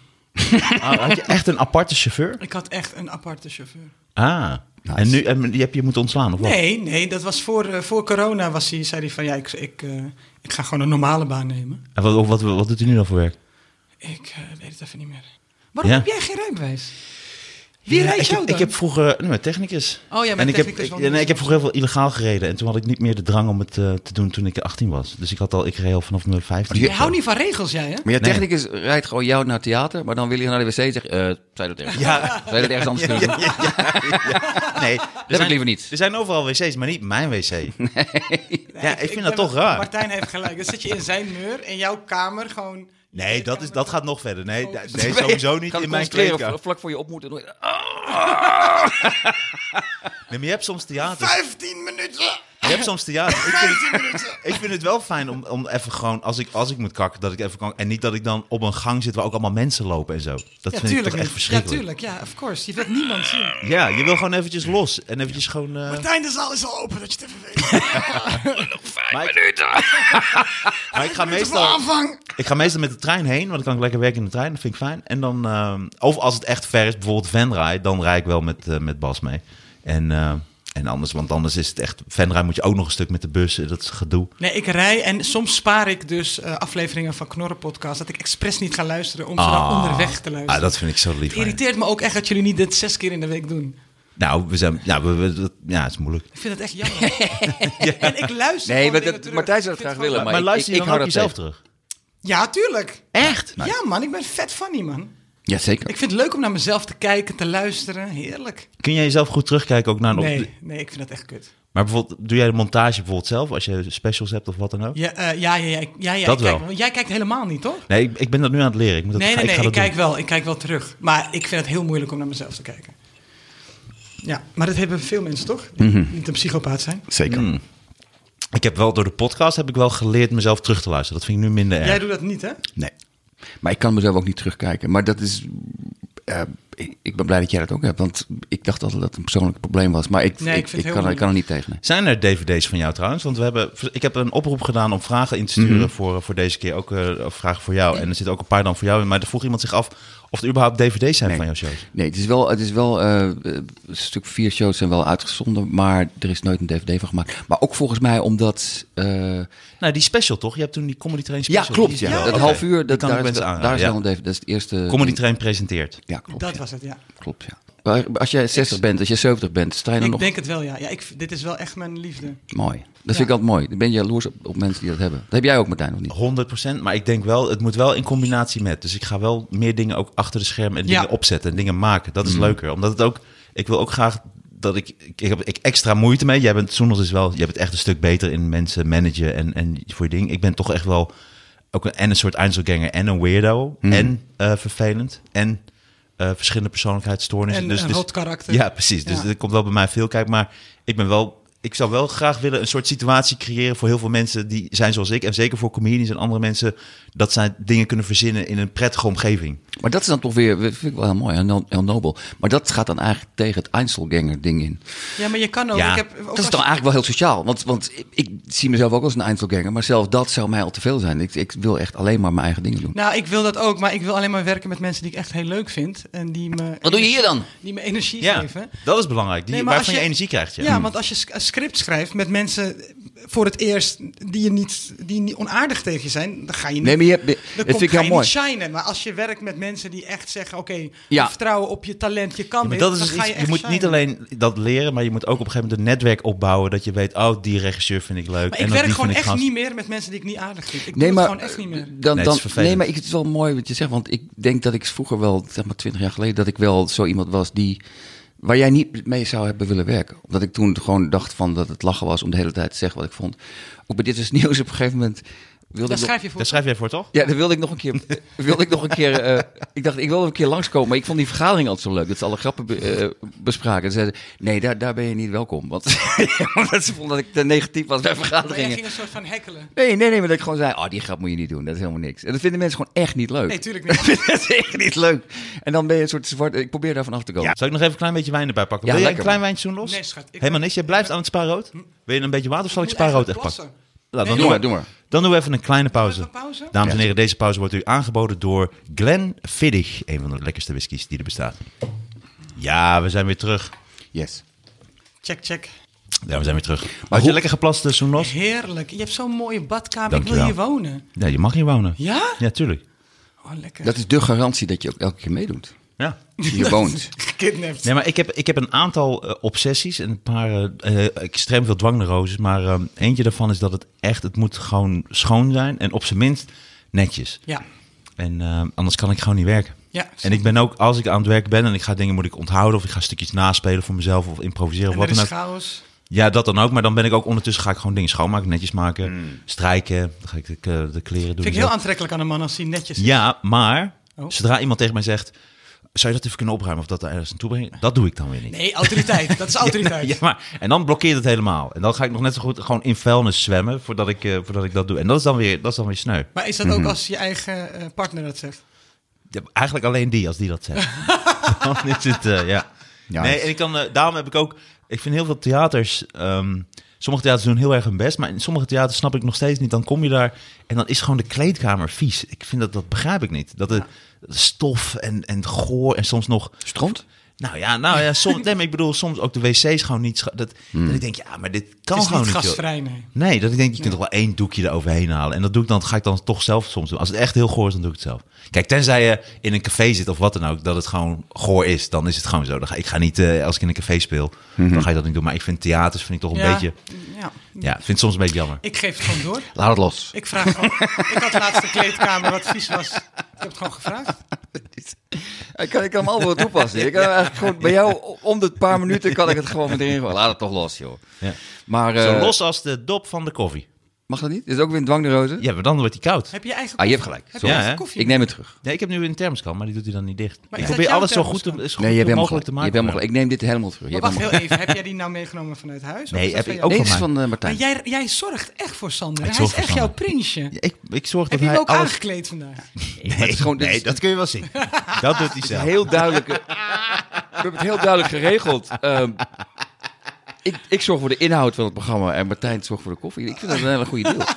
[SPEAKER 1] Ah, had je echt een aparte chauffeur?
[SPEAKER 3] Ik had echt een aparte chauffeur.
[SPEAKER 1] Ah,
[SPEAKER 2] Nice.
[SPEAKER 1] en nu en die heb je moeten ontslaan of wat?
[SPEAKER 3] Nee, nee, dat was voor, eh, voor corona. Was hij, zei hij van ja, ik, ik, eh, ik ga gewoon een normale baan nemen.
[SPEAKER 1] En wat, wat, wat doet hij nu dan voor werk?
[SPEAKER 3] Ik eh, weet het even niet meer. Waarom
[SPEAKER 1] Ja.
[SPEAKER 3] heb jij geen rijbewijs? Wie rijdt
[SPEAKER 1] ik,
[SPEAKER 3] jou
[SPEAKER 1] heb-
[SPEAKER 3] dan?
[SPEAKER 1] ik heb vroeger... eh, Nee, mijn technicus.
[SPEAKER 3] Oh ja, mijn
[SPEAKER 1] en ik
[SPEAKER 3] technicus
[SPEAKER 1] Heb,
[SPEAKER 3] wel
[SPEAKER 1] ik- nee, ik
[SPEAKER 3] niet.
[SPEAKER 1] heb vroeger heel veel illegaal gereden. En toen had ik niet meer de drang om het eh, te doen toen ik 18 was. Dus ik had al... Ik reed al vanaf mijn 15.
[SPEAKER 3] Je houdt niet van regels, jij, hè?
[SPEAKER 2] Maar je
[SPEAKER 1] Nee.
[SPEAKER 2] technicus rijdt gewoon jou naar het theater, maar dan wil je naar de wc en zegt, eh, zou je dat ergens,
[SPEAKER 1] Ja.
[SPEAKER 2] zou je dat ergens anders kunnen doen?
[SPEAKER 3] Dus
[SPEAKER 1] Nee, dat
[SPEAKER 2] heb ik liever niet.
[SPEAKER 1] Er zijn overal wc's, maar niet mijn wc. Ja, ik, vind dat
[SPEAKER 3] ben
[SPEAKER 1] toch
[SPEAKER 3] wel-
[SPEAKER 1] raar.
[SPEAKER 3] Martijn heeft gelijk. Dan zit je in zijn muur, in jouw kamer gewoon...
[SPEAKER 1] Nee, dat, is, dat gaat nog verder. Nee,
[SPEAKER 3] Focus.
[SPEAKER 1] nee sowieso niet
[SPEAKER 2] Gaat
[SPEAKER 1] in mijn
[SPEAKER 2] concentreren,
[SPEAKER 1] kleedkamer.
[SPEAKER 2] v- Vlak voor je op Oh, moet. en dan-
[SPEAKER 1] Nee, maar je hebt soms theater.
[SPEAKER 6] 15 minuten!
[SPEAKER 1] Je hebt soms theater. Ik vind het, ik vind het wel fijn om, om even gewoon, als ik, als ik moet kakken, dat ik even kan. En niet dat ik dan op een gang zit waar ook allemaal mensen lopen en zo. Dat
[SPEAKER 3] Ja,
[SPEAKER 1] vind ik
[SPEAKER 3] tuurlijk.
[SPEAKER 1] toch echt
[SPEAKER 3] niet. Ja,
[SPEAKER 1] verschrikkelijk. Ja,
[SPEAKER 3] tuurlijk. Ja, of course. Je wilt niemand zien.
[SPEAKER 1] je wil gewoon eventjes los. En eventjes gewoon... eh,
[SPEAKER 3] Martijn, de zaal is al open, dat je het even weet.
[SPEAKER 1] maar ik ga, meestal, ik ga meestal met de trein heen, want dan kan ik lekker werken in de trein. Dat vind ik fijn. En dan, ehm, of als het echt ver is, bijvoorbeeld Venray, dan rijd ik wel met, eh, met Bas mee. En, eh, en anders, want anders is het echt... Venray moet je ook nog een stuk met de bus. eh, Dat is gedoe.
[SPEAKER 3] Nee, ik rij en soms spaar ik dus eh, afleveringen van Knorren Podcast... dat ik expres niet ga luisteren om ze dan
[SPEAKER 1] Ah.
[SPEAKER 3] onderweg te luisteren.
[SPEAKER 1] Ah, dat vind ik zo lief.
[SPEAKER 3] Het
[SPEAKER 1] van je.
[SPEAKER 3] irriteert me ook echt dat jullie niet dit zes keer in de week doen.
[SPEAKER 1] Nou, we zijn, ja, we, we- dat- ja, het is moeilijk.
[SPEAKER 3] Ik vind het echt jammer. En ik luister
[SPEAKER 2] Nee, maar
[SPEAKER 3] gewoon dingen
[SPEAKER 2] dat-
[SPEAKER 3] terug.
[SPEAKER 2] Martijn zou het
[SPEAKER 3] Ik vind
[SPEAKER 2] graag willen,
[SPEAKER 3] gewoon-
[SPEAKER 1] Maar,
[SPEAKER 2] Maar ik-
[SPEAKER 1] luister
[SPEAKER 2] ik-
[SPEAKER 1] je
[SPEAKER 2] ik
[SPEAKER 1] dan
[SPEAKER 2] hou
[SPEAKER 1] ook
[SPEAKER 2] dat
[SPEAKER 1] jezelf terug?
[SPEAKER 3] Ja, tuurlijk.
[SPEAKER 1] Echt?
[SPEAKER 3] Ja, man, ik ben vet funny, man.
[SPEAKER 2] Jazeker.
[SPEAKER 3] Ik vind het leuk om naar mezelf te kijken, te luisteren. Heerlijk.
[SPEAKER 1] Kun jij jezelf goed terugkijken ook naar een op-
[SPEAKER 3] Nee, nee, ik vind dat echt kut.
[SPEAKER 1] Maar bijvoorbeeld, doe jij de montage bijvoorbeeld zelf als je specials hebt of wat dan ook?
[SPEAKER 3] Ja, eh, ja, ja, ja, ik- ja, ja,
[SPEAKER 1] Dat
[SPEAKER 3] ik kijk
[SPEAKER 1] wel.
[SPEAKER 3] wel. jij kijkt helemaal niet, toch?
[SPEAKER 1] Nee, ik, ik ben dat nu aan het leren. Ik moet dat,
[SPEAKER 3] Nee,
[SPEAKER 1] ga-
[SPEAKER 3] nee, nee,
[SPEAKER 1] ik
[SPEAKER 3] ik,
[SPEAKER 1] ga dat
[SPEAKER 3] kijk
[SPEAKER 1] doen.
[SPEAKER 3] wel, ik kijk wel terug. Maar ik vind het heel moeilijk om naar mezelf te kijken. Ja, maar dat hebben veel mensen, toch? Die
[SPEAKER 2] Mhm.
[SPEAKER 3] Niet een psychopaat zijn.
[SPEAKER 2] Zeker.
[SPEAKER 1] Hmm. Ik heb wel door de podcast heb ik wel geleerd mezelf terug te luisteren. Dat vind ik nu minder erg.
[SPEAKER 3] Jij doet dat niet, hè?
[SPEAKER 2] Nee. Maar ik kan mezelf ook niet terugkijken. Maar dat is. eh, ik, ik ben blij dat jij dat ook hebt. Want ik dacht altijd dat het een persoonlijk probleem was. Maar ik,
[SPEAKER 3] Nee, ik
[SPEAKER 2] ik, ik,
[SPEAKER 3] vind het heel
[SPEAKER 2] kan, er- ik kan er niet tegen. nee.
[SPEAKER 1] Zijn er dvd's van jou trouwens? Want we hebben, ik heb een oproep gedaan om vragen in te sturen voor, eh, voor deze keer. Ook eh, vragen voor jou. En er zitten ook een paar dan voor jou in. Maar er vroeg iemand zich af of er überhaupt dvd's zijn van jouw shows.
[SPEAKER 2] Nee, het is wel. Het is wel eh, eh, een stuk vier shows zijn wel uitgezonden. Maar er is nooit een DVD van gemaakt. Maar ook volgens mij omdat. eh,
[SPEAKER 1] Nou, die special toch? Je hebt toen die Comedy Train
[SPEAKER 2] ja,
[SPEAKER 1] special.
[SPEAKER 2] klopt. Ja.
[SPEAKER 1] Die-
[SPEAKER 2] Dat
[SPEAKER 1] Oké.
[SPEAKER 2] half uur.
[SPEAKER 1] Die
[SPEAKER 2] Dat,
[SPEAKER 1] kan
[SPEAKER 2] daar,
[SPEAKER 1] ik
[SPEAKER 2] is,
[SPEAKER 1] mensen
[SPEAKER 2] wel- daar
[SPEAKER 1] aanraden,
[SPEAKER 2] is
[SPEAKER 1] ja.
[SPEAKER 2] wel een DVD. Dat is het eerste.
[SPEAKER 1] Comedy Train presenteert.
[SPEAKER 2] Ja, klopt.
[SPEAKER 3] Dat
[SPEAKER 2] ja.
[SPEAKER 3] was het, ja.
[SPEAKER 2] Klopt, ja. Maar Als jij 60 bent, als jij 70 bent, sta je dan
[SPEAKER 3] ik
[SPEAKER 2] nog
[SPEAKER 3] denk het wel, ja. ja ik, dit is wel echt mijn liefde.
[SPEAKER 2] mooi. Dat vind ik altijd mooi. Ik ben jaloers op, op mensen die dat hebben. Dat heb jij ook, Martijn, of niet?
[SPEAKER 1] 100%, maar ik denk wel, het moet wel in combinatie met. Dus ik ga wel meer dingen ook achter de scherm en
[SPEAKER 3] Ja.
[SPEAKER 1] dingen opzetten en dingen maken. Dat is
[SPEAKER 2] Mm.
[SPEAKER 1] leuker, omdat het ook, ik wil ook graag dat ik, ik ik heb ik extra moeite mee. Jij bent, Soenos is wel, jij bent echt een stuk beter in mensen managen en, en voor je ding. Ik ben toch echt wel ook een, en een soort Einzelganger en een weirdo
[SPEAKER 2] Mm.
[SPEAKER 1] en eh, vervelend en eh, verschillende persoonlijkheidsstoornissen.
[SPEAKER 3] En
[SPEAKER 1] dus,
[SPEAKER 3] een
[SPEAKER 1] dus-
[SPEAKER 3] rot karakter.
[SPEAKER 1] Ja, precies. Dus
[SPEAKER 3] Ja.
[SPEAKER 1] er komt wel bij mij veel kijk, maar ik ben wel... Ik zou wel graag willen een soort situatie creëren voor heel veel mensen die zijn zoals ik. En zeker voor comedians en andere mensen. Dat zij dingen kunnen verzinnen in een prettige omgeving.
[SPEAKER 2] Maar dat is dan toch weer, dat vind ik wel heel mooi, heel, no- heel nobel. Maar dat gaat dan eigenlijk tegen het Einzelganger ding in.
[SPEAKER 3] Ja, maar je kan ook.
[SPEAKER 1] Ja,
[SPEAKER 3] ik heb, ook
[SPEAKER 2] Dat
[SPEAKER 3] als
[SPEAKER 2] is dan
[SPEAKER 3] je-
[SPEAKER 2] eigenlijk wel heel sociaal. Want, want ik, ik zie mezelf ook als een Einzelganger, maar zelf dat zou mij al te veel zijn. Ik, ik wil echt alleen maar mijn eigen dingen doen.
[SPEAKER 3] Nou, ik wil dat ook, maar ik wil alleen maar werken met mensen die ik echt heel leuk vind. En die me,
[SPEAKER 2] Wat doe je hier dan?
[SPEAKER 3] die me energie
[SPEAKER 1] Ja,
[SPEAKER 3] geven.
[SPEAKER 1] dat is belangrijk. Die,
[SPEAKER 3] Nee, maar
[SPEAKER 1] waarvan
[SPEAKER 3] als
[SPEAKER 1] je,
[SPEAKER 3] je-
[SPEAKER 1] energie krijgt. Ja. Hmm.
[SPEAKER 3] Ja, want als je s- een script schrijft met mensen voor het eerst die je niet, die niet onaardig tegen je zijn, dan ga je niet.
[SPEAKER 2] Nee, maar je hebt,
[SPEAKER 3] dan
[SPEAKER 2] dat
[SPEAKER 3] kom,
[SPEAKER 2] vind ik
[SPEAKER 3] ga
[SPEAKER 2] heel
[SPEAKER 3] je
[SPEAKER 2] mooi.
[SPEAKER 3] niet shinen. Maar als je werkt met mensen die echt zeggen: oké,
[SPEAKER 2] Ja.
[SPEAKER 3] vertrouwen op je talent, je kan
[SPEAKER 1] Ja, maar
[SPEAKER 3] dit,
[SPEAKER 1] dat is
[SPEAKER 3] dan
[SPEAKER 1] dus
[SPEAKER 3] ga
[SPEAKER 1] iets-
[SPEAKER 3] je
[SPEAKER 1] je,
[SPEAKER 3] echt
[SPEAKER 1] moet
[SPEAKER 3] shinen.
[SPEAKER 1] niet alleen dat leren, maar je moet ook op een gegeven moment een netwerk opbouwen. Dat je weet, oh, die regisseur vind ik leuk. en
[SPEAKER 3] Maar ik
[SPEAKER 1] dan
[SPEAKER 3] werk
[SPEAKER 1] die
[SPEAKER 3] gewoon
[SPEAKER 1] vind
[SPEAKER 3] echt
[SPEAKER 1] ik gast-
[SPEAKER 3] niet meer met mensen die ik niet aardig vind. Ik
[SPEAKER 2] Nee,
[SPEAKER 3] doe
[SPEAKER 2] maar,
[SPEAKER 3] het gewoon echt niet meer.
[SPEAKER 2] Dan,
[SPEAKER 1] Nee, het
[SPEAKER 2] dan,
[SPEAKER 1] is vervelend.
[SPEAKER 2] nee, maar ik, het is wel mooi wat je zegt. Want ik denk dat ik vroeger wel, zeg maar 20 jaar geleden, dat ik wel zo iemand was die. Waar jij niet mee zou hebben willen werken. Omdat ik toen gewoon dacht van dat het lachen was om de hele tijd te zeggen wat ik vond. Ook bij Dit is Nieuws op een gegeven moment wilde
[SPEAKER 3] Daar
[SPEAKER 2] ik nog-
[SPEAKER 3] schrijf je voor.
[SPEAKER 1] Daar schrijf jij voor, toch?
[SPEAKER 2] Ja, daar wilde ik nog een keer. wilde ik nog een keer eh, ik dacht, ik wilde een keer langskomen. Maar ik vond die vergadering altijd zo leuk. Dat ze alle grappen be- eh, bespraken. En zeiden, nee, daar, daar ben je niet welkom. Want omdat ze vonden dat ik te negatief was bij
[SPEAKER 3] Maar jij
[SPEAKER 2] vergaderingen.
[SPEAKER 3] ging een soort van hekkelen.
[SPEAKER 2] Nee, nee, nee, maar dat ik gewoon zei, oh, die grap moet je niet doen. Dat is helemaal niks. En dat vinden mensen gewoon echt niet leuk.
[SPEAKER 3] Nee, tuurlijk niet.
[SPEAKER 2] dat is echt niet leuk. En dan ben je een soort zwart... Ik probeer daar vanaf te komen.
[SPEAKER 1] Zal ik nog even een klein beetje wijn erbij pakken?
[SPEAKER 2] Ja,
[SPEAKER 1] Wil je een
[SPEAKER 2] lekker,
[SPEAKER 1] klein
[SPEAKER 2] man.
[SPEAKER 1] wijntje doen los?
[SPEAKER 3] Nee, schat, ik- Hm?
[SPEAKER 1] Helemaal niks. Jij blijft aan het spaarrood. Wil je een beetje water of zal ik
[SPEAKER 3] moet
[SPEAKER 1] spaarrood echt
[SPEAKER 3] eigenlijk
[SPEAKER 1] pakken?
[SPEAKER 3] plassen.
[SPEAKER 1] Nou, dan,
[SPEAKER 3] Nee,
[SPEAKER 1] doen
[SPEAKER 2] doe
[SPEAKER 1] we,
[SPEAKER 2] maar, doe maar.
[SPEAKER 1] dan doen we even een kleine pauze.
[SPEAKER 3] Even een pauze?
[SPEAKER 1] Dames en
[SPEAKER 2] Ja.
[SPEAKER 1] heren, deze pauze wordt u aangeboden door Glenfiddich. Een van de lekkerste whiskies die er bestaat. Ja, we zijn weer terug.
[SPEAKER 2] Yes.
[SPEAKER 3] Check, check.
[SPEAKER 1] Ja, we zijn weer terug. Had je
[SPEAKER 2] hoe-
[SPEAKER 1] lekker geplast, eh, Soenos?
[SPEAKER 3] Heerlijk. Je hebt zo'n mooie badkamer. Ik
[SPEAKER 1] Dankjewel.
[SPEAKER 3] wil hier wonen.
[SPEAKER 1] Ja, je mag hier wonen.
[SPEAKER 3] Ja?
[SPEAKER 1] Ja, tuurlijk.
[SPEAKER 3] Oh, lekker.
[SPEAKER 2] Dat is de garantie dat je ook elke keer meedoet.
[SPEAKER 1] Ja.
[SPEAKER 2] hier woont.
[SPEAKER 3] Gekidnapt.
[SPEAKER 1] Nee, maar ik heb, ik heb een aantal eh, obsessies en een paar eh, eh, extreem veel dwangneuroses. Maar eh, eentje daarvan is dat het echt, het moet gewoon schoon zijn en op zijn minst netjes.
[SPEAKER 3] Ja.
[SPEAKER 1] En eh, anders kan ik gewoon niet werken.
[SPEAKER 3] Ja.
[SPEAKER 1] En ik ben ook, als ik aan het werk ben en ik ga dingen moet ik onthouden of ik ga stukjes naspelen voor mezelf of improviseren
[SPEAKER 3] En
[SPEAKER 1] of
[SPEAKER 3] er
[SPEAKER 1] wat
[SPEAKER 3] is
[SPEAKER 1] dan ook.
[SPEAKER 3] chaos.
[SPEAKER 1] Ja, dat dan ook. Maar dan ben ik ook ondertussen ga ik gewoon dingen schoonmaken, netjes maken, strijken. Dan ga ik de, k- de kleren doen.
[SPEAKER 3] Vind ik heel
[SPEAKER 1] zo.
[SPEAKER 3] aantrekkelijk aan een man als hij netjes is.
[SPEAKER 1] Ja, maar
[SPEAKER 3] Oh.
[SPEAKER 1] zodra iemand tegen mij zegt, zou je dat even kunnen opruimen of dat er ergens naartoe brengen? Dat doe ik dan weer niet.
[SPEAKER 3] Nee, autoriteit. Dat is autoriteit.
[SPEAKER 1] Ja, maar, en dan blokkeert het helemaal. En dan ga ik nog net zo goed gewoon in vuilnis zwemmen voordat ik, eh, voordat ik dat doe. En dat is dan weer, dat is dan weer sneu.
[SPEAKER 3] Maar is dat
[SPEAKER 1] Mhm.
[SPEAKER 3] ook als je eigen eh, partner dat zegt?
[SPEAKER 1] Ja, Eigenlijk alleen die, als die dat zegt. dan is het, eh, ja.
[SPEAKER 6] Ja,
[SPEAKER 1] nee,
[SPEAKER 6] het-
[SPEAKER 1] en ik kan, eh, daarom heb ik ook... Ik vind heel veel theaters... ehm, sommige theaters doen heel erg hun best, maar in sommige theaters snap ik nog steeds niet. Dan kom je daar en dan is gewoon de kleedkamer vies. Ik vind dat, dat begrijp ik niet. Dat de de stof en, en goor en soms nog...
[SPEAKER 2] Stront?
[SPEAKER 1] Nou ja, nou ja soms, nee, maar ik bedoel soms ook de wc's gewoon niet... scho- Dat, dat ik denk, ja, maar dit kan
[SPEAKER 3] Hmm.
[SPEAKER 1] gewoon
[SPEAKER 3] Het is niet
[SPEAKER 1] niet, joh.
[SPEAKER 3] gastvrij, nee.
[SPEAKER 1] Nee, dat ik denk, je kunt toch wel één doekje eroverheen halen. En dat doe ik dan, dat ga ik dan toch zelf soms doen. Als het echt heel goor is, dan doe ik het zelf. Kijk, tenzij je in een café zit of wat dan ook, dat het gewoon goor is, dan is het gewoon zo. Dan ga, ik ga niet, eh, als ik in een café speel, dan
[SPEAKER 2] Mhm.
[SPEAKER 1] ga ik dat niet doen. Maar ik vind theaters vind ik toch een
[SPEAKER 3] ja.
[SPEAKER 1] beetje,
[SPEAKER 3] Ja.
[SPEAKER 1] ja, vind het soms een beetje jammer.
[SPEAKER 3] Ik geef het gewoon door.
[SPEAKER 2] Laat het los.
[SPEAKER 3] Ik vraag gewoon. ik had laatst een kleedkamer wat vies was. Ik heb het gewoon gevraagd.
[SPEAKER 2] Ik kan, ik kan hem al wel toepassen. Ik kan eigenlijk gewoon, bij jou om de paar minuten kan ik het gewoon meteen gooien. Laat het toch los, joh.
[SPEAKER 1] Ja.
[SPEAKER 2] Maar,
[SPEAKER 1] Zo
[SPEAKER 2] eh,
[SPEAKER 1] los als de dop van de koffie.
[SPEAKER 2] Mag dat niet? Is het ook weer een dwangneurose?
[SPEAKER 1] Ja, maar dan wordt die koud.
[SPEAKER 3] Heb je eigen
[SPEAKER 2] Ah, je
[SPEAKER 3] koffie?
[SPEAKER 2] hebt gelijk.
[SPEAKER 3] Heb je
[SPEAKER 1] Sorry.
[SPEAKER 3] eigen
[SPEAKER 1] Ja, hè?
[SPEAKER 3] koffie?
[SPEAKER 2] Ik neem het terug.
[SPEAKER 1] Nee, ik heb nu een thermoskan, maar die doet hij dan niet dicht.
[SPEAKER 3] Maar
[SPEAKER 1] ik
[SPEAKER 3] is dat
[SPEAKER 1] probeer
[SPEAKER 3] jouw
[SPEAKER 1] alles zo goed, te,
[SPEAKER 3] thermoskan?
[SPEAKER 1] zo
[SPEAKER 2] Nee, je
[SPEAKER 1] goed
[SPEAKER 2] hebt helemaal
[SPEAKER 1] mogelijk
[SPEAKER 2] gelijk.
[SPEAKER 1] te
[SPEAKER 2] Je
[SPEAKER 1] maken.
[SPEAKER 2] hebt helemaal gelijk. Ik neem dit helemaal terug. Je
[SPEAKER 3] Maar
[SPEAKER 2] hebt
[SPEAKER 3] wacht
[SPEAKER 2] helemaal
[SPEAKER 3] heel even. Heb jij die nou meegenomen vanuit huis?
[SPEAKER 1] Nee,
[SPEAKER 3] Of is dat
[SPEAKER 1] heb ik
[SPEAKER 3] van
[SPEAKER 1] ook
[SPEAKER 2] Nee,
[SPEAKER 3] jou?
[SPEAKER 2] dit
[SPEAKER 1] van
[SPEAKER 2] is van eh,
[SPEAKER 3] Maar
[SPEAKER 2] Martijn.
[SPEAKER 3] jij, jij zorgt echt voor Sander.
[SPEAKER 1] Ik
[SPEAKER 3] Hij
[SPEAKER 1] zorg
[SPEAKER 3] is
[SPEAKER 1] voor
[SPEAKER 3] echt jouw
[SPEAKER 1] Sander.
[SPEAKER 3] prinsje.
[SPEAKER 1] Ja, ik, ik zorg dat
[SPEAKER 3] Heb je hem
[SPEAKER 1] hij
[SPEAKER 3] ook
[SPEAKER 1] alles...
[SPEAKER 3] aangekleed vandaag?
[SPEAKER 1] Nee,
[SPEAKER 2] is gewoon- dus- dit
[SPEAKER 1] nee,
[SPEAKER 2] is-
[SPEAKER 1] dat kun je wel zien. dat doet hij zelf.
[SPEAKER 2] Heel duidelijk. eh, We hebben het heel duidelijk geregeld. Ehm, ik, ik zorg voor de inhoud van het programma en Martijn zorgt voor de koffie. Ik vind dat een hele goede deal.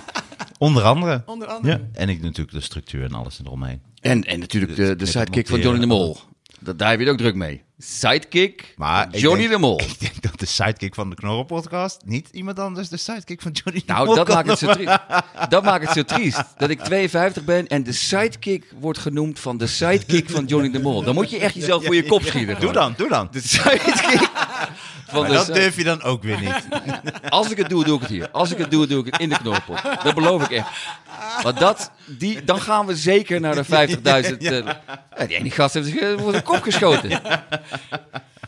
[SPEAKER 1] Onder andere.
[SPEAKER 3] Onder andere.
[SPEAKER 1] Ja. En ik natuurlijk de structuur en alles eromheen.
[SPEAKER 2] En, en natuurlijk de, de
[SPEAKER 1] het
[SPEAKER 2] sidekick van
[SPEAKER 1] monteren.
[SPEAKER 2] Johnny de Mol. Dat, daar heb je het ook druk mee. Sidekick,
[SPEAKER 1] Maar ik
[SPEAKER 2] Johnny
[SPEAKER 1] denk-
[SPEAKER 2] de Mol.
[SPEAKER 1] Ik denk dat de sidekick van de Knorren podcast niet iemand anders de sidekick van Johnny de
[SPEAKER 2] Nou,
[SPEAKER 1] Mol
[SPEAKER 2] dat
[SPEAKER 1] kan
[SPEAKER 2] maakt het zo
[SPEAKER 1] noemen.
[SPEAKER 2] triest. Dat maakt het zo triest. Dat ik 52 ben en de sidekick wordt genoemd van de sidekick van Johnny de Mol. Dan moet je echt jezelf voor je kop schieten.
[SPEAKER 1] Doe
[SPEAKER 2] gewoon.
[SPEAKER 1] dan, doe dan.
[SPEAKER 2] De sidekick. Van
[SPEAKER 1] Maar
[SPEAKER 2] de
[SPEAKER 1] dat
[SPEAKER 2] si-
[SPEAKER 1] durf je dan ook weer niet.
[SPEAKER 2] Als ik het doe, doe ik het hier. Als ik het doe, doe ik het in de knoopot. Dat beloof ik echt. Want dat, die, dan gaan we zeker naar de 50.000. eh, ja, die ene gast heeft zich eh, voor de kop geschoten.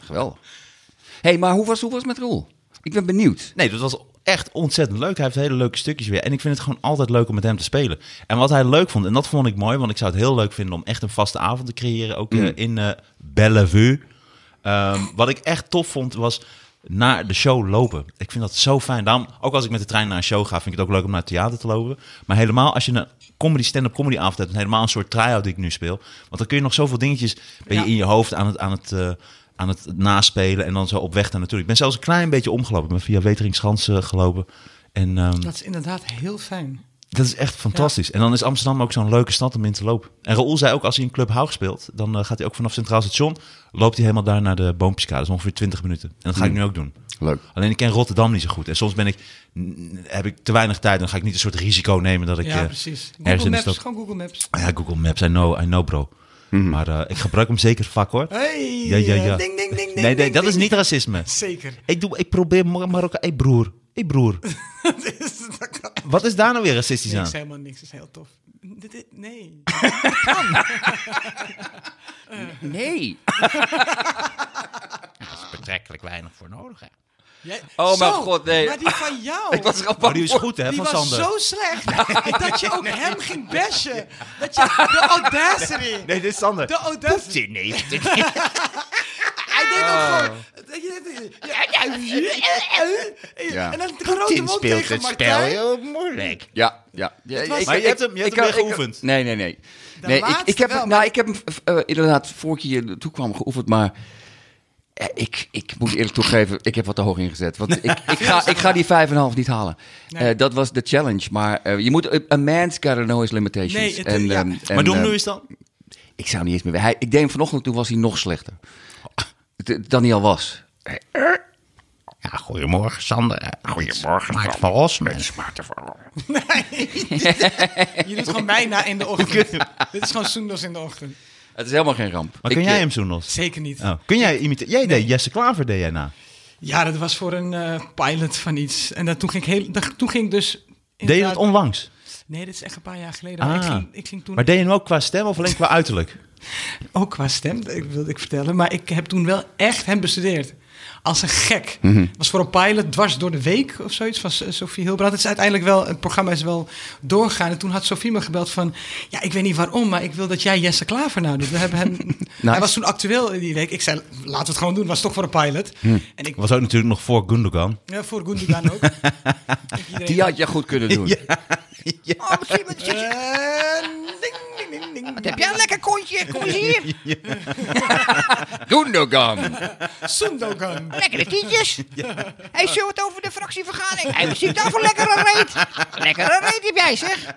[SPEAKER 2] Geweldig. Hé, hey, maar hoe was, hoe was het met Roel? Ik ben benieuwd.
[SPEAKER 1] Nee, dat was echt ontzettend leuk. Hij heeft hele leuke stukjes weer. En ik vind het gewoon altijd leuk om met hem te spelen. En wat hij leuk vond, en dat vond ik mooi, want ik zou het heel leuk vinden om echt een vaste avond te creëren. Ook eh, in eh, Bellevue. Ehm, wat ik echt tof vond was naar de show lopen. Ik vind dat zo fijn. Daarom, ook als ik met de trein naar een show ga, vind ik het ook leuk om naar het theater te lopen. Maar helemaal als je een comedy, stand-up comedy avond hebt, en helemaal een soort try-out die ik nu speel. Want dan kun je nog zoveel dingetjes, ben je
[SPEAKER 3] Ja.
[SPEAKER 1] in je hoofd aan het, aan het, eh, aan het naspelen en dan zo op weg daar naartoe. Ik ben zelfs een klein beetje omgelopen. Ik ben via Weteringsgans eh, gelopen. En ehm,
[SPEAKER 3] Dat is inderdaad heel fijn.
[SPEAKER 1] dat is echt fantastisch. En dan is Amsterdam ook zo'n leuke stad om in te lopen. En Raoul zei ook, als hij in Club Haug speelt, dan eh, gaat hij ook vanaf Centraal Station, loopt hij helemaal daar naar de Boompjeskade. Dat is ongeveer 20 minuten. En dat ga
[SPEAKER 3] Hmm.
[SPEAKER 1] ik nu ook doen.
[SPEAKER 2] Leuk.
[SPEAKER 1] Alleen ik ken Rotterdam niet zo goed. En soms ben ik, n- heb ik te weinig tijd. Dan ga ik niet een soort risico nemen dat ik
[SPEAKER 3] Ja,
[SPEAKER 1] eh,
[SPEAKER 3] precies.
[SPEAKER 1] ergens
[SPEAKER 3] Google
[SPEAKER 1] in de
[SPEAKER 3] Maps,
[SPEAKER 1] stad...
[SPEAKER 3] gewoon Google Maps. Hmm.
[SPEAKER 1] Ja, Google Maps, I know, I know bro. Maar eh, ik gebruik hem zeker vaak hoor.
[SPEAKER 3] Hey,
[SPEAKER 1] Ja, ja, ja.
[SPEAKER 3] eh, Ding, ding, ding,
[SPEAKER 1] nee, nee,
[SPEAKER 3] ding,
[SPEAKER 1] dat
[SPEAKER 3] ding.
[SPEAKER 1] is niet racisme.
[SPEAKER 3] Zeker.
[SPEAKER 1] Ik, doe, ik probeer Mar- Marokka... Hé broer, hé broer.
[SPEAKER 3] dat is dat kan-
[SPEAKER 1] Wat is daar nou weer racistisch aan?
[SPEAKER 3] niks, helemaal niks. Dat is heel tof. Dit- dit- Nee.
[SPEAKER 2] Nee.
[SPEAKER 1] Betrekkelijk weinig voor nodig hè.
[SPEAKER 3] Jij-
[SPEAKER 2] Oh, mijn
[SPEAKER 3] Zo,
[SPEAKER 2] god, nee.
[SPEAKER 3] Maar die van jou.
[SPEAKER 2] Ik was er al
[SPEAKER 1] Oh,
[SPEAKER 2] bang
[SPEAKER 1] die is
[SPEAKER 2] voor.
[SPEAKER 1] goed hè,
[SPEAKER 3] die
[SPEAKER 1] van
[SPEAKER 3] was
[SPEAKER 1] Sander.
[SPEAKER 3] zo slecht dat je ook hem ging bashen. Dat je de audacity.
[SPEAKER 1] Nee, dit is Sander.
[SPEAKER 3] De audacity.
[SPEAKER 1] Zin nee.
[SPEAKER 3] Hij deed ook gewoon. En dan de grote
[SPEAKER 6] Tin
[SPEAKER 3] mond
[SPEAKER 6] speelt
[SPEAKER 3] tegen
[SPEAKER 6] het spel
[SPEAKER 3] Martijn.
[SPEAKER 6] heel moeilijk.
[SPEAKER 2] Ja, ja. ja
[SPEAKER 3] was-
[SPEAKER 1] Maar je hebt hem- je hebt hem
[SPEAKER 2] kan-
[SPEAKER 1] weer
[SPEAKER 2] ik-
[SPEAKER 1] geoefend.
[SPEAKER 2] nee, nee, nee. nee ik,
[SPEAKER 3] laatste
[SPEAKER 2] ik, heb,
[SPEAKER 3] wel,
[SPEAKER 2] hem- nou,
[SPEAKER 3] maar-
[SPEAKER 2] ik heb hem eh, eh, inderdaad voor ik hier toe kwam geoefend, maar eh, ik, ik moet eerlijk toegeven, ik heb wat te hoog ingezet. Want ik, ik, ga, ik ga die 5,5 niet halen.
[SPEAKER 3] Nee.
[SPEAKER 2] Eh, dat was de challenge, maar eh, je moet, a man's gotta know his limitations.
[SPEAKER 3] Nee, het-
[SPEAKER 2] en,
[SPEAKER 3] ja.
[SPEAKER 2] ehm, en,
[SPEAKER 1] Maar doe
[SPEAKER 3] eh,
[SPEAKER 1] hem
[SPEAKER 2] ehm,
[SPEAKER 1] nu eens dan.
[SPEAKER 2] Ik zou niet eens meer... Hij, ik denk vanochtend, toen was hij nog slechter d- dan hij al was.
[SPEAKER 6] Ja, goedemorgen Sander. Goedemorgen. Maak van los, mensen.
[SPEAKER 3] Je doet gewoon mij na in de ochtend. Dit is gewoon Soendos in de ochtend.
[SPEAKER 2] Het is helemaal geen ramp.
[SPEAKER 1] Maar
[SPEAKER 2] Ik,
[SPEAKER 1] kun jij
[SPEAKER 2] eh,
[SPEAKER 1] hem zo nog?
[SPEAKER 3] Zeker niet.
[SPEAKER 1] Oh, kun jij imiteren? Jij deed Jesse Klaver deed jij na.
[SPEAKER 3] Ja, dat was voor een eh, pilot van iets. En dat, toen, ging ik heel, dat, toen ging ik dus...
[SPEAKER 1] Deed je dat onlangs?
[SPEAKER 3] Nee, dit is echt een paar jaar geleden. maar
[SPEAKER 1] Ah.
[SPEAKER 3] Ik, ging, ik ging toen
[SPEAKER 1] Maar deed je hem ook qua stem of alleen qua uiterlijk?
[SPEAKER 3] ook qua stem, ik wilde ik vertellen. Maar ik heb toen wel echt hem bestudeerd. Als een gek.
[SPEAKER 2] Mhm.
[SPEAKER 3] Was voor een pilot dwars door de week of zoiets van S- Sophie Hilbrand. Het is uiteindelijk wel, het programma is wel doorgaan. En toen had Sophie me gebeld van, ja, ik weet niet waarom, maar ik wil dat jij Jesse Klaver nou doet. We hebben hem, Hij was toen actueel die week. Ik zei, laten we het gewoon doen. Was toch voor een pilot.
[SPEAKER 2] Mhm.
[SPEAKER 3] En ik,
[SPEAKER 1] Was ook natuurlijk nog voor Gundogan.
[SPEAKER 3] ja, voor Gundogan ook. Ik iedereen-
[SPEAKER 2] Die had je goed kunnen doen.
[SPEAKER 4] Oh, misschien moet je...
[SPEAKER 3] Eh, ding, ding, ding, ding.
[SPEAKER 4] Wat heb jij een lekker kontje? Kom eens hier.
[SPEAKER 2] Gundogan.
[SPEAKER 3] Sundogan.
[SPEAKER 4] Lekkere tientjes. Hij zo het over de fractievergadering. Hij misschien daarvoor lekkere reet. Lekkere reet heb jij, zeg.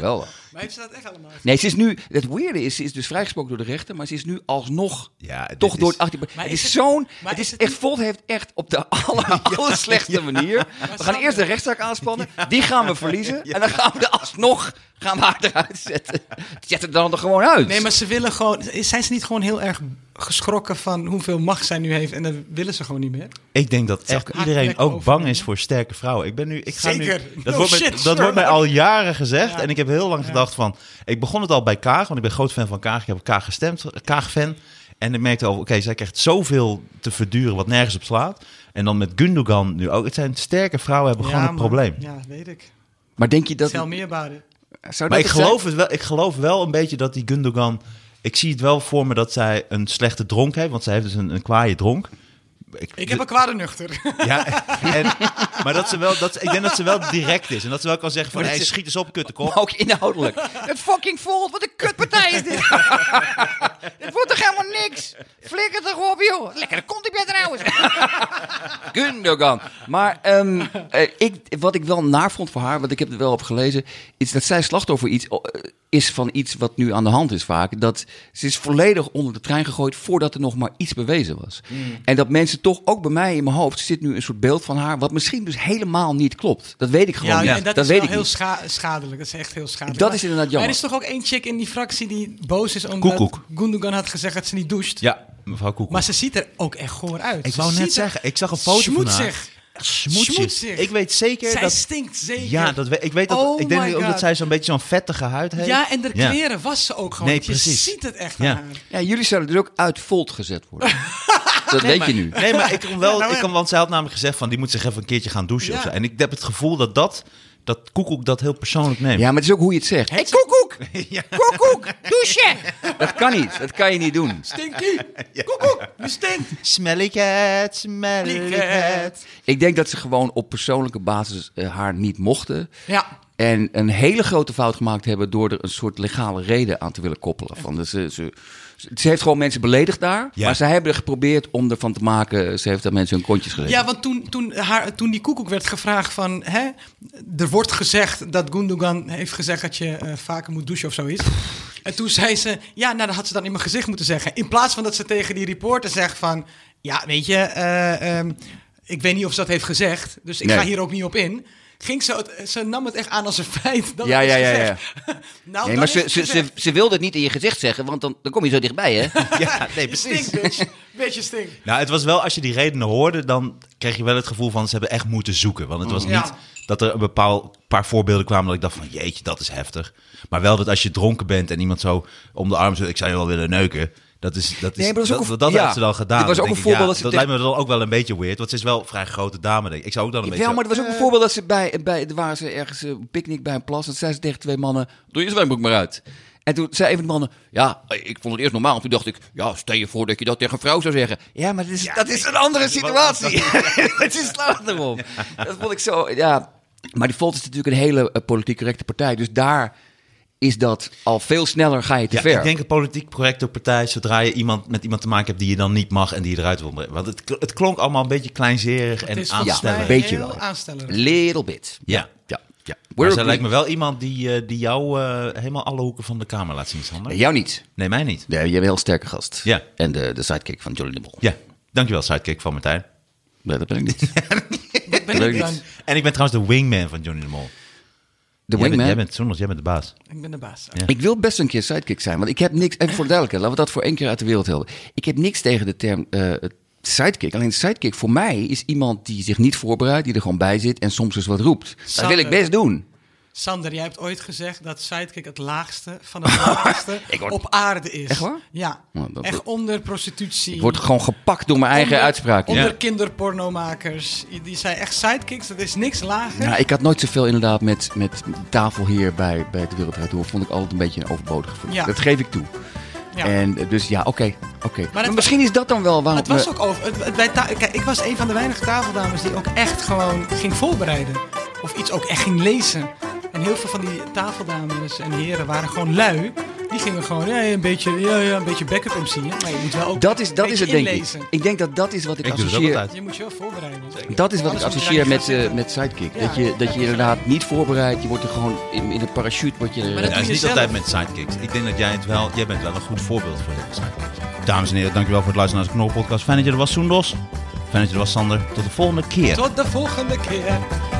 [SPEAKER 2] Wel.
[SPEAKER 3] Maar heeft ze dat echt allemaal?
[SPEAKER 2] Nee, ze is nu. Het weirde is, ze is dus vrijgesproken door de rechter, maar ze is nu alsnog
[SPEAKER 1] Ja, dit
[SPEAKER 2] toch
[SPEAKER 1] is-
[SPEAKER 2] door het 18.
[SPEAKER 3] Maar
[SPEAKER 2] het
[SPEAKER 3] is
[SPEAKER 2] is,
[SPEAKER 3] het-
[SPEAKER 2] zo'n.
[SPEAKER 3] maar
[SPEAKER 2] Het
[SPEAKER 3] is
[SPEAKER 2] is
[SPEAKER 3] het
[SPEAKER 2] echt.
[SPEAKER 3] niet-
[SPEAKER 2] Volt heeft echt op de aller, aller slechtste manier. We gaan
[SPEAKER 3] Sander-
[SPEAKER 2] eerst de rechtszaak aanspannen. Die gaan we verliezen. En dan gaan we er alsnog gaan we haar eruit zetten. Zet het dan er gewoon uit.
[SPEAKER 3] Nee, maar ze willen gewoon. Zijn ze niet gewoon heel erg geschrokken van hoeveel macht zij nu heeft? En dat willen ze gewoon niet meer.
[SPEAKER 1] Ik denk dat echt
[SPEAKER 3] ook
[SPEAKER 1] iedereen
[SPEAKER 3] hartelijk
[SPEAKER 1] ook bang
[SPEAKER 3] overnemen.
[SPEAKER 1] is voor sterke vrouwen. Ik ben nu, ik ga
[SPEAKER 3] Zeker.
[SPEAKER 1] nu. Dat,
[SPEAKER 3] No
[SPEAKER 1] wordt, mij,
[SPEAKER 3] shit,
[SPEAKER 1] dat wordt mij
[SPEAKER 3] Sherlock.
[SPEAKER 1] al jaren gezegd. En ik heb heel lang gedacht van. Ik begon het al bij Kaag, want ik ben groot fan van Kaag. Ik heb op Kaag gestemd, Kaag-fan. En ik merkte al, oké, zij krijgt zoveel te verduren wat nergens op slaat. En dan met Gundogan nu ook. Het zijn sterke vrouwen hebben gewoon een
[SPEAKER 3] man.
[SPEAKER 1] probleem.
[SPEAKER 3] Ja, weet ik.
[SPEAKER 2] Maar denk je dat.
[SPEAKER 3] Tel meer baden.
[SPEAKER 2] Zou
[SPEAKER 1] Maar
[SPEAKER 2] dat
[SPEAKER 1] ik
[SPEAKER 2] het zijn?
[SPEAKER 1] geloof, het wel, ik geloof wel een beetje dat die Gundogan... Ik zie het wel voor me dat zij een slechte dronk heeft. Want zij heeft dus een, een kwaaie dronk.
[SPEAKER 3] Ik heb een kwade nuchter.
[SPEAKER 1] Ja, en, maar dat ze wel, dat, ik denk dat ze wel direct is. En dat ze wel kan zeggen van,
[SPEAKER 2] Maar dat
[SPEAKER 1] hey,
[SPEAKER 2] ze-
[SPEAKER 1] schiet eens op,
[SPEAKER 2] Maar
[SPEAKER 1] kuttekop.
[SPEAKER 2] ook inhoudelijk.
[SPEAKER 4] Het fucking Volt, wat een kutpartij is dit. Het wordt toch helemaal niks. Flikker toch op, joh. Lekkere kont heb jij trouwens.
[SPEAKER 2] Gundogan. Maar ehm, eh, ik, wat ik wel naar vond voor haar, want ik heb er wel op gelezen, is dat zij slachtoffer iets, eh, is van iets wat nu aan de hand is vaak. Dat ze is volledig onder de trein gegooid voordat er nog maar iets bewezen was. En dat mensen toch, ook bij mij in mijn hoofd, zit nu een soort beeld van haar, wat misschien dus helemaal niet klopt. Dat weet ik gewoon
[SPEAKER 3] Ja,
[SPEAKER 2] niet.
[SPEAKER 3] en dat, is
[SPEAKER 2] weet
[SPEAKER 3] wel
[SPEAKER 2] ik
[SPEAKER 3] heel
[SPEAKER 2] niet.
[SPEAKER 3] scha- schadelijk. Dat is echt heel schadelijk.
[SPEAKER 2] Dat is inderdaad jammer.
[SPEAKER 3] Maar er is toch ook één chick in die fractie die boos is omdat
[SPEAKER 1] Koekoek.
[SPEAKER 3] Gundogan had gezegd dat ze niet doucht.
[SPEAKER 1] Ja, mevrouw Koek.
[SPEAKER 3] Maar ze ziet er ook echt goor uit.
[SPEAKER 1] ik
[SPEAKER 3] Ze
[SPEAKER 1] wou
[SPEAKER 3] ziet
[SPEAKER 1] net
[SPEAKER 3] er-
[SPEAKER 1] zeggen, ik zag een foto van haar.
[SPEAKER 3] Smoetsig.
[SPEAKER 1] Smoetsig.
[SPEAKER 3] Smoetsig.
[SPEAKER 1] Ik weet zeker
[SPEAKER 3] Zij
[SPEAKER 1] dat...
[SPEAKER 3] stinkt zeker.
[SPEAKER 1] Ja, dat, we- ik weet dat...
[SPEAKER 3] Oh
[SPEAKER 1] ik denk
[SPEAKER 3] my
[SPEAKER 1] ook
[SPEAKER 3] God.
[SPEAKER 1] dat zij zo'n beetje zo'n vettige huid heeft.
[SPEAKER 3] Ja, en de
[SPEAKER 1] Ja.
[SPEAKER 3] kleren was ze ook gewoon.
[SPEAKER 1] Nee,
[SPEAKER 3] Je
[SPEAKER 1] precies.
[SPEAKER 3] ziet het echt
[SPEAKER 1] Ja.
[SPEAKER 3] aan haar.
[SPEAKER 2] Ja, jullie zouden dus ook uit volt gezet worden. dat weet je nu.
[SPEAKER 1] Nee, maar ik kan wel...
[SPEAKER 3] Ja, nou
[SPEAKER 1] ik kan, want zij had namelijk gezegd van, die moet zich even een keertje gaan douchen.
[SPEAKER 3] Ja.
[SPEAKER 1] of zo. En ik heb het gevoel dat dat... Dat Koekoek dat heel persoonlijk neemt.
[SPEAKER 2] Ja, maar het is ook hoe je het zegt.
[SPEAKER 4] Hey, koekoek. Koekoek, douche.
[SPEAKER 2] Dat kan niet. Dat kan je niet doen.
[SPEAKER 3] Stinky. Koekoek. Die stinkt.
[SPEAKER 1] Smelly cat, smelly cat.
[SPEAKER 2] Ik denk dat ze gewoon op persoonlijke basis eh, haar niet mochten.
[SPEAKER 3] Ja.
[SPEAKER 2] En een hele grote fout gemaakt hebben door er een soort legale reden aan te willen koppelen. Van, dus, ze, ze, ze heeft gewoon mensen beledigd daar.
[SPEAKER 1] Ja.
[SPEAKER 2] Maar zij hebben er geprobeerd om ervan te maken. Ze heeft daar mensen hun kontjes gegeven.
[SPEAKER 3] Ja, want toen, toen, haar, toen die koekoek werd gevraagd van... Hè, er wordt gezegd dat Gundogan heeft gezegd dat je eh, vaker moet douchen of zoiets. En toen zei ze... Ja, nou, dat had ze dan in mijn gezicht moeten zeggen. In plaats van dat ze tegen die reporter zegt van... Ja, weet je, eh, ehm, ik weet niet of ze dat heeft gezegd. Dus ik
[SPEAKER 2] Nee.
[SPEAKER 3] ga hier ook niet op in. Ging ze, het, ze nam het echt aan als een feit. Dat
[SPEAKER 2] Ja,
[SPEAKER 3] het is
[SPEAKER 2] ja, ja, ja.
[SPEAKER 3] gezegd. nou,
[SPEAKER 2] Nee,
[SPEAKER 3] dan
[SPEAKER 2] maar
[SPEAKER 3] is
[SPEAKER 2] ze,
[SPEAKER 3] het
[SPEAKER 2] ze, ze,
[SPEAKER 3] gezegd.
[SPEAKER 2] ze wilde het niet in je gezicht zeggen, want dan, dan kom je zo dichtbij, hè?
[SPEAKER 1] Ja, nee,
[SPEAKER 3] Je
[SPEAKER 1] precies.
[SPEAKER 3] stinkt, bitch. Beetje stinkt.
[SPEAKER 1] Nou, het was wel, als je die redenen hoorde, dan kreeg je wel het gevoel van ze hebben echt moeten zoeken. Want het was niet
[SPEAKER 3] Ja.
[SPEAKER 1] dat er een bepaald paar voorbeelden kwamen dat ik dacht van jeetje, dat is heftig. Maar wel dat als je dronken bent en iemand zo om de arm zo, ik zou je wel willen neuken. Dat is, dat is,
[SPEAKER 2] Nee, maar dat is ook
[SPEAKER 1] dat,
[SPEAKER 2] een-
[SPEAKER 1] dat
[SPEAKER 2] ja.
[SPEAKER 1] heeft ze dan gedaan.
[SPEAKER 2] Dit was
[SPEAKER 1] Dan
[SPEAKER 2] ook
[SPEAKER 1] denk
[SPEAKER 2] een
[SPEAKER 1] ik, ja,
[SPEAKER 2] voorbeeld dat ze
[SPEAKER 1] dat
[SPEAKER 2] tegen-
[SPEAKER 1] lijkt me dan ook wel een beetje weird, want ze is wel een vrij grote dame, denk ik. Ik zou ook dan een beetje...
[SPEAKER 2] Ja, maar het was ook een voorbeeld dat ze bij, bij er waren ze ergens eh, op picknick bij een plas. En toen zei ze tegen twee mannen: Doe je zwembroek maar uit. En toen zei een van de mannen: Ja, ik vond het eerst normaal. En toen dacht ik: Ja, stel je voor dat je dat tegen een vrouw zou zeggen. Ja, maar dat is, dat is een andere
[SPEAKER 1] dat-
[SPEAKER 2] situatie. Het is slaat erop. Dat vond ik zo. Ja. Maar die Volt is natuurlijk een hele eh, politiek correcte partij. Dus daar is dat al veel sneller ga je te
[SPEAKER 1] Ja,
[SPEAKER 2] ver.
[SPEAKER 1] ik denk een politiek correcte partij, zodra je iemand met iemand te maken hebt die je dan niet mag en die je eruit wil brengen. Want het, kl- het klonk allemaal een beetje kleinzerig
[SPEAKER 3] Het
[SPEAKER 1] en
[SPEAKER 3] is volgens
[SPEAKER 2] aanstellen.
[SPEAKER 3] mij
[SPEAKER 1] aanstellend.
[SPEAKER 2] Ja, een beetje
[SPEAKER 3] heel
[SPEAKER 2] wel.
[SPEAKER 3] aanstellerig.
[SPEAKER 2] Little bit.
[SPEAKER 1] Ja.
[SPEAKER 2] Ja. ja.
[SPEAKER 1] Maar zij lijkt me wel iemand die, eh, die jou eh, helemaal alle hoeken van de kamer laat zien, Sander.
[SPEAKER 2] Jou niet.
[SPEAKER 1] Nee, mij niet.
[SPEAKER 2] Nee, je bent een heel sterke gast.
[SPEAKER 1] Ja.
[SPEAKER 2] En de, de sidekick van Jolly de Mol.
[SPEAKER 1] Ja, dankjewel sidekick van Martijn.
[SPEAKER 2] Nee, dat ben ik niet.
[SPEAKER 3] Wat ben
[SPEAKER 2] Leuk
[SPEAKER 3] ik dan?
[SPEAKER 2] niet.
[SPEAKER 1] En ik ben trouwens de wingman van Johnny de Mol.
[SPEAKER 2] De
[SPEAKER 1] Jij bent,
[SPEAKER 2] wingman.
[SPEAKER 1] jij bent, Sommers, jij bent de baas.
[SPEAKER 3] Ik ben de baas.
[SPEAKER 2] Ik wil best een keer sidekick zijn, want ik heb niks. Even voor de duidelijkheid, laten we dat voor één keer uit de wereld helpen. Ik heb niks tegen de term eh, sidekick. Alleen sidekick voor mij is iemand die zich niet voorbereidt, die er gewoon bij zit en soms eens wat roept. Dat wil ik best doen.
[SPEAKER 3] Sander, jij hebt ooit gezegd dat sidekick het laagste van het laagste
[SPEAKER 2] Ik word-
[SPEAKER 3] op aarde is.
[SPEAKER 2] Echt waar?
[SPEAKER 3] Ja.
[SPEAKER 2] Nou, dat-
[SPEAKER 3] Echt onder prostitutie.
[SPEAKER 2] Ik word gewoon gepakt door mijn eigen
[SPEAKER 3] Onder-
[SPEAKER 2] uitspraken.
[SPEAKER 3] Onder
[SPEAKER 1] Ja.
[SPEAKER 3] kinderpornomakers. Die zijn echt sidekicks. Dat is niks lager.
[SPEAKER 2] Nou, ik had nooit zoveel inderdaad met, met tafel hier bij, bij de Wereld Draait Door. Vond ik altijd een beetje een overbodige functie.
[SPEAKER 3] Ja.
[SPEAKER 2] Dat geef ik toe.
[SPEAKER 3] Ja.
[SPEAKER 2] En eh, dus ja, oké. oké. Maar,
[SPEAKER 3] was-
[SPEAKER 2] misschien is dat dan wel waarom...
[SPEAKER 3] het was
[SPEAKER 2] we-
[SPEAKER 3] ook over. Het, het- bij ta- Kijk, ik was een van de weinige tafeldames die ook echt gewoon ging voorbereiden. Of iets ook echt ging lezen. En heel veel van die tafeldames en heren waren gewoon lui. Die gingen gewoon ja, ja, een beetje, ja, ja, een beetje backup MC'en. Maar je moet wel ook
[SPEAKER 2] Dat is, dat
[SPEAKER 3] een
[SPEAKER 2] is het,
[SPEAKER 3] beetje
[SPEAKER 2] denk ik.
[SPEAKER 3] inlezen.
[SPEAKER 2] Ik denk dat dat is wat ik,
[SPEAKER 1] Ik doe het ook
[SPEAKER 2] associeer...
[SPEAKER 1] altijd.
[SPEAKER 3] Je moet je wel voorbereiden.
[SPEAKER 2] Dat is wat ik
[SPEAKER 3] Anders moet je
[SPEAKER 2] associeer
[SPEAKER 3] daar
[SPEAKER 2] met,
[SPEAKER 3] niet gaan
[SPEAKER 2] eh,
[SPEAKER 3] zitten.
[SPEAKER 2] met Sidekick.
[SPEAKER 3] Ja.
[SPEAKER 2] Dat, je, dat je inderdaad niet voorbereid, je wordt er gewoon in, in een parachute. Word je,
[SPEAKER 3] Maar
[SPEAKER 1] Ja,
[SPEAKER 3] dat-
[SPEAKER 1] het is
[SPEAKER 3] doe
[SPEAKER 1] niet
[SPEAKER 3] je
[SPEAKER 1] altijd
[SPEAKER 3] zelf.
[SPEAKER 1] met sidekicks. Ik denk dat jij het wel... Jij bent wel een goed voorbeeld voor de sidekicks. Dames en heren, dankjewel voor het luisteren naar de Knol Podcast. Fijn dat je er was, Soendos. Fijn dat je er was, Sander. Tot de volgende keer.
[SPEAKER 3] Tot de volgende keer.